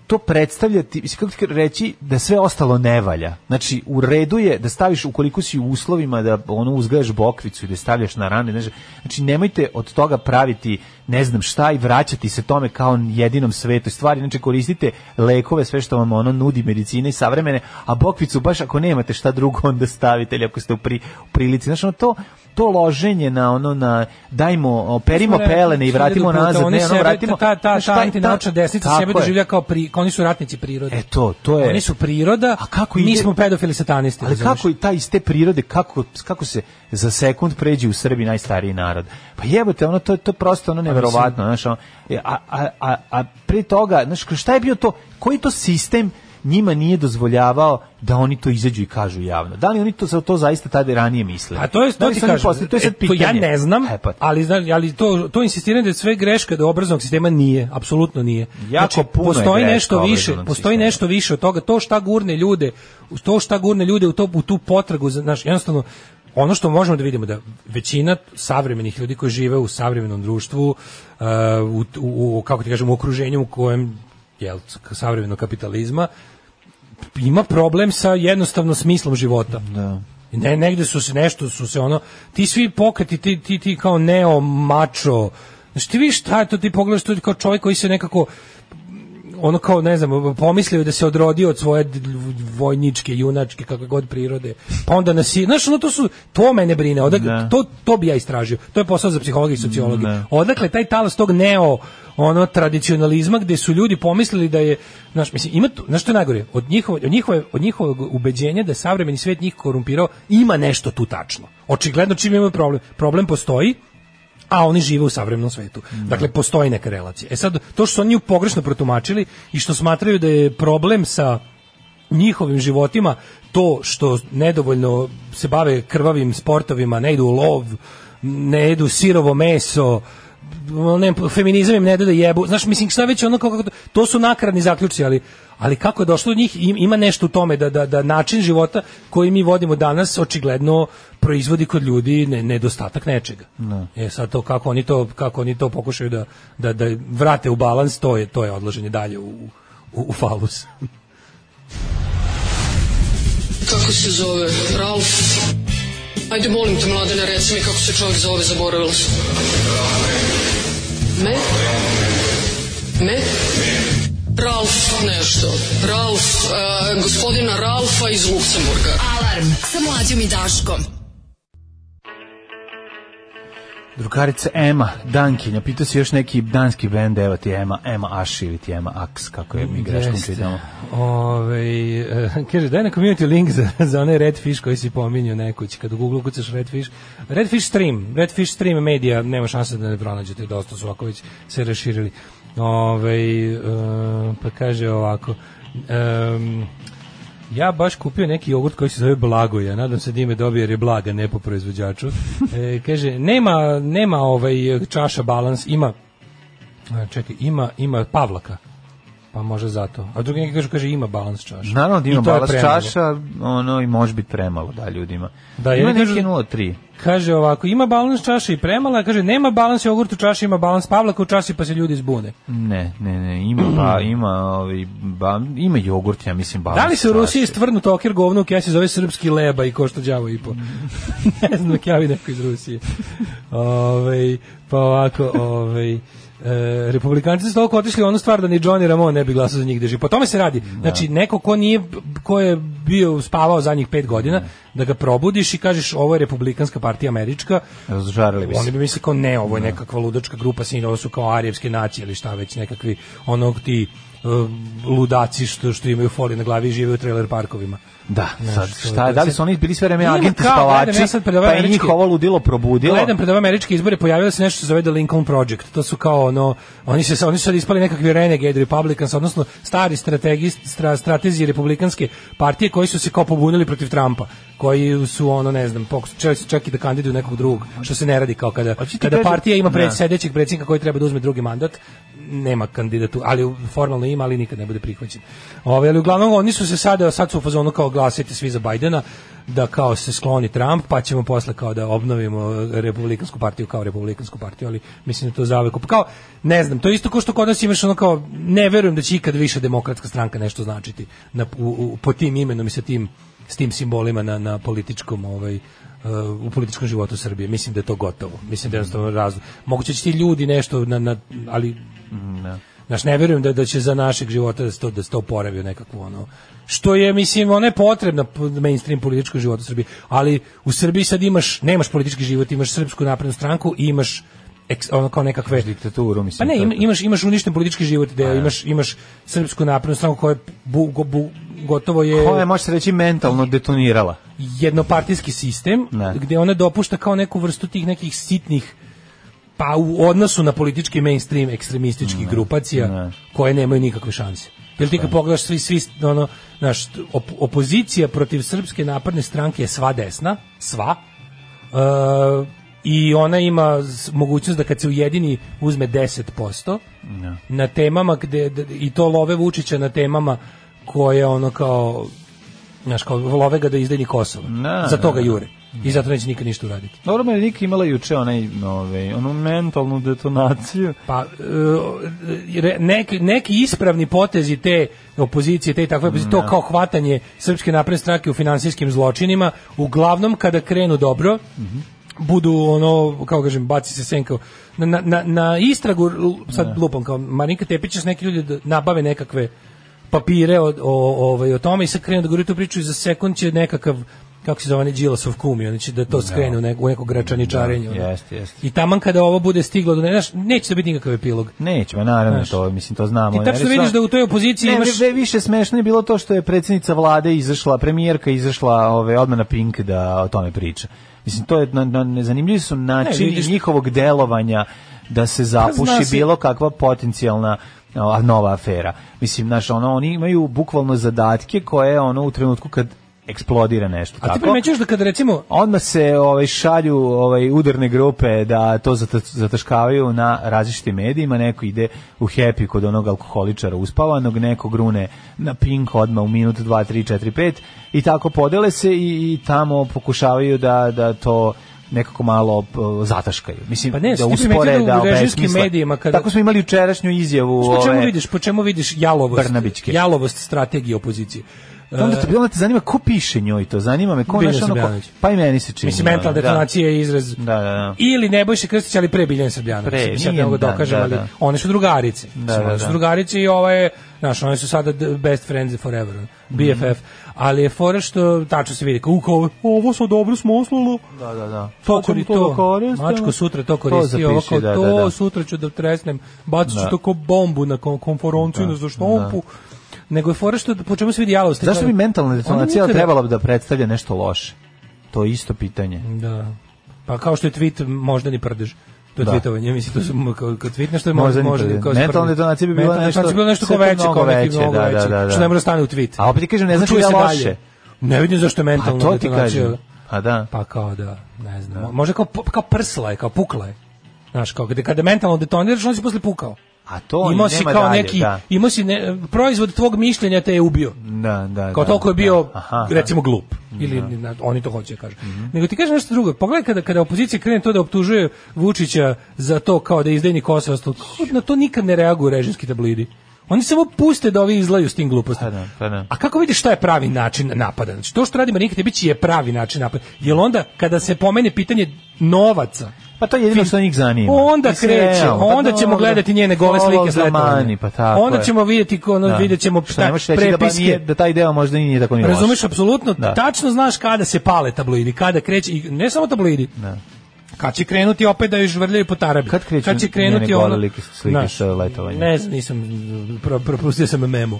to predstavljati, mislim, kako ti ka- reći da sve ostalo ne valja. Znači, u redu je da staviš ukoliko si u uslovima da ono uzgajaš bokvicu i da je stavljaš na rane, znaš, znači nemojte od toga praviti ne znam šta i vraćati se tome kao jedinom svetu stvari, znači koristite lekove, sve što vam ono nudi medicina i savremene, a bokvicu baš ako nemate šta drugo onda stavite ili ako ste u, pri, u prilici, znači ono to to loženje na ono na dajmo perimo
Smo rekli
pelene i vratimo
hiljadu puta,
nazad
oni
ne ono
sebe-
vratimo
ta ta
znaš,
ta
taj-
antinaučna desnica
tako
sebe
je.
doživlja kao pri oni su ratnici prirode.
E to, to je.
Oni su priroda,
A kako
mi
ide-
smo pedofili satanisti.
Ali
razumeš?
kako i ta iz te prirode, kako, kako se za sekund pređe u Srbiji najstariji narod? Pa jebote, ono, to, to je prosto
Pa
ono neverovatno. Znaš, ono, e, a, a, a, a pre toga, znaš, šta je bio to, koji to sistem njima nije dozvoljavao da oni to izađu i kažu javno. Da li oni to za to zaista tada i ranije mislili?
A Pa to je
Da
to
li
ti
su oni
kažem.
postali- to je sad
e, to ja
pitanje.
ne znam,
E, pa,
ali zna- ali to to insistiranje da je sve greška da obrazovnog sistema nije, apsolutno nije. Znači,
Jako puno je
postoji
greška
nešto
obrazovnog
više, postoji
sistema.
nešto više od toga, to šta gurne ljude, to šta gurne ljude u to u tu potragu za naš jednostavno ono što možemo da vidimo da većina savremenih ljudi koji žive u savremenom društvu e, u, u, u kako ti kažem u okruženju u kojem je savremenog kapitalizma ima problem sa jednostavno smislom života. Da. Ne, negde su se nešto su se ono ti svi pokreti ti ti ti kao neo mačo. Znači ti vidiš šta je to ti pogledaš to je kao čovjek koji se nekako ono kao ne znam pomislio da se odrodio od svoje d- vojničke junačke kakve god prirode pa onda nas je- znaš ono to su to mene brine odak,
Da.
to to bi ja istražio to je posao za psihologe i sociologe
Da.
odakle taj talas tog neo ono tradicionalizma gde su ljudi pomislili da je znaš mislim ima tu, znaš što je najgore od njihove od njihove od njihovog ubeđenja da je savremeni svet njih korumpirao ima nešto tu tačno očigledno čim imaju problem problem postoji a oni žive u savremenom svetu. Dakle, postoji neka relacija. E sad, to što su oni nju pogrešno protumačili i što smatraju da je problem sa njihovim životima to što nedovoljno se bave krvavim sportovima, ne idu u lov, ne jedu sirovo meso, ne, feminizam im ne da da jebu. Znaš, mislim, šta već ono kako, to su nakradni zaključci, ali, ali kako je došlo do njih, im- ima nešto u tome da, da, da način života koji mi vodimo danas očigledno proizvodi kod ljudi ne, nedostatak nečega. E sad to kako oni to kako oni to pokušaju da, da, da vrate u balans, to je to je odlaženje dalje u, u, u falus.
Kako se zove? Ralf? Ajde, molim te, mladene, reci mi kako se čovjek zove, zaboravila sam. Me? Me? Ralf nešto. Ralf, e, gospodina Ralfa iz Luksemburga.
Alarm sa mlađom i Daškom.
Drugarica Ema, Dankinja, pitao si još neki danski bend, evo ti Ema, Ema Aši ili ti Ema Aks, kako je mi greškom
Jeste.
čitamo.
Ovaj, e, kaže, daj na community link za, za onaj Redfish koji si pominjao nekoć. Kad u Google ukucaš Redfish, Redfish Stream, Redfish Stream medija, nema šanse da ne pronađete, dosta su ovako već se raširili. Ovaj, e, pa kaže ovako, em, ja baš kupio neki jogurt koji se zove Blagoja, nadam se da ime dobije jer je Blaga, ne po proizvođaču. E, kaže, nema, nema ovaj čaša balans, ima a, E, čekaj, ima, ima Pavlaka. Pa može zato. A drugi neki kažu, kaže, ima balans čaša.
Naravno da
I
ima
to je
balast
premalo.
čaša, ono i može biti premalo da ljudima.
Da,
ima
jedni
neki
kažu-
0,3.
Kaže ovako, ima balans čaša i premala, kaže, nema balans jogurt u čaši, ima balans Pavlaka u čaši, pa se ljudi zbune.
Ne, ne, ne, ima, pa, ima, ovaj, ba, ima jogurt, ja mislim, balast
da li se u Rusiji stvarno toker govno u kesi zove srpski leba i košta đavo i po? ne znam, dok javi neko iz Rusije. Ovaj, pa ovako, ovaj, e, republikanci su toliko otišli u onu stvar da ni Johnny Ramon ne bi glasao za njih drži. Po tome se radi. Znači, neko ko nije, ko je bio spavao zadnjih pet godina, da ga probudiš i kažeš ovo je republikanska partija američka,
Razožarili bi se.
oni bi mislili kao ne, ovo je nekakva ludačka grupa sin, ovo su kao arijevske nacije ili šta već, nekakvi onog ti e, ludaci što što imaju folije na glavi i žive u trailer parkovima.
Da,
Znaš,
sad,
to je-
šta, je, da li su oni bili sve vreme
Ima
agenti
kao,
spavači,
gledam ja sad pred ove
pa je
američke-
njih ovo ludilo probudilo?
Gledam pred ove američke izbore pojavilo se nešto što se zove The Lincoln Project. To su kao ono oni se sa- oni su sad ispali nekakvi renegade Republicans, odnosno stari strategist stra, stratezi republikanske partije koji su se kao pobunili protiv Trumpa, koji su ono ne znam, pokus- čak, čak i da kandiduju nekog drugog, što se ne radi kao kada
Hoću Pa ti
kada
kažem-
partija ima pred
Da.
sedećeg predsjednika koji treba da uzme drugi mandat, nema kandidatu, ali formalno ima, ali nikad ne bude prihvaćen. Ove, ali uglavnom oni su se sada, sad su u fazonu kao glasajte svi za Bajdena, da kao se skloni Trump, pa ćemo posle kao da obnovimo e, republikansku partiju kao republikansku partiju, ali mislim da je to zavek. Kao, ne znam, to je isto kao što kod nas imaš ono kao, ne verujem da će ikad više demokratska stranka nešto značiti na, u, u- po tim imenom i sa tim, s tim simbolima na, na političkom ovaj, uh, u političkom životu Srbije. Mislim da je to gotovo. Mislim da je jednostavno razlog. Moguće će ti ljudi nešto, na, na, ali...
Mm,
Znaš, ne verujem da, da će za našeg života da se to, da se to oporavi u nekakvu ono... Što je, mislim, ona je potrebna po- mainstream političkom životu Srbije. Ali u Srbiji sad imaš, nemaš politički život, imaš srpsku naprednu stranku i imaš eks- ono kao nekakve
diktaturu,
pa
mislim.
ne,
to je
ima-
to.
imaš imaš uništen politički život, deo, imaš imaš srpsku naprednu stranku koja je bu, go- bu- gotovo je
Koja je, može se reći, mentalno detonirala.
jednopartijski sistem
Ne.
gdje ona dopušta kao neku vrstu tih nekih sitnih pa u odnosu na politički mainstream ekstremističkih grupacija
Ne.
koje nemaju nikakve šanse. Jel ti kad pogledaš svi svi ono naš opozicija protiv srpske napredne stranke je sva desna, sva. E, i ona ima s- mogućnost da kad se ujedini uzme 10% na temama gde d- i to love Vučića na temama koje ono kao znaš kao love ga da izdajni Kosovo.
Ne,
za toga
ne, ne.
jure. I zato neće nikad ništa uraditi.
Dobro, Marinika imala juče onaj, ovaj, onu mentalnu detonaciju.
Pa e, re- neki, neki ispravni potezi te opozicije, te i takve opozicije, to kao hvatanje Srpske napredne stranke u finansijskim zločinima, uglavnom kada krenu dobro, budu ono, kao kažem, baci se senka na, na, na, na istragu, l- sad lupam kao Marinka Tepić, će s neki ljudi da nabave nekakve papire o, o, ovaj, o tome i sad krenu da govori tu priču i za sekund će nekakav kako se zove, ne Đilasov kumi, oni će da to skrenu u neko, u neko gračaničarenje. ono.
Jeste, jeste.
I taman kada ovo bude stiglo do ne, znaš, neće da biti nikakav epilog.
Neće, ma naravno
Znaš.
to, mislim to znamo.
Ti
ne,
tačno
ali
vidiš
sva-
da u toj opoziciji
ne,
imaš
ve- više smešno je bilo to što je predsjednica vlade izašla, premijerka izašla ove, odmah na Pink da o tome priča. Mislim, to je, na, na, nezanimljivi su načini
vidiš- Pa
njihovog delovanja da se zapuši
zna se-
bilo kakva potencijalna a, nova afera. Mislim, znaš, ono, oni imaju bukvalno zadatke koje, ono, u trenutku kad eksplodira nešto.
A ti primećuješ da kada recimo...
Odmah se ovaj, šalju ovaj, udarne grupe da to zata- zataškavaju na različitim medijima, neko ide u happy kod onog alkoholičara uspavanog, neko grune na pink odmah u minut 2, 3, 4, 5 i tako podele se i, i tamo pokušavaju da, da to nekako malo p- zataškaju. Mislim,
Pa ne,
da
ti primetio
uspore,
da u
da
režimskim
obesmisle.
medijima kada-
Tako smo imali jučerašnju izjavu...
Po čemu
ove-
vidiš, po čemu vidiš jalovost,
Brnabićke.
jalovost strategije opozicije?
Pa
eh?
Onda te, onda te zanima ko piše njoj to, zanima me ko
Biljana
naš ono ko,
Srbljanović.
pa i meni se čini.
E, Mislim, mentalna
ono, da.
detonacija je izraz.
Da, da, da.
Ili Nebojša Krstić, ali pre Biljana Srbljana.
Pre,
Mislim, sad
nije,
ne mogu da,
da,
dokažem,
da,
ali
da.
one su drugarice.
Da,
Mislim,
da,
one su
da.
drugarice i ovo je, znaš, one su sada the best friends forever,
Mhm.
BFF. Ali je fora što, tačno se vidi, kao, u, kao, ovo su dobro smoslalo,
Da, da, da.
to
Sad sam
kori
da
to,
koristim.
mačko sutra to koristi,
zapiši,
ovo kao
da, da,
to,
da.
sutra ću da tresnem, bacit ću
Da.
to kao bombu na kom- konferenciju,
Da,
na zaštompu, nego je fora što, po čemu se vidi jalost.
Zašto bi mentalna detonacija
Ona nikada-
trebala da predstavlja nešto loše? To je isto pitanje.
Da. Pa kao što je tweet možda ni prdež. To je
Da.
tweetovanje, mislim, to su kao, kao tweet nešto je možda,
Moždani
možda,
prdež.
kao
Mentalna detonacija bi bila
Mentalna
nešto-
detonacija bi bila nešto kao
sve
veće,
mnogo
kao neki
veće,
mnogo
da,
veće,
da, da, da.
što ne mora stane u tweet.
A opet ti kažem, ne znači
Čuje
da je
se
loše.
dalje. Ne vidim zašto je
A
mentalna
to ti
detonacija.
kažem. A da.
Pa kao da, ne znam. Možda kao, pu- kao prsla je, kao pukla je. Znaš, kao kada, kada mentalno detoniraš, on si posle pukao.
A to
imao
nema
si kao
dalje,
neki,
da.
imao si ne, proizvod tvog mišljenja te je ubio.
Da, da,
Kao
da,
toliko je
da.
bio,
Aha, Mhm. da.
recimo, glup. Ili, na- oni to hoće, kaže. Nego ti kažem nešto drugo. Pogledaj kada, kada opozicija krene to da optužuje Vučića za to kao da je izdajni Kosova, to- na to nikad ne reaguju režimski tablidi. Oni samo puste da ovi izlaju s tim glupostima.
Pa da, pa da.
A kako vidiš šta je pravi način napada? Znači, to što radi Marinika Tebić je pravi način napada. Jel onda, kada se pomene pitanje novaca,
Pa to je jedino što njih zanima.
Onda
Mislim,
kreće,
realno, pa
onda ćemo
dobro.
gledati njene gole
Follow
slike
the
s letovanja.
money, Pa tako
Onda
je.
ćemo vidjeti ko- ono, vidjet ćemo
Što
šta-
ne možeš reći da, ba
prepiske.
nije, da taj deo možda i nije tako ni loš.
Razumeš apsolutno,
Da.
tačno znaš kada se pale tabloidi, kada kreće i ne samo tabloidi.
Da.
Kad će krenuti opet da je žvrljaju po tarabi.
Kad kreću
će krenuti
njene
ono,
gole like- slike
znaš,
sa letovanjem?
Ne znam, nisam pro- propustio sam memu.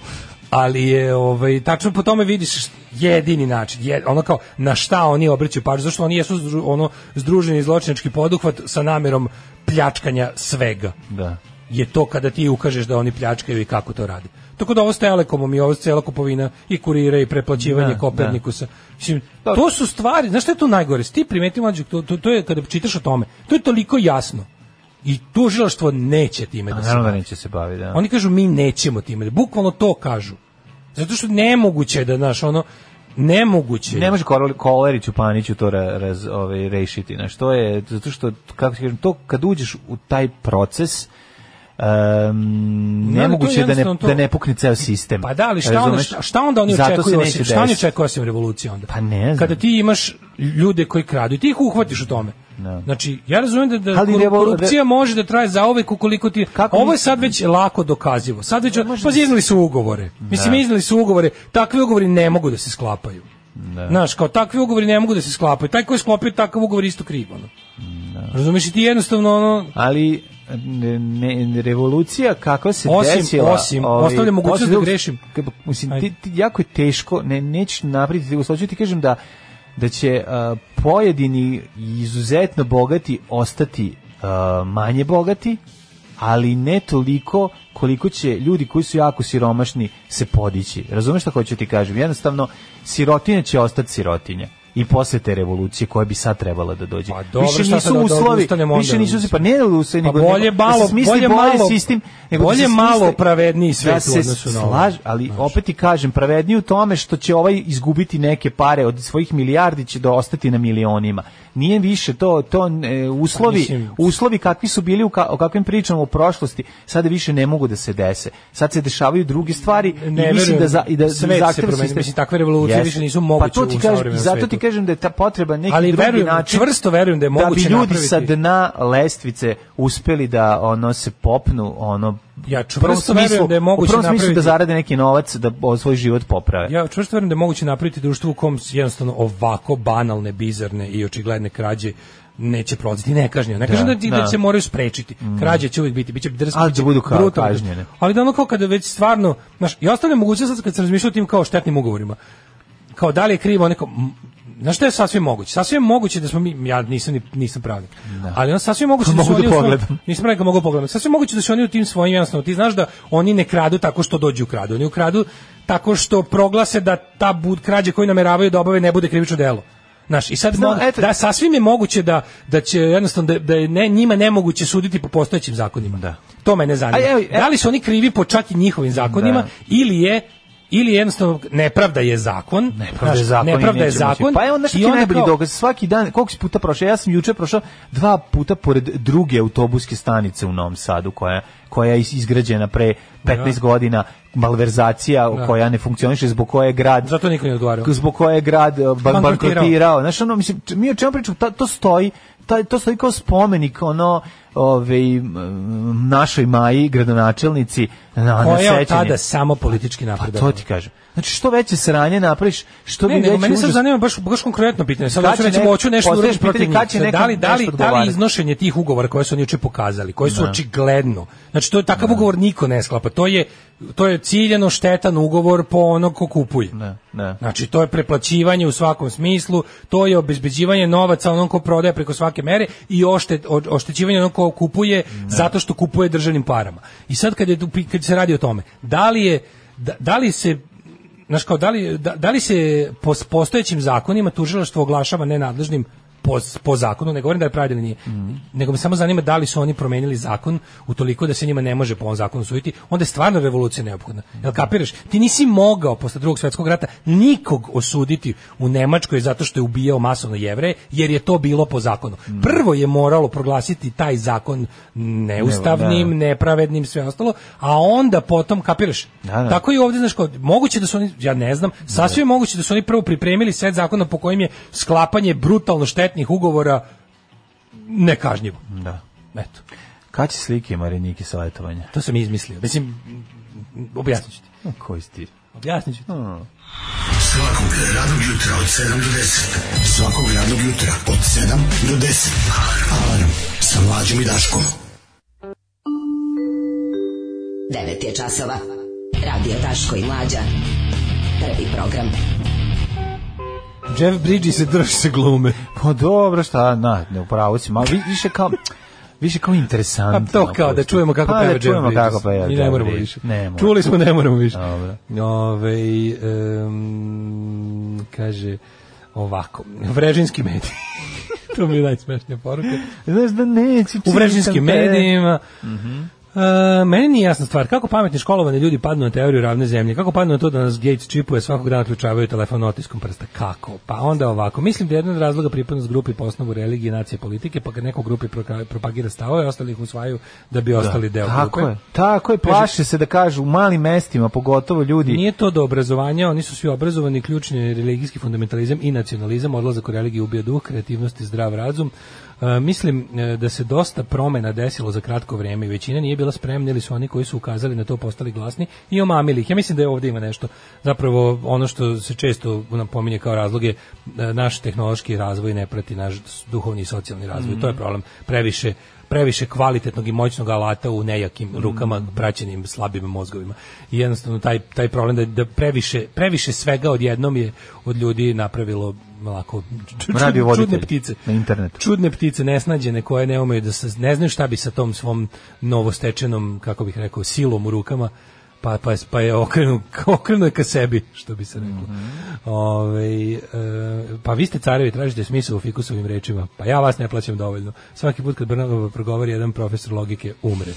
Ali je ovaj tačno po tome vidiš jedini način, jed, ono kao na šta oni obraćaju pažnju, zašto oni jesu zdru- ono združeni zločinački poduhvat sa namjerom pljačkanja svega
Da.
je to kada ti ukažeš da oni pljačkaju i kako to rade. Tako da ovo s Telekomom i ovo cela kupovina i kurira i preplaćivanje
Da, Pa-
Kopernikusa. Mislim, to su stvari, znaš šta je tu najgore? Ti primeti mlađe, to, to, to je kada čitaš o tome, to je toliko jasno. I tužilaštvo neće time
A
da se
Naravno da
bavi.
neće se baviti, da.
Oni kažu mi nećemo time, bukvalno to kažu. Zato što nemoguće je da, znaš, ono, nemoguće. je.
Znači, Ne može Korol- Koleriću Paniću to ra- raz, ovaj, rešiti. Znaš, to je, zato što, kako ti kažem, to kad uđeš u taj proces, Um,
to je
nemoguće je da ne,
jednostavno to-
da ne pukne ceo sistem.
Pa da, ali šta, onda,
Razumeš?
šta, šta onda oni
Zato se
očekuju?
neće
osim- Šta oni
desiti.
očekuju osim revolucije onda?
Pa ne znam.
Kada ti imaš ljude koji kradu i ti ih uhvatiš u tome.
Da.
Znači, ja razumijem da, da
Ali
koru-
revolu-
korupcija može da traje zauvek ukoliko ti...
Kako
Ovo je
misliš?
sad već lako dokazivo. Sad već... Pa
da
iznali su ugovore. Mislim, iznali su ugovore. Takvi ugovori ne mogu da se sklapaju.
Da.
Znaš, kao takvi ugovori ne mogu da se sklapaju. Taj koji je sklopio takav ugovor je isto kriv. Ono.
Da.
Razumeš i ti jednostavno ono...
Ali ne, ne, revolucija kakva se
Osim-
desila... ovaj,
osim, ostavlja mogućnost
osim
da grešim.
k- Mislim,
Ajde.
ti, ti- jako je teško, ne, neću napraviti, u slučaju ti kažem da, da će a, pojedini izuzetno bogati ostati a, manje bogati, ali ne toliko koliko će ljudi koji su jako siromašni se podići. Razumeš šta hoću ti kažem? Jednostavno, sirotinja će ostati sirotinja i posle te revolucije koja bi sad trebala da dođe.
Pa dobro, šta
više nisu
sad da- da
uslovi,
ustanemo
više
onda?
nisu se pa ne da ustane,
Pa
nego-
bolje
nego
malo-
da se smisli
bolje
bolji
malo-
sistem, nego
bolje
da se
malo
smisli-
pravedniji svet
da
u odnosu
se
na ovo. Znači.
slaž, ali opet ti kažem, pravedniji u tome što će ovaj izgubiti neke pare od svojih milijardi će da ostati na milionima. Nije više to to e, uslovi,
Pa mislim-
uslovi kakvi su bili u ka- o kakvim pričamo u prošlosti, sada više ne mogu da se dese. Sad se dešavaju druge stvari i mislim
verujem.
da za, i da
Svet se
zahteva
promenio.
sistem-
Mislim, takve revolucije
Jeste.
više nisu
Pa
moguće
to ti
u
kažem, i
savremenom
zato
svetu.
ti kažem da je ta potreba neki
Ali
drugi
verujem,
način.
čvrsto verujem da je moguće
da bi ljudi
napraviti.
sa dna lestvice uspeli da ono se popnu ono
Ja
u
čvrsto
prvom
verujem
smislu-
da je moguće
u prvom smislu
napraviti.
da zarade neki novac da o, svoj život poprave.
Ja čvrsto verujem da je moguće napraviti društvo u kom jednostavno ovako banalne, bizarne i očigledne krađe neće prolaziti nekažnjeno. Ne kažem da, ti- da,
da. Mm.
se moraju sprečiti. Krađe će uvijek biti, biće drski,
Ali da budu kao
brutalne.
kažnjene.
Ali da ono kao kada već stvarno, znaš, i ostavljam mogućnost sad kad sam razmišljao o tim kao štetnim ugovorima. Kao da li je krivo neko m, Znaš šta je sasvim moguće? Sasvim je moguće da smo mi, ja nisam, ni- nisam pravnik, ali on sasvim je moguće da su
Mogu da
oni... u svom-
pogledam.
Nisam pravnik, ali mogu da pogledam. Sasvim je moguće da su oni u tim svojim, jednostavno, ti znaš da oni ne kradu tako što dođu u kradu. Oni ukradu tako što proglase da ta bud, krađa koju nameravaju da obave ne bude krivično delo. Znaš, i sad mogu- da sasvim je moguće da da će jednostavno da, da je ne, njima nemoguće suditi po postojećim zakonima. Da. To mene zanima.
A evo- evo-
da li su oni krivi po čak i njihovim zakonima
Da.
ili je ili jednostavno nepravda je zakon,
Nepravda je zakon. i
nepravda je
neće moći.
zakon.
Pa je onda što
i
ti
onda
najbolji
kao-
dokaz. Svaki dan, koliko si puta prošao? Ja sam juče prošao dva puta pored druge autobuske stanice u Novom Sadu koja koja je is- izgrađena pre 15
Da.
godina malverzacija
Da.
koja ne funkcioniše zbog koje je grad
Zato niko nije odgovarao.
zbog koje je grad e, ba-
Bankrotirao.
bankrotirao znaš ono mislim č- mi o čemu pričamo Ta- to stoji taj to stoji kao spomenik ono ovaj m, našoj Maji gradonačelnici na na
Koja je od
sećanje. Pa
tada samo politički napredak.
to ti kažem znači što veće sranje napraviš što bi
ne, nego
veći
meni sad
užas-
zanima baš baš konkretno pitanje. Sad
Kad
hoću
će
recimo
nek-
hoću nešto
postavljaš
uraditi protiv
pitanje kad
njih.
će
Sad, Da
nekom
li da li
nešto
da li
odgovarati?
iznošenje tih ugovora koje su oni juče pokazali, koji su
Da.
očigledno. Znači to je takav ugovor niko ne sklapa. To je to je ciljano štetan ugovor po onog ko kupuje.
Da.
Znači, to je preplaćivanje u svakom smislu, to je obezbeđivanje novaca onom ko prodaje preko svake mere i ošte, o- oštećivanje onom ko kupuje zato što kupuje državnim parama. I sad kad, je, tu pi- kad se radi o tome, da li, je, da, da li se znaš kao, da li, da, da li se po s- postojećim zakonima tužilaštvo oglašava nenadležnim po, s- po zakonu, ne govorim da je pravda ili nije, nego me samo zanima da li su oni promenili zakon utoliko da se njima ne može po ovom zakonu suditi, onda je stvarno revolucija neophodna. Jel kapiraš? Ti nisi mogao posle drugog svjetskog rata nikog osuditi u Nemačkoj zato što je ubijao masovno jevreje, jer je to bilo po zakonu. Prvo je moralo proglasiti taj zakon neustavnim,
Ne,
nepravednim, sve ostalo, a onda potom, kapiraš?
Da, da.
Tako i ovdje, znaš, kao, moguće da su oni, ja ne znam, sasvim je moguće da su oni prvo pripremili set zakona po kojim je sklapanje brutalno štetnih ugovora nekažnjivo.
Da.
Eto,
Kad će slike i Marinike savjetovanja? Hm,
to sam izmislio. Mislim, objasnit ću ti.
Koji si ti? Hm.
Objasnit ću ti.
Svakog radnog jutra od 7 do 10. Svakog radnog jutra od 7 do 10. Alarm sa mlađom i Daškom.
9 je časova. Radio Daško i Mlađa. Prvi program.
Jeff Bridges se drži se glume.
Pa dobro, šta, na, ne upravo si, malo vi- više kao... Više kao interesantno.
A to kao da čujemo kako
Pa
peva
da
Jeff
čujemo
Bridges.
kako peva
Mi ne
Jeff
moramo
Bridges.
više.
Ne moramo.
Čuli smo, ne moramo više.
Dobro.
Ove, em, kaže ovako, vrežinski medij. to mi je najsmešnija poruka.
Znaš da neće...
u vrežinskim
čitam te.
medijima.
Mhm.
E, meni nije jasna stvar, kako pametni školovani ljudi padnu na teoriju ravne zemlje, kako padnu na to da nas Gates čipuje, svakog dana ključavaju telefon otiskom prsta, kako? Pa onda ovako, mislim da je jedan od razloga pripadnost grupi po osnovu religije, nacije, politike, pa kad neko u grupi proka- propagira stavove, ostali ih usvajaju da bi ostali deo
Tako
grupe.
je, tako je, plaše se da kažu u malim mestima, pogotovo ljudi...
Nije to do obrazovanja, oni su svi obrazovani, ključni je religijski fundamentalizam i nacionalizam, odlazak u religiju ubija duh, kreativnost i zdrav razum. E, mislim e, da se dosta promena desilo za kratko vrijeme i većina nije bila spremna ili su oni koji su ukazali na to postali glasni i omamili ih. Ja mislim da je ovdje ima nešto. Zapravo ono što se često nam pominje kao razlog je e, naš tehnološki razvoj ne prati naš duhovni i socijalni razvoj. To je problem. Previše previše kvalitetnog i moćnog alata u
Mm.
nejakim rukama praćenim slabim mozgovima. I jednostavno taj, taj problem da, da previše, previše svega odjednom je od ljudi napravilo malako
Radio
čudne
voditelj
ptice.
na internetu.
Čudne ptice nesnađene koje ne umeju da se ne znaju šta bi sa tom svom novostečenom, kako bih rekao, silom u rukama pa, pa, je- pa je okrenuo okrenuo je ka sebi, što bi se reklo. Ovaj, e, pa vi ste carevi, tražite smisao u fikusovim rečima. Pa ja vas ne plaćam dovoljno. Svaki put kad Brnova progovori, jedan profesor logike umre.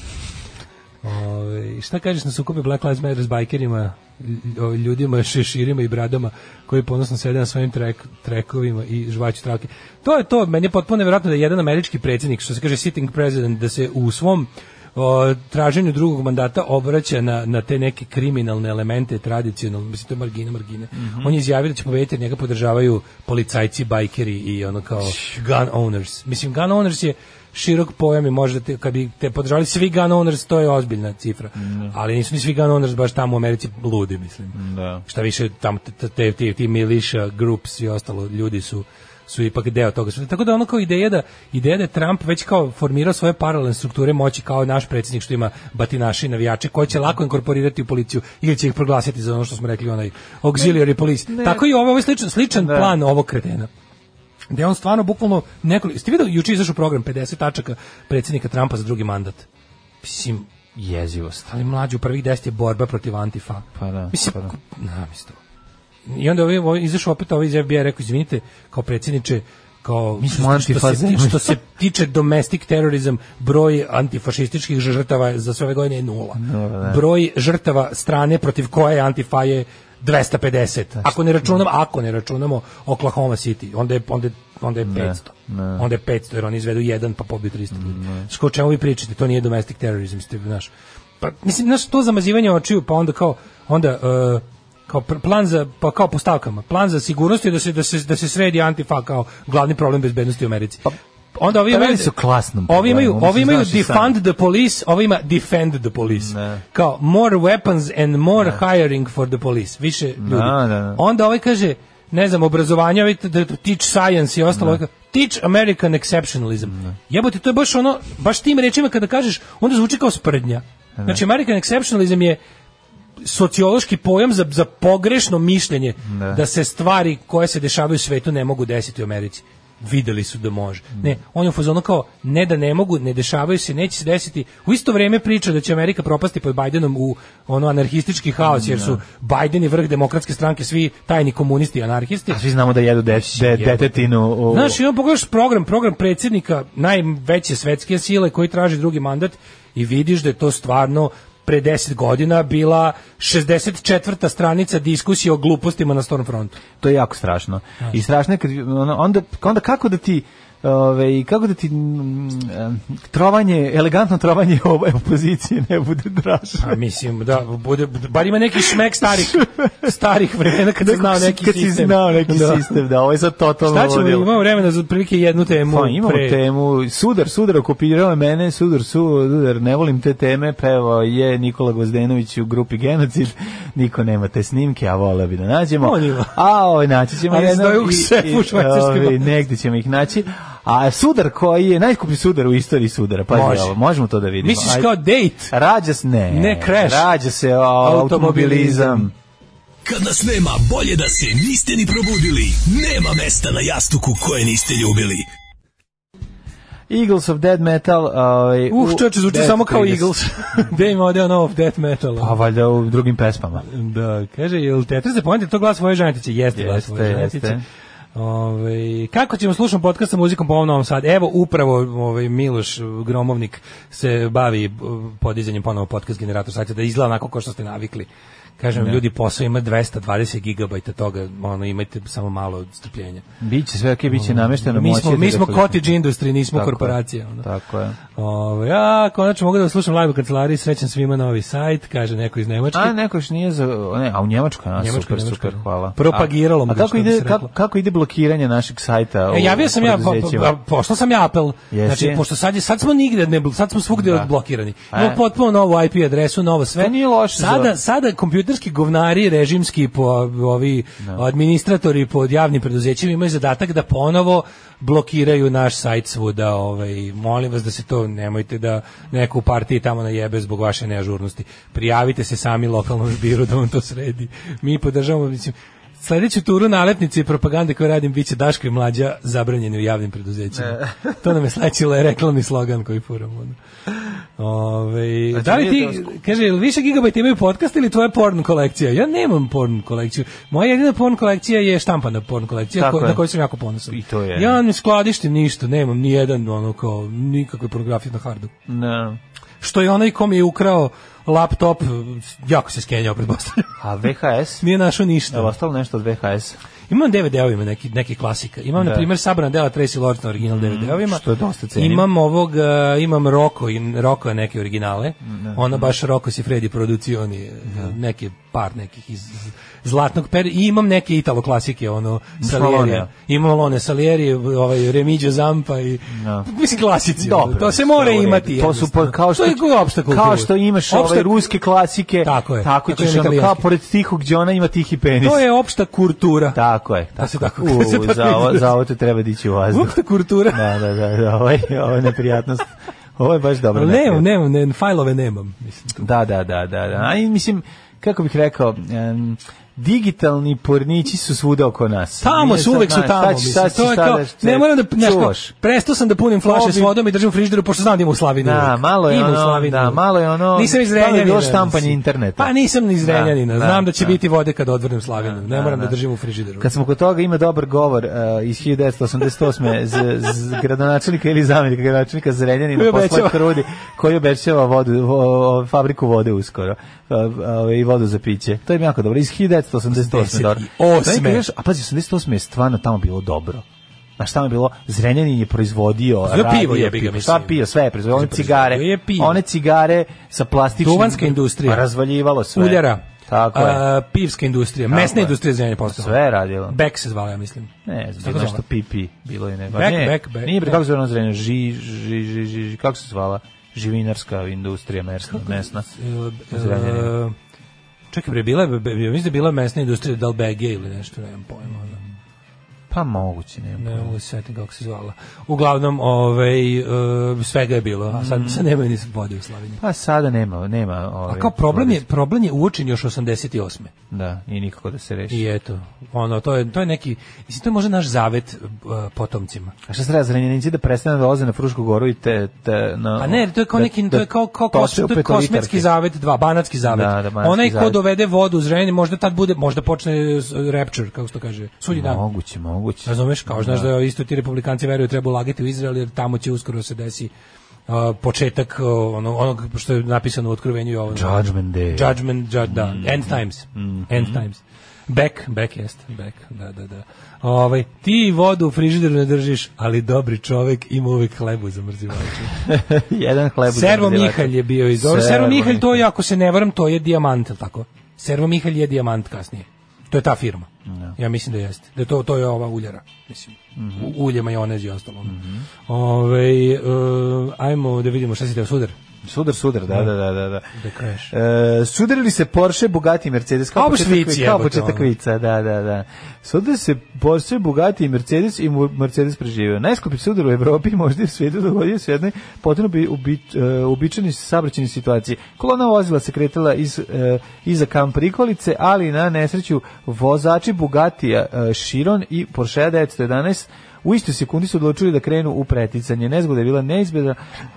Ove, šta kažeš na sukobe Black Lives Matter s bajkerima, lj- o, ljudima, šeširima i bradama koji ponosno sede na svojim trek, trekovima i žvaću trake? To je to, meni je potpuno nevjerojatno da je jedan američki predsjednik, što se kaže sitting president, da se u svom o, traženju drugog mandata obraća na, na te neke kriminalne elemente tradicionalne, mislim to je margina, margina. On je izjavio da će pobediti jer njega podržavaju policajci, bajkeri i ono kao gun owners. Mislim, gun owners je širok pojam i možda te, kad bi te podržali svi gun owners, to je ozbiljna cifra. Ali nisu ni svi gun owners baš tamo u Americi ludi, mislim.
Da.
Šta više, tamo te, te, te, ti militia groups i ostalo, ljudi su su ipak deo toga. Tako da ono kao ideja da ideja da je Trump već kao formirao svoje paralelne strukture moći kao naš predsjednik što ima batinaši i navijače koji će lako inkorporirati u policiju ili će ih proglasiti za ono što smo rekli onaj auxiliary police.
ne. Da.
Tako i ovo, ovo je sličan, sličan plan ovog kretena gde on stvarno bukvalno nekoliko... Ste videli, juče je izašao program 50 tačaka predsjednika Trumpa za drugi mandat. Mislim,
jezivost.
Ali mlađi u prvih 10 je borba protiv antifa.
Pa da,
Mislim,
pa da.
na, mislim. to. I onda ovaj, ovaj izašao opet ovaj iz FBI rekao, izvinite, kao predsjedniče, kao
Mi smo
što-
antifa
što, se, ti-
zemlja.
što se tiče domestic terrorism, broj antifašističkih žrtava za sve ove godine je nula.
Nula, da.
Broj žrtava strane protiv koje je antifa je 250. Ako ne računamo, ako ne računamo Oklahoma City, onda je, onda je, onda je 500.
ne.
Onda je 500, jer oni izvedu jedan pa pobiju 300 ljudi. Znaš, kao o čemu vi pričate, to nije domestic terrorism, ste, znaš. Pa, mislim, znaš, to zamazivanje očiju, pa onda kao, onda, e, kao pr- plan za, pa kao po stavkama, plan za sigurnost je da se, da se, da se sredi antifa kao glavni problem bezbednosti u Americi. onda ovi
pa
imaju,
radi se o klasnom
ovi imaju,
problemu,
ovi
mislim,
imaju
znaš i sam.
defund the police, ovi ima defend the police. Kao more weapons and more hiring for the police. Više ljudi.
Da, da, da.
Onda ovaj kaže, ne znam, obrazovanje, ovaj t- t- teach science i ostalo.
Da.
ovaj kaže, Teach American exceptionalism. Jebote, to je baš ono, baš tim rečima kada kažeš, onda zvuči kao sprdnja.
Da.
Znači, American exceptionalism je sociološki pojam za, za pogrešno mišljenje
Da.
da se stvari koje se dešavaju u svetu ne mogu desiti u Americi. Videli su da može. Ne, on je u fazonu kao ne da ne mogu, ne dešavaju se, neće se desiti. U isto vrijeme priča da će Amerika propasti pod Bidenom u ono anarhistički haos jer su Biden i vrh demokratske stranke svi tajni komunisti i anarhisti.
Da. A svi znamo da jedu de, de, detetinu. u-
Znaš, i on pogledaš program, program predsjednika najveće svetske sile koji traži drugi mandat i vidiš da je to stvarno pre 10 godina bila 64. stranica diskusije o glupostima na Stormfrontu.
to je jako strašno. I strašno je kad ono, onda onda kako da ti Ove, kako da ti mm, em, trovanje, elegantno trovanje ove opozicije ne bude draže.
A mislim da bude bar ima neki šmek starih starih vremena
Da,
kad se znao neki
kad si
sistem.
znao neki
Da.
sistem, da, ovo je sad totalno
Šta ćemo,
ludilo.
imamo vremena za otprilike jednu temu.
Pa, imamo
pre-
temu, sudar, sudar, okupirao je mene, sudar, sudar, ne volim te teme, pevao je Nikola Gvozdenović u grupi Genocid, niko nema te snimke, a voleo bi da nađemo,
On ima.
a ovaj naći ćemo
Ali
jednom
stoji u
i-
šefu
i,
u Švajcarskoj
ovaj, negde ćemo ih naći, a sudar koji je najskuplji sudar u istoriji sudara, pa
Može.
možemo to da vidimo.
Misliš
Ajde.
kao date?
Rađa se, ne,
Ne, crash.
rađa se o, automobilizam.
Automobilizam.
Kad nas nema, bolje da se niste ni probudili. Nema mesta na jastuku koje niste ljubili.
Eagles of Dead Metal. Ovaj,
Uf,
u
čoveče, zvuči samo kao
10:30.
Eagles. Gde ima odeo novog death metala?
Pa valjda u drugim pesmama.
Da, kaže, jel tetra se pomenuti, to glas svoje žanetice? Jeste, glas
Jeste,
svoje žanetice.
jeste.
Ove, kako ćemo slušati podcast sa muzikom po ovom Novom Sadu? Evo, upravo ovaj Miloš Gromovnik se bavi eh, podizanjem ponovo podcast generator sajta, da izgleda onako kao što ste navikli. Kažem,
Da.
vam, ljudi, posao ima 220 gigabajta toga, ono, imajte samo malo strpljenja.
Biće sve okej, biće namešteno.
Mm, Mi
moći
smo,
je
mi
da
smo
ga koristite.
cottage industry, nismo
Tako je,
korporacije. Ono.
Tako je.
Ove, ja, konačno mogu da vas slušam live u kancelariji, srećan svima novi sajt, kaže neko iz Nemačke.
A neko još nije za ne, a u Njemačkoj, a
Njemačka,
super,
Njemačka.
super, hvala.
Propagiralo
A,
mu
a
ga,
kako
što bi
ide
se
kako,
reklo.
kako ide blokiranje našeg sajta?
E,
u
javio sam ja, po,
preduzećima?
po- pošao sam ja apel.
Jesi?
Znači, pošto sad, je- sad smo nigde, ne, bl- sad smo svugde
Da.
odblokirani.
E.
Imamo potpuno novu IP adresu, novo sve.
To nije loše za-
Sada, sada kompjuterski govnari, režimski, po, ovi
Da.
administratori pod javnim preduzećima imaju zadatak da ponovo blokiraju naš sajt svuda. Ovaj, molim vas da se to, nemojte da neko u partiji tamo najebe zbog vaše neažurnosti. Prijavite se sami lokalnom biru da on to sredi. Mi podržavamo, mislim, Sledeću turu nalepnice i propagande koju radim biće Daško i mlađa zabranjeni u javnim preduzećima.
E.
to nam je sledeći le- reklamni slogan koji furamo. ono. Ove,
Znači,
da li
nije
ti,
to-
kaže, jel više gigabajta imaju podcast ili tvoja porn kolekcija? Ja nemam porn kolekciju. Moja jedina porn kolekcija je štampana porn kolekcija
Tako
ko-
je.
na koju sam jako ponosan.
I to je.
Ja ne skladištim ništa, nemam ni jedan ono kao nikakve pornografije na hardu.
Ne.
Što je onaj kom je ukrao laptop, jako se skenjao pretpostavljam.
A VHS?
Nije našao ništa.
Je li ostalo nešto od VHS?
Imam DVD-ovima neki, neki klasika. Imam,
Da. Mm,
na primjer, sabrana dela Tracy Lords na original DVD-ovima.
što je dosta cenim.
Imam ovog, uh, imam Roko, im, Roko neke originale.
Mm, da.
Ono baš Roko si Freddy producioni, eh, neke par nekih iz iz zlatnog perioda. I imam neke Italo klasike, ono, Salierija.
Malonea.
Imam Malone Salieri, ovaj, Remigio Zampa i, mislim, klasici. ono.
Da. Dobro,
to se mora
sve u redu.
imati.
To su pa,
jednostavno.
kao što
to je opšta kultura.
Kao što imaš ovaj
opšta
ove ruske klasike. Tako je. Tako
Tako je
ćeš
na
ono, kao
italijanski.
pored tihog Đona ima tihi penis.
To je opšta kultura.
Tako je.
Da se tako
U,
da se tako
za, ovo,
izrazi.
za ovo te treba dići u vazduh.
Opšta kultura.
Da, da, da, da, ovo je, ovo je neprijatnost. Ovo je baš dobro.
Nemam, nemam, ne, fajlove nemam. Mislim,
Da, da, da, da, da. A i mislim, kako bih rekao, em, digitalni pornići su svuda oko nas.
Tamo
Nije
su,
sad,
uvek su
znaš,
tamo.
sad ćeš-
Mislim,
sad
to
ćeš
je
šta
kao,
da se
ne moram da, nešto,
čuvaš.
prestao sam da punim flaše s
Obi-
vodom i držim u frižideru, pošto znam da ima u slavinu.
Da, malo je
Ima u
ono,
slavinu
da,
uvek.
malo je ono-
Nisam iz
tamo je bilo
Renjanina, mislim.
štampanje interneta.
Pa nisam iz
Da,
Renjanina,
da,
znam da će
da.
biti vode kad odvrnem slavinu, ne moram da držim u frižideru.
Kad smo kod toga ima dobar govor eh, iz 1988. z, z gradonačelnika ili zamjenika gradonačelnika Zrenjanina
Koji
posle
obećava.
Krudi koji obećava vodu, vo- o- fabriku vode uskoro eh, eh, i vodu za piće. To je jako dobro. Iz 1988. dobro.
88..
Znaš, kad kažeš, a pazi, 88. je stvarno tamo bilo dobro. Znaš, tamo je bilo, Zrenjanin je proizvodio,
Proizvodio pivo,
radio
jebi ga, mislim.
šta pio, sve je proizvodio, one
Proizvodio
cigare,
je pivo.
one cigare sa plastičnim,
Duvanska industrija.
razvaljivalo sve.
Uljara.
Tako je.
A, pivska industrija,
Tako
mesna
je.
industrija Zrenjanina je postala.
Sve je radilo.
Bek se zvala, ja mislim.
Ne, znam,
Tako
bilo nešto
zvala.
pipi, bilo je nego.
Back,
ne,
back, back,
Nije bre,
back.
kako se zvala zrenja, ži, ži, ži, ži, ži, kako se zvala? Živinarska industrija mesna, mesna.
E,
Zrenjanin.
e, Čekaj, bre, bila je, be- be- mislim da je bila mesna industrija Dalbege ili nešto, nemam pojma. ono.
Pa moguće, ne.
Ne mogu da se setiti kako se zvala. Uglavnom, ovaj, e, svega je bilo, a
Mm.
sad, sad nema ni vode u Slavini.
Pa sada nema, ovaj, nema.
A
Ove,
kao problem je, problem je uočen još 88.
Da, i nikako da se reši.
I eto, ono, to je, to je neki, mislim, to je možda naš zavet e, potomcima.
A šta se treba zrenjanici da prestane da dolaze na Frušku goru i te... te na,
Pa ne, to je kao
da-
neki, to je kao, kao
da
kos,
toče u
to je
petolitarke.
kosmetski zavet, dva, banatski zavet.
Da, da, banatski
Onaj ko
zavet.
dovede vodu u zrenje, možda tad bude, možda počne s- eh, rapture, kako se to kaže, sudnji dan.
Moguće,
da.
moguće.
Razumeš, kao znaš da isto ti republikanci veruju treba ulagati u Izrael jer tamo će uskoro se desi a, početak a, ono, onog što je napisano u otkrovenju Jovana.
Judgment Day.
Judgment, ju- da, end times. End times. Back, back jest, back, da, da, da. Ovaj, ti vodu u frižideru ne držiš, ali dobri čovek ima uvek hlebu za mrzivaču.
Jedan hleb. u
Servo
zemlji
Mihalj je bio iz dobro. Servo Mihalj, to je, ako se ne varam, to je dijamant, ili tako? Servo Mihalj je dijamant kasnije. To je ta firma. Ja mislim da Mhm. jeste. Da to, to je ova uljara. Mislim. U- Ulje, majonez i ostalo. Ovaj, e, ajmo da vidimo šta si teo sudar.
Sudar, sudar, da, da, da, da. da.
Da kažeš.
E, sudarili se Porsche, Bugatti i Mercedes.
Kao
Kao početak,
Auschwitz,
vi- kao
Pa, jebote,
početak
ono.
vica, da, da, da. Sudarili se Porsche, Bugatti i Mercedes i mu- Mercedes preživio. Najskupi sudar u Evropi i možda i u svijetu dogodio se u jednoj potpuno bi ubi, e, uobičajeni saobraćajnoj situaciji. Kolona vozila se kretala iz, e, iza kam prikolice, ali na nesreću vozači Bugatija e, Chiron i Porsche 911 U istoj sekundi su odlučili da krenu u preticanje. Nezgoda je bila neizbedna,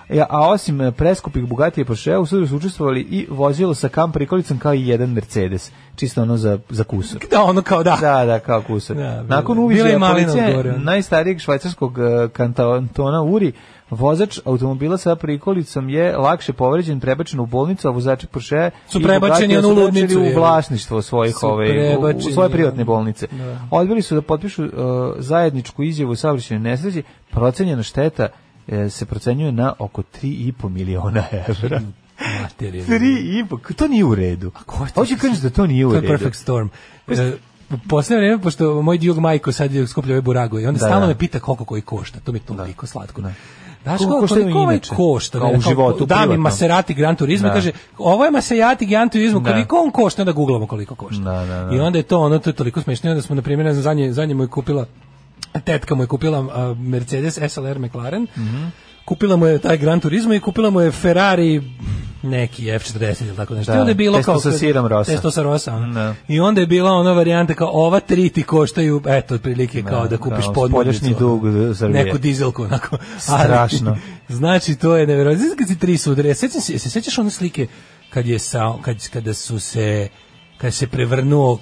e, a osim e, preskupih Bugatija i Porschea, u sudu su učestvovali i vozilo sa kam prikolicom kao i jedan Mercedes. Čisto ono za, za kusur.
Da, ono kao da.
Da, da, kao kusur.
Da, bilo-
Nakon
bila
uviđaja
je malina
policije
gore, ono.
najstarijeg švajcarskog e, kantona Uri, vozač automobila sa prikolicom je lakše povređen, prebačen u bolnicu, a vozači Porschea
Su
i
prebačeni
Bugattija
ono u
su prebačeni
ludnicu, je li?
u vlasništvo svojih
Su
ove, u- u,
prebačeni,
svoje privatne
ono.
bolnice.
Da.
Odbili su da potpišu e, zajedničku izjavu o saobraćajnoj nesreći, procenjena šteta e, se procenjuje na oko 3,5 miliona evra.
Materija.
3,5, to nije u redu.
ko je to?
Hoće kažeš da to nije u
To je
redu.
perfect storm. E, u posljednje vreme, pošto moj djug majko sad je skuplja ove burago i onda
Da,
stalno
da.
me pita koliko koji košta. To mi je toliko slatko. Znaš
Koliko
koliko,
koštaju
koliko ovaj
inače?
košta?
Kao
ne,
u životu,
Da mi
privatno.
Maserati Gran Turismo
Da.
kaže, ovo je Maserati Gran Turismo,
Da.
koliko on košta? Onda googlamo koliko košta.
Da, da, da.
I onda je to, ono, to je toliko smiješno. I onda smo, na primjer, ne znam, zadnje, zadnje mu je kupila, tetka mu je kupila a, Mercedes SLR McLaren,
Mhm.
kupila mu je taj Gran Turismo i kupila mu je Ferrari neki F40 ili tako nešto.
Da,
I onda je bilo
testo
kao...
sa sirom rosa.
Testo sa rosa. ono.
Da.
I onda je bila ona varijanta kao ova tri ti koštaju, eto, otprilike kao da kupiš
kao
podmornicu.
spoljašnji
ono,
dug za Srbije.
Neku dizelku, onako. Ali-
Strašno.
znači, to je nevjerojatno. Znači, kad si tri sudare, sećam se, se sećaš one slike kad je sa, kad, kada su se, kada se prevrnuo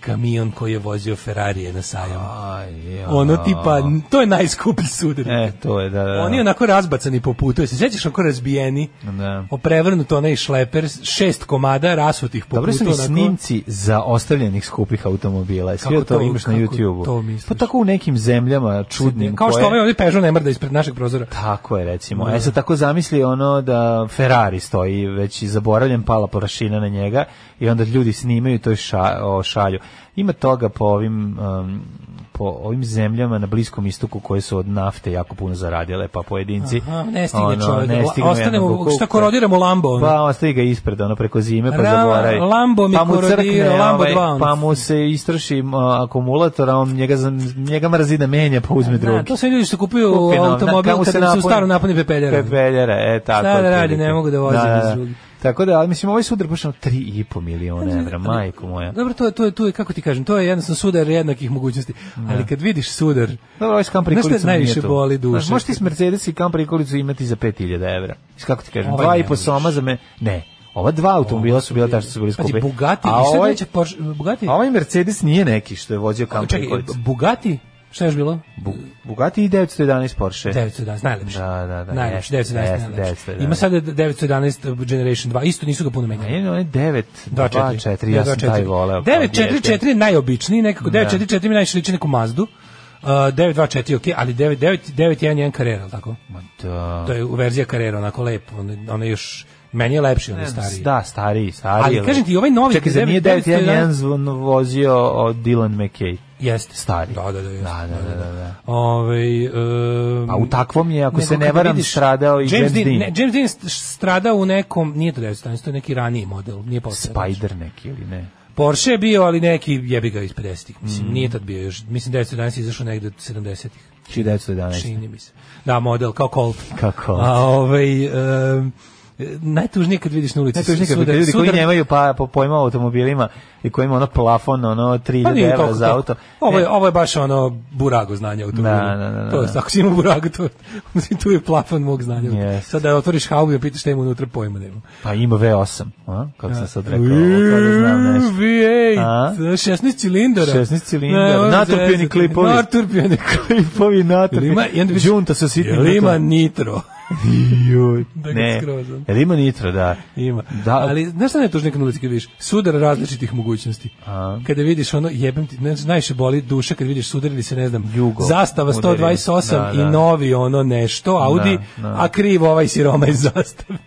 kamion koji je vozio Ferrarije na sajam.
Aj, ja.
Ono tipa, n- to je najskuplji sudar.
E, to je, da, da. da.
Oni onako razbacani po putu. Se sećaš onako razbijeni?
Da.
Oprevrnuto onaj šleper, šest komada rasutih po
Dobro
putu.
su mi
onako.
snimci za ostavljenih skupih automobila. Sve
Kako
to,
to-
imaš na
kako
YouTube-u.
to misliš?
Pa tako u nekim zemljama čudnim.
Kao što Da,
koje-
ovaj ovdje Peugeot ne mrda ispred našeg prozora.
Tako je, recimo. E sad tako zamisli ono da Ferrari stoji, već i zaboravljen, pala porašina na njega i onda ljudi snimaju i to ša, o, šalju. Ima toga po ovim um, po ovim zemljama na bliskom istoku koje su od nafte jako puno zaradile, pa pojedinci
Aha, ne stigne čovjek, ostanemo,
jednog
šta korodiramo Lambo, ono?
Pa ostavi ga ispred, ono preko zime, pa
Ra-
zaboravi.
Lambo mi
pa mu
korodira,
crkne,
Lambo
ovaj,
dva, ono.
pa mu se istroši uh, akumulator, a on njega, za- njega mrzi da menja, pa uzme drugi.
Da, to su ljudi što kupuju
Kupi, no,
automobil
kako
kad im se u
napuni-
staro napuni pepeljara.
Pepeljara, e, tako.
Šta da
otprilike.
radi, ne mogu da vozim iz drugih.
Tako da, ali mislim, ovaj sudar pošto 3,5 miliona evra, majko moja.
Dobro, to je, to je, to je, kako ti kažem, to je jednostavno sudar jednakih mogućnosti.
Da.
Ali kad vidiš sudar,
Dobro, ovaj s kam
znaš šta
prikolicom
najviše boli duše?
Znaš, možeš ti s Mercedes i kam prikolicu imati za 5000 evra. Znaš kako ti kažem,
Ovaj
dva
ne
i po
možeš.
soma za me, ne. Ova dva automobila su bila ta što su bili
Pazi,
skupi.
Bugatti,
a
šta
ovaj,
neće Porsche, Bugatti?
a ovaj Mercedes nije neki što je vozio kam
Čekaj, e,
prikolicu.
Bugatti? Šta je još bilo?
Bu- Bugatti i 911 Porsche.
911, najlepši.
Da, da, da.
najlepši,
jeste,
911,
jeste, da,
najlepši.
911.
Ima sada 911 Generation 2, isto nisu ga puno menjali.
Jedno je 9, 2, 4, ja sam taj voleo. kao dijete. Da.
944 je najobičniji, nekako 944 mi najviše liči na neku Mazdu. Uh, 924 ok, ali 99 911 Carrera, jel tako?
Da.
To je verzija Carrera, onako lepo, ona, ona još meni je lepši, on je stariji.
Da, stariji, stariji.
Ali kažem ti, i ovaj novi
Čekaj, zar nije
911
911 zvon- vozio od Dylan McKay?
Jeste.
Stari.
Da, da, da. jeste.
Da, da, da, da.
Ovaj um,
A u takvom je, ako
nego
se ne
kada
varam,
vidiš-
stradao i James Dean.
Ne, James Dean st- stradao u nekom, nije to 911, to je neki raniji model, nije posle.
Spider neki ili ne?
Porsche je bio, ali neki jebi ga iz 50-ih. Mislim,
Mm.
nije tad bio još. Mislim, 911 je izašao negde od 70-ih.
1911.
Čini mi se. Da, model, kao Colt.
Kao Colt.
A, ovaj, um, najtužnije kad vidiš na ulici.
Najtužnije kad
sudar-
ljudi koji
sudar-
nemaju pa, po pojma o automobilima i koji ima ono plafon, ono 3000
Pa nije
evra
toliko,
za
toliko.
auto.
Ovo je,
E,
ovo je baš ono burago znanja automobila.
Da, da, da, da,
To je,
da.
ako si imao burago, to, tu je plafon mog znanja.
Yes.
Sad da otvoriš haubu i da pitaš šta ima unutra, pojma nema.
Pa ima V8, a? kako sam sad rekao, ovo kao da znam nešto. A?
V8, 16 cilindara.
16
Ne,
cilindar,
ono
natrpljeni
zezate.
klipovi.
Natrpljeni
klipovi, natrpljeni.
Jel ima- i onda bi-
Džunta sa sitnim.
Jel ima
motorom.
nitro?
Joj,
Da ga
ne.
skroz, ono.
Jel ima nitro, da.
Ima.
Da.
Ali znaš šta je najtužnije kad na ulici kad vidiš? Sudar različitih mogućnosti.
A.
Kada vidiš ono, jebem ti, ne, znam, najviše boli duša kad vidiš sudar ili se ne znam,
Jugo.
zastava
Udari.
128
Da, da.
i novi ono nešto, Audi,
Da, da.
a kriv ovaj siroma iz zastave.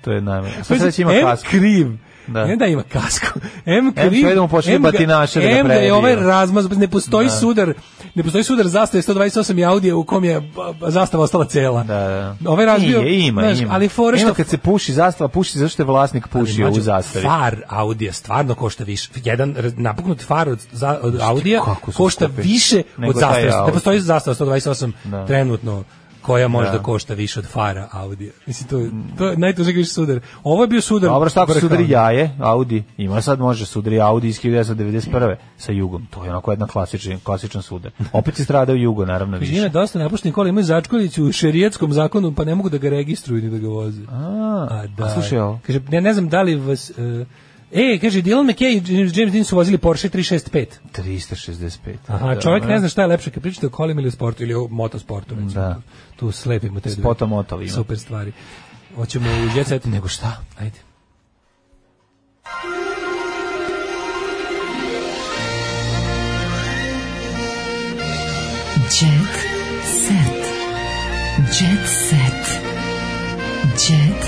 To je najmanje. Sad da će ima
M
kasku.
kriv.
Da.
Da. da ima kasku. M
M
kriv.
sve da mu počne
M ga-
batinaše da ga
M da je
prebiju.
ovaj razmaz, ne postoji
Da.
sudar, ne postoji sudar zastave 128 i Audija u kom je ba, ba, zastava ostala cela.
Da, da.
Ovaj razbio,
Nije, ima,
znaš,
ima.
ali fore
Ima
što
kad se puši zastava, puši zašto je vlasnik pušio
Mlađo,
u zastavi.
Far Audija stvarno košta više. Jedan raz- napuknut far od, za, od Audija
kako su
košta
skupi.
više
Nego
od
taj
zastave. Ne
Audi.
postoji zastava 128
Da.
trenutno koja možda
Da.
košta više od fara Audija. Mislim, to je, to je najtužniji više sudar. Ovo je bio sudar.
Dobro, šta ako
vrha, ono.
sudari jaje, Audi, ima sad može sudari Audi iz 1991. sa jugom, to je onako jedan klasičan, klasičan sudar. Opet je stradao jugo, naravno
Kaže, Ima
više.
dosta napuštenih kola, imaju začkoljicu u šerijetskom zakonu, pa ne mogu da ga registruju ni da ga voze.
A,
A, da.
a slušaj ovo.
Kaže, ne, ne znam da li vas... e, E, kaže, Dylan McKay i James James Dean su vozili Porsche 365.
365.
Aha,
Da,
čovjek
da.
ne zna šta je lepše kad pričate o kolima ili o sportu ili o motosportu. Recimo.
Da.
Tu slepimo te dve
Spoto moto ima.
super stvari. Hoćemo u djecet.
Nego šta?
Ajde.
Jet set. Jet set. Jet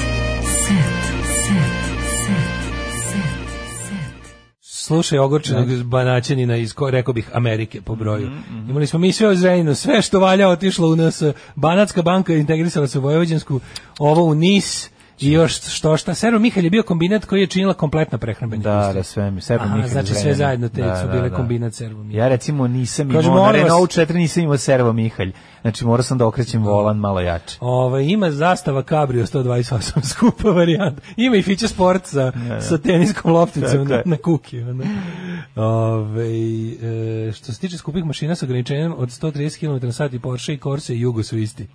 set. Set. Set. Set. Set.
Slušaj ogorčenog
Da.
banaćanina iz, ko- rekao bih, Amerike po broju.
Mhm,
Imali smo mi sve o Zrenjinu, sve što valja otišlo u nas. Banatska banka integrisala se u Vojvođansku, ovo u NIS i još što šta. Sero Mihalj je bio kombinat koji je činila kompletna prehrambena
Da,
industrija.
da, sve mi. Sve mi
Aha,
nikad
znači sve
vremena.
zajedno te
Da,
su
da,
bile
da.
kombinat Servo Mihalj.
Ja recimo nisam
Kaže,
imao, na
molim vas-
Renault 4 nisam imao servo Mihalj. Znači morao sam da okrećem volan malo jače.
Ove, Ovaj, ima zastava Cabrio 128 skupa varijanta. Ima i Fiće Sport sa, sa teniskom lopticom
Tako
na,
je.
na kuki. ono. Ovaj, e, što se tiče skupih mašina s ograničenjem od 130 km na sat i Porsche i Corsa i Jugo su isti.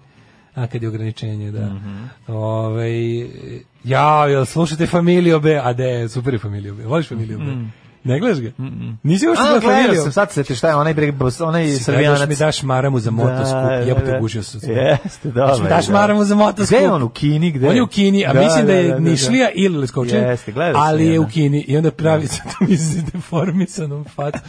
A kad je ograničenje, da.
Mhm.
Ovaj, e, ja, jel slušate Familio B? A de, super je Familio B. Voliš Familio B? Ne gledaš ga? Nisi još
A,
gledao
gledao
Familio?
sam, sad se ti šta je, onaj, bre- onaj
Si gledao što
srbijanac. Da,
mi daš maramu za motoskup, ja bi te gušio sa
Jeste, dobro.
Znači, daš maramu za motoskup.
E, da. Gde je on, u Kini? Gde?
On je u Kini, a
Da,
mislim da,
da,
je
da, da, da.
Nišlija ili Leskovčan.
Jeste, gledao sam Da.
Ali je
jedan.
u Kini i onda pravi sa tom iz deformisanom facu.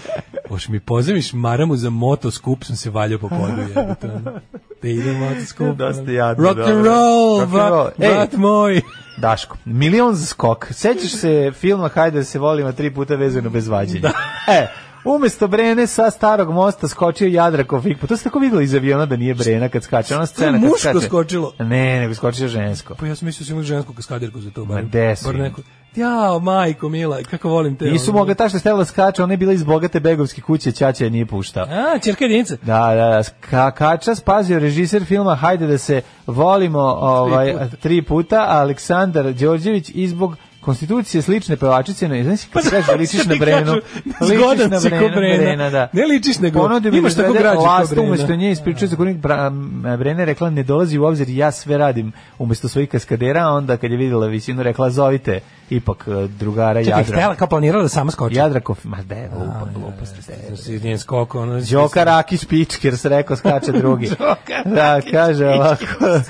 Hoš mi pozemiš maramu za motoskup, sam se valjao po podu. jebote, ono. Da idem motoskup.
Dosta jadno,
Rock and
dobro.
roll,
Rock and roll.
brat,
Ej.
brat moj.
Daško, milion za skok. Sećaš se filma Hajde da se volimo tri puta vezano bez vađenja?
Da.
E, Umesto Brene sa starog mosta skočio Jadrakov ikpo. To ste tako videli iz aviona da nije Brena kad skače. Ona
To
scena
je
kad
muško
skače.
skočilo.
Ne, nego skočio žensko.
Pa ja sam mislio da imali žensku kaskaderku za to.
Ma
barem.
gde si?
Bar neku. Jao, majko, mila, kako volim te.
Nisu
ono.
mogli ta što je stavila skače, ona je bila iz bogate begovske kuće, Ćaća je nije puštao.
A, čerka jedinica.
Da, da, da. Ka, Kača spazio režiser filma Hajde da se volimo ovaj, tri, puta. a Aleksandar Đorđević izbog konstitucije slične pevačice, ne znaš kako
Pa,
kaže, ličiš na
Sad mi
Brenu.
kažu,
Ličiš
zgodan
na
si ko
Brenu,
Brena.
Brena, da.
Ne ličiš, nego
Ponudio mi
imaš
da
tako
izvede
građu ko
Lastu,
Brena.
Umesto nje ispričao za konik Brena je rekla ne dolazi u obzir, ja sve radim umesto svojih kaskadera, a onda kad je vidjela visinu rekla zovite ipak eh, drugara
Čekaj,
Jadra.
htjela kao planirala da sama skoči.
Jadrakov, ma de, lupa, lupa,
Znači, njen skok, ono...
Đoka Rakić Pičkir se rekao skače drugi. da, kaže ovako.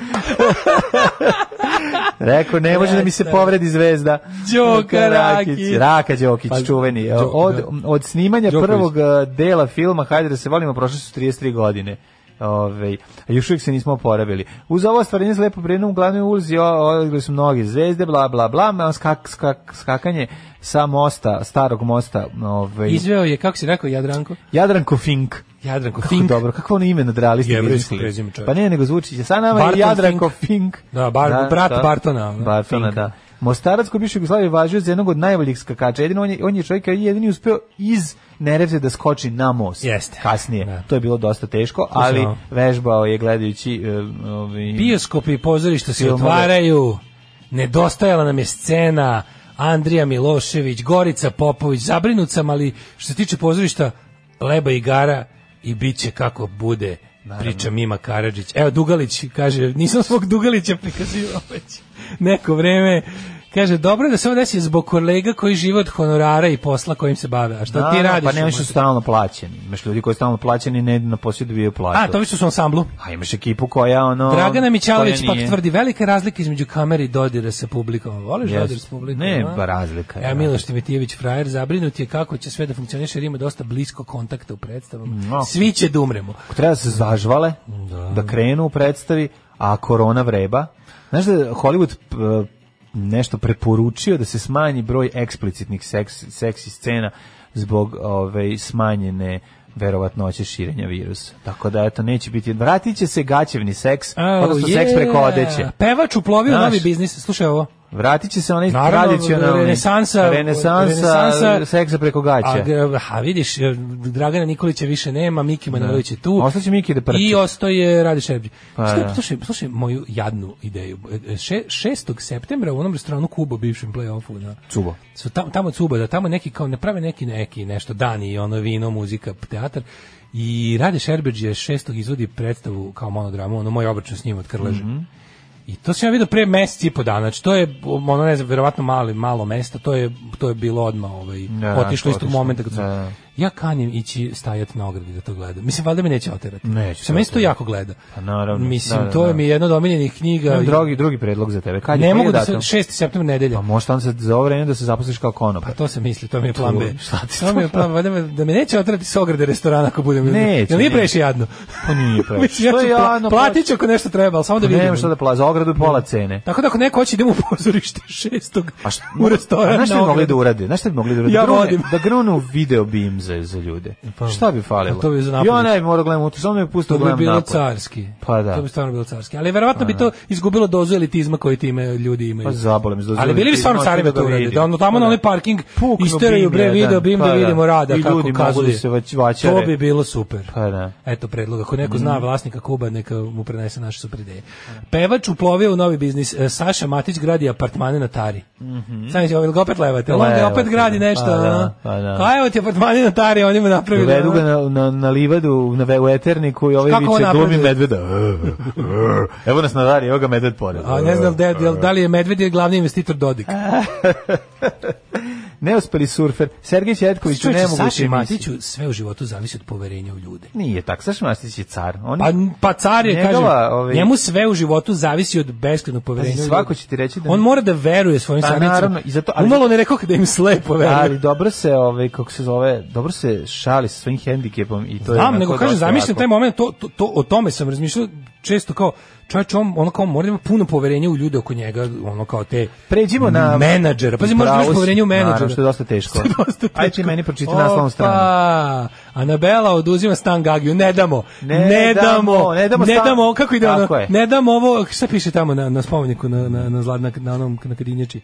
rekao, ne može da mi se povredi zvezda.
Đoka Rakić.
Raka Đokić,
Pa,
čuveni.
Đo-
Od,
da.
od snimanja
Đoković.
prvog eh, dela filma Hajde da se volimo, prošle su 33 godine. Ove, a još uvijek se nismo oporavili. Uz ovo stvarenje s lepo brinu u glavnoj ulici o- odigrali su mnogi zvezde, bla, bla, bla, ma, skak, skak, skakanje sa mosta, starog mosta. Ove,
Izveo je, kako si rekao, Jadranko?
Jadranko Fink.
Jadranko
Kako
Fink.
dobro, kako ono ime nad realistima
Jevrejsko
izmislili?
prezime, čovječe.
Pa ne, nego zvuči će. Sa nama
Barton
je Jadranko Fink.
Da, bar- brat
to.
Bartona, ono,
Bartona,
Finka.
da. Mostarac koji je bivši Jugoslavije važio za jednog od najboljih skakača. Jedino on je, on je čovjek koji je jedini uspeo iz Neretve da skoči na most.
Jeste.
Kasnije.
Da.
To je bilo dosta teško, ali
znao.
vežbao je gledajući e, ovaj,
Bioskopi i pozorišta se
Filmove.
otvaraju, nedostajala nam je scena, Andrija Milošević, Gorica Popović, zabrinut sam, ali što se tiče pozorišta, leba igara i bit će kako bude, priča Mima Karadžić. Evo, Dugalić kaže, nisam svog Dugalića prikazivao već neko vreme, Kaže, dobro je da se ovo desi zbog kolega koji žive od honorara i posla kojim se bave. A šta
Da,
ti
da,
radiš?
Pa nemaš su
umote?
stalno plaćeni. Imaš ljudi koji su stalno plaćeni ne na posjedu bio platu.
A, to vi što su u ansamblu?
A imaš ekipu koja ono...
Dragana Mićalović
Ehm, koja
pak
nije.
tvrdi velika je razlika između kamere i dodira sa publikom. Voliš
Jest.
dodir s publikom?
Ne,
a?
ba, razlika je,
Ja
da.
Miloš Timitijević frajer zabrinut je kako će sve da funkcioniše jer ima dosta blisko kontakta u predstavama.
No.
Svi će da umremo.
Ako treba da se zažvale, da. krenu u predstavi, a korona vreba. Znaš da je Hollywood p- nešto preporučio da se smanji broj eksplicitnih seks, seksi scena zbog ove, smanjene verovatnoće širenja virusa. Tako da, eto, neće biti... Vratit će se gaćevni seks, odnosno seks preko odeće.
Pevač uplovio u
Znaš.
novi biznis. Slušaj ovo.
Vratit će se onaj
Naravno,
tradicionalni...
renesansa-
renesansa,
renesansa-
seksa preko
A,
gaće.
g- aha, vidiš, e, Dragana Nikolića više nema, Miki Manojlović je tu.
Ostaće Miki da prči.
I ostaje Radi Šerbić.
Pa,
slušaj,
da.
slušaj, slušaj moju jadnu ideju. E, Še, 6. septembra u onom restoranu Kubo, bivšem play-offu. Da.
Cubo.
su tam, tamo cuba da tamo neki kao ne prave neki neki nešto dani i ono vino muzika p- teatar i Rade Šerbedž je šestog izvodi predstavu kao monodramu ono moj obračun s njim od Krleže
Mhm.
I to sam ja vidio pre mesec i po dana. Znači, to je, ono ne znam, verovatno malo, malo mesta, to je, to je bilo odmah ovaj,
Da,
otišlo istog
otišlo.
momenta. Kad sam,
Da.
Ja kanjem ići stajati na ogradi da to gledam. Mislim, valjda me neće oterati.
Neće
Se meni se to
oterati.
jako gleda.
Pa naravno.
Mislim,
Da, da,
to
da.
je mi jedna od omiljenih knjiga.
Imam drugi, drugi predlog za tebe. Kad je
ne
koji je
mogu da se,
datum?
6. septembra nedelja.
Pa možda onda se za ovo vreme da se zaposliš kao konobar.
To se misli, to mi je plan B.
To, šta ti
To mi je plan, valjda me- da me neće otrati s ograde restorana ako budem.
Neće,
Jel nije
neće.
previše jadno?
Pa nije pravo.
Mislim, ja ću pla- platit ću ako nešto treba, ali samo da vidim.
pa- Nema šta da plaća, za ogradu je pola cene.
Tako da ako neko hoće idemo u pozorište šestog u restoran.
Znaš šta
na
bi mogli
ogradu.
da urade? Znaš šta bi mogli da urade?
Ja
Da grune-
vodim.
Da grunu video beam za, za ljude.
Pa,
šta bi falilo?
a to bi za napolje.
Ja ne bi morao da gledam, samo me pusto
To bi
gledam
bilo
napolje.
carski.
Pa da.
To bi stvarno bilo carski. Ali verovatno bi to izgubilo dozu elitizma koju time ljudi imaju.
Pa zabolem, za
Ali bili bi stvarno
elitizma,
cari
hoću
da
da
to
ga
urade.
vidim.
Da ono tamo
Pa
na
da.
onaj parking
Puknu
isteraju
bim,
bre
jedan.
video bim
Pa
da
da.
vidimo rada
I
kako
ljudi mogu da
kazuje.
se vać- vaćare.
To bi bilo super.
Pa da.
Eto predloga. Ako neko zna
Mhm.
vlasnika Kuba, neka mu prenese naše super ideje. Pevač uplovio u novi biznis. E, Saša Matić gradi apartmane na Tari. Mm Sad će ga opet levate. ali Onda
Mhm. Levate,
opet gradi
da.
nešto.
Pa da,
ono.
pa da.
Pa evo ti apartmane na Tari, oni mu napravili.
Dovedu
ono.
Da ga na, na, na livadu, na ve- u eterniku i ovaj
Kako on
viče glumi
napreduje?
medveda. Evo nas na dari, evo ga medved pored.
A ne znam da, da, da li je Medved ili glavni investitor Dodik.
E, Neuspeli surfer, Sergej Četković u
Čovječe,
nemogućoj
Saši
emisiji.
Matiću sve u životu zavisi od poverenja u ljude.
Nije tak, Saša Mastić je car. On
Pa, pa car je,
Njegova,
kažem,
ovaj-
njemu sve u životu zavisi od beskrednog poverenja.
Pazi,
u
svako
ljude.
će ti reći da-
On mora da veruje svojim
Pa,
savjetima.
naravno, i zato- ali-
Umalo ne rekao da im slepo veruje.
Ali dobro se, ovaj, kako se zove, dobro se šali sa svojim hendikepom i to
Znam,
je... onako
nego
dosta
kažem, zamišljam
ovako.
taj moment, to, to, to- o tome sam razmišljao često kao čovjek on ono kao mora da ima puno poverenja u ljude oko njega, ono kao te
pređimo na
menadžera. Pazi, možeš da imaš
Pravo si-
poverenje u menadžera.
Naravno, što je dosta teško.
Što je dosta teško.
Ajde ti meni pročita naslovnu stranu.
Opa, Anabela oduzima stan Gagiju, ne damo.
Ne
Ne,
damo,
damo,
ne damo stan.
kako ide ono?
Tako je.
Ne damo ovo, šta piše tamo na na spomeniku na na na zladna na onom na Kadinjači.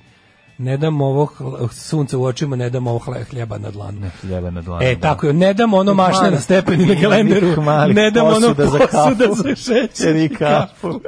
Ne dam ovo hl- sunce u očima, ne dam ovo hle- hljeba na dlanu.
Ljebe na dlanu.
E,
da.
tako je, ne dam ono
Tih
mašne
malih-
na stepeni na
tih
gelenderu,
malih
ne dam ono
posuda za
posuda
kafu.
za šećer
I
i
kafu.
kafu.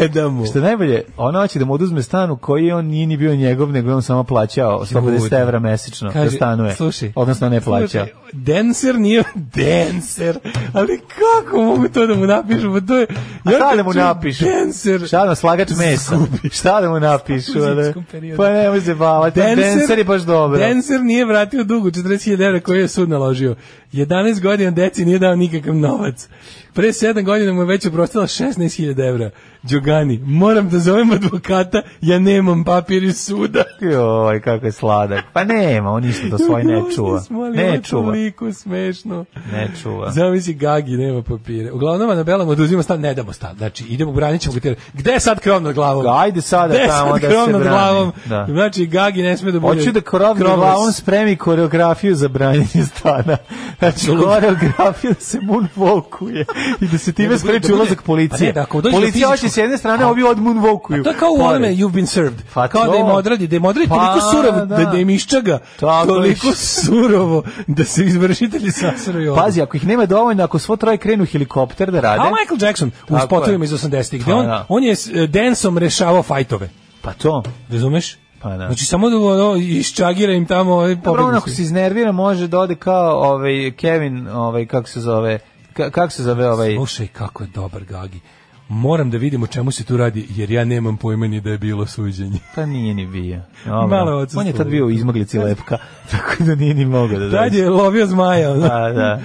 ne damo.
Što je najbolje, ona hoće da mu oduzme stan u koji on nije ni bio njegov, nego je on samo plaćao 150 evra mesečno da stanuje.
Slušaj,
Odnosno ne plaćao.
slušaj, Denser nije denser, ali kako mogu to da mu napišu? Pa to je,
A šta
kad
da mu
čujem
napišu?
Denser,
Šta da slagač mesa? Šta da mu napišu? a da-
zimskom periodu.
Pa nemoj se bavati. Dancer, je baš dobro.
Dancer nije vratio dugu 40.000 evra koji je sud naložio. 11 godina deci nije dao nikakav novac. Pre 7 godina mu je već oprostila 16.000 evra. Đogani, moram da zovem advokata, ja nemam papir iz suda.
Joj, kako je sladak. Pa nema, on ništa do svoje ne čuva. Ne čuva.
ovaj Toliko smešno.
Ne čuva.
Zamisli Gagi, nema papire. Uglavnom, na Belama oduzima stan, ne damo stan. Znači, idemo, branit ćemo ga tjera. Gde je sad krov nad glavom?
Ajde sada
Gde je
tamo
sad
da
krov
se
nad
brani.
glavom?
Da.
Znači, Gagi ne sme da bude...
Hoću da krovni
krovless.
glavom spremi koreografiju za branjenje stana. Znači,
Apsolutno.
koreografija da se moonwalkuje i da se time
Ne, da bude-
spreči
da bude-
ulazak policije.
Pa ne, da ako dođe do
Policija hoće
fizičkog-
s jedne strane, ovi od moonwalkuju.
A to je kao u
Pored.
onome You've been served.
Pa
kao
to.
da im odradi, da im odradi
Pa,
toliko surovo,
da.
da, da im iščaga.
Tako
toliko
je.
surovo da se izvršitelji sasraju. ovo.
Pazi, ako ih nema dovoljno, ako svo troje krenu helikopter da rade...
A Michael Jackson u
Tako
spotovima
je.
iz 80-ih,
Pa
gde on,
da.
on je s- eh, densom rešavao fajtove.
Pa to.
Razumeš?
Pa da.
Znači samo da ono, iščagira im tamo ovaj
Dobro, on
pobegnu
ako
svi.
se iznervira može da ode kao ovaj Kevin, ovaj kako se zove, ka- kako se zove ovaj
Slušaj kako je dobar Gagi. Moram da vidim o čemu se tu radi, jer ja nemam pojma ni da je bilo suđenje.
Pa nije ni bio.
Malo je
Dobro.
odsustvo.
On je tad bio u izmaglici lepka, tako da nije ni mogao da
Tad
dođe.
je lovio zmaja. ono.
Da, da.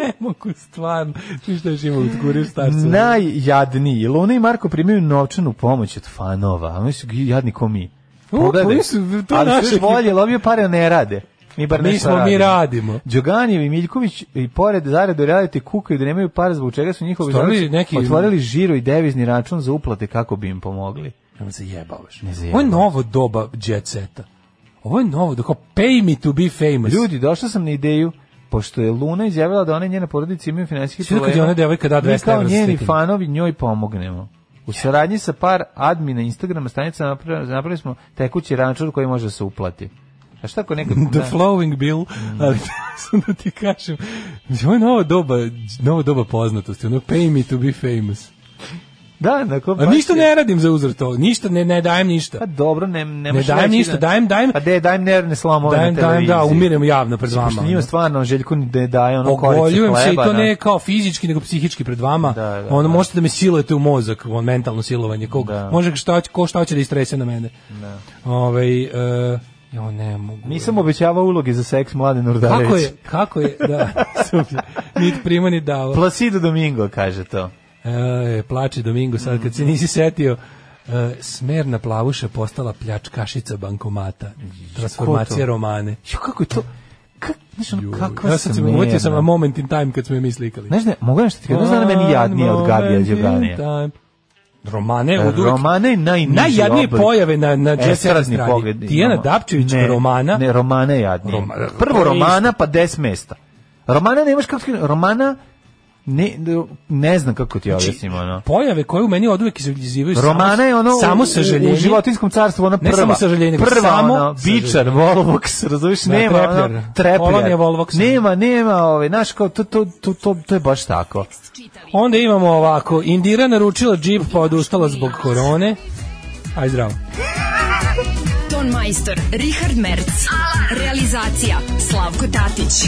ne mogu stvarno. Ti šta još ima u kurir starcu?
Najjadniji. Luna i Marko primaju novčanu pomoć od fanova. A oni su jadni ko mi.
U, pa nisu, to je
Ali
naša
su još
ekipa.
volje, lovio pare, a ne rade. Mi bar
Mi
nešto
smo,
radimo.
mi radimo.
Đoganijev i Miljković i pored zaradu reality kukaju da nemaju para zbog čega su njihovi
Stvarno je
žalci
neki-
otvorili žiro i devizni račun za uplate kako bi im pomogli.
Ne zajebavaš.
Ne zajebavaš.
Ovo je novo doba jet seta. Ovo je novo, doko pay me to be famous.
Ljudi, došla sam na ideju pošto je Luna izjavila da ona i njena porodica imaju finansijski
Sve kad
problema.
je ona devojka da 200
Mi
evra
kao
za
njeni
slikanje.
fanovi njoj pomognemo. U saradnji sa par admina Instagrama stranica napravili, napravili smo tekući račun koji može da se uplati. A šta ako nekako...
The flowing bill,
Mm.
ali sam da ti kažem, ovo je nova doba, nova doba poznatosti, ono pay me to be famous.
Da, na kom
A Pa ništa ne radim za uzor to, ništa, ne, ne dajem ništa.
Pa dobro, ne, ne,
Ne dajem ništa, dajem, dajem,
Pa de, dajem nervne slomove
dajem,
na
dajem,
televiziji.
da, umirem javno pred vama.
Pošto njima
ono.
stvarno Željko ne daje ono koricu
Ogoljujem
hleba.
se i to
da.
ne kao fizički, nego psihički pred vama.
Da, da,
ono,
da.
možete da me silujete u mozak, on mentalno silovanje. Kog,
Da.
Može šta, hoće- ko šta hoće da istrese na mene. Ovaj, e, jo, ne mogu.
Nisam obećavao uloge za seks mlade Nurdarević.
Kako je, kako je, da, super. nit prima, nit dava.
Placido Domingo kaže to.
E, plače Domingo, sad kad se nisi setio, e, smerna plavuša postala pljačkašica bankomata.
ko to?
Transformacija romane.
Jo, kako je to? Kak, znaš, ono, kakva
Ja sad sam
smerna.
uvatio sam a moment in time kad smo je mi slikali.
Znaš ne, mogu nešto ti kažem, znaš da meni jadnije od Gabija
Moment in
Đoganija.
time. Romane od uvek
Romana je najniži
najjadnije
oblik.
pojave na na jet set
Estradni
strani.
pogled.
Tijana
Roma-
Dapčević
ne,
Romana
Ne, Romana je jadnije.
Roma-
Prvo
to je
Romana, pa des mesta. Romana nemaš kako... ti kažem, Romana... Ne, ne znam kako ti
Znači,
objasnim, ono.
pojave koje u meni oduvek izazivaju samo-
Romana je ono
samo
u-
sažaljenje.
u životinskom carstvu ona
Ne
prva.
samo sažaljenje, nego
prva
samo
ono, bičar,
sažaljenje.
Volvox, razumiješ,
Da,
nema
trepljer.
ono, trepljer.
Polonija Volvoxa.
Nema, nema, ovaj, znaš, kao, to, to, to, to, to je baš tako.
Onda imamo ovako, Indira naručila džip pa odustala zbog korone. Aj zdravo.
Ton majstor, Richard Merc. Realizacija, Slavko Tatić.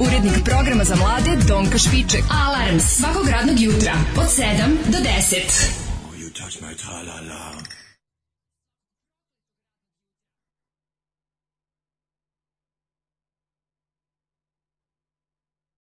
Urednik programa za mlade, Donka Špiček. Alarms svakog radnog jutra, od 7 do 10.
You touch my ta-la-la.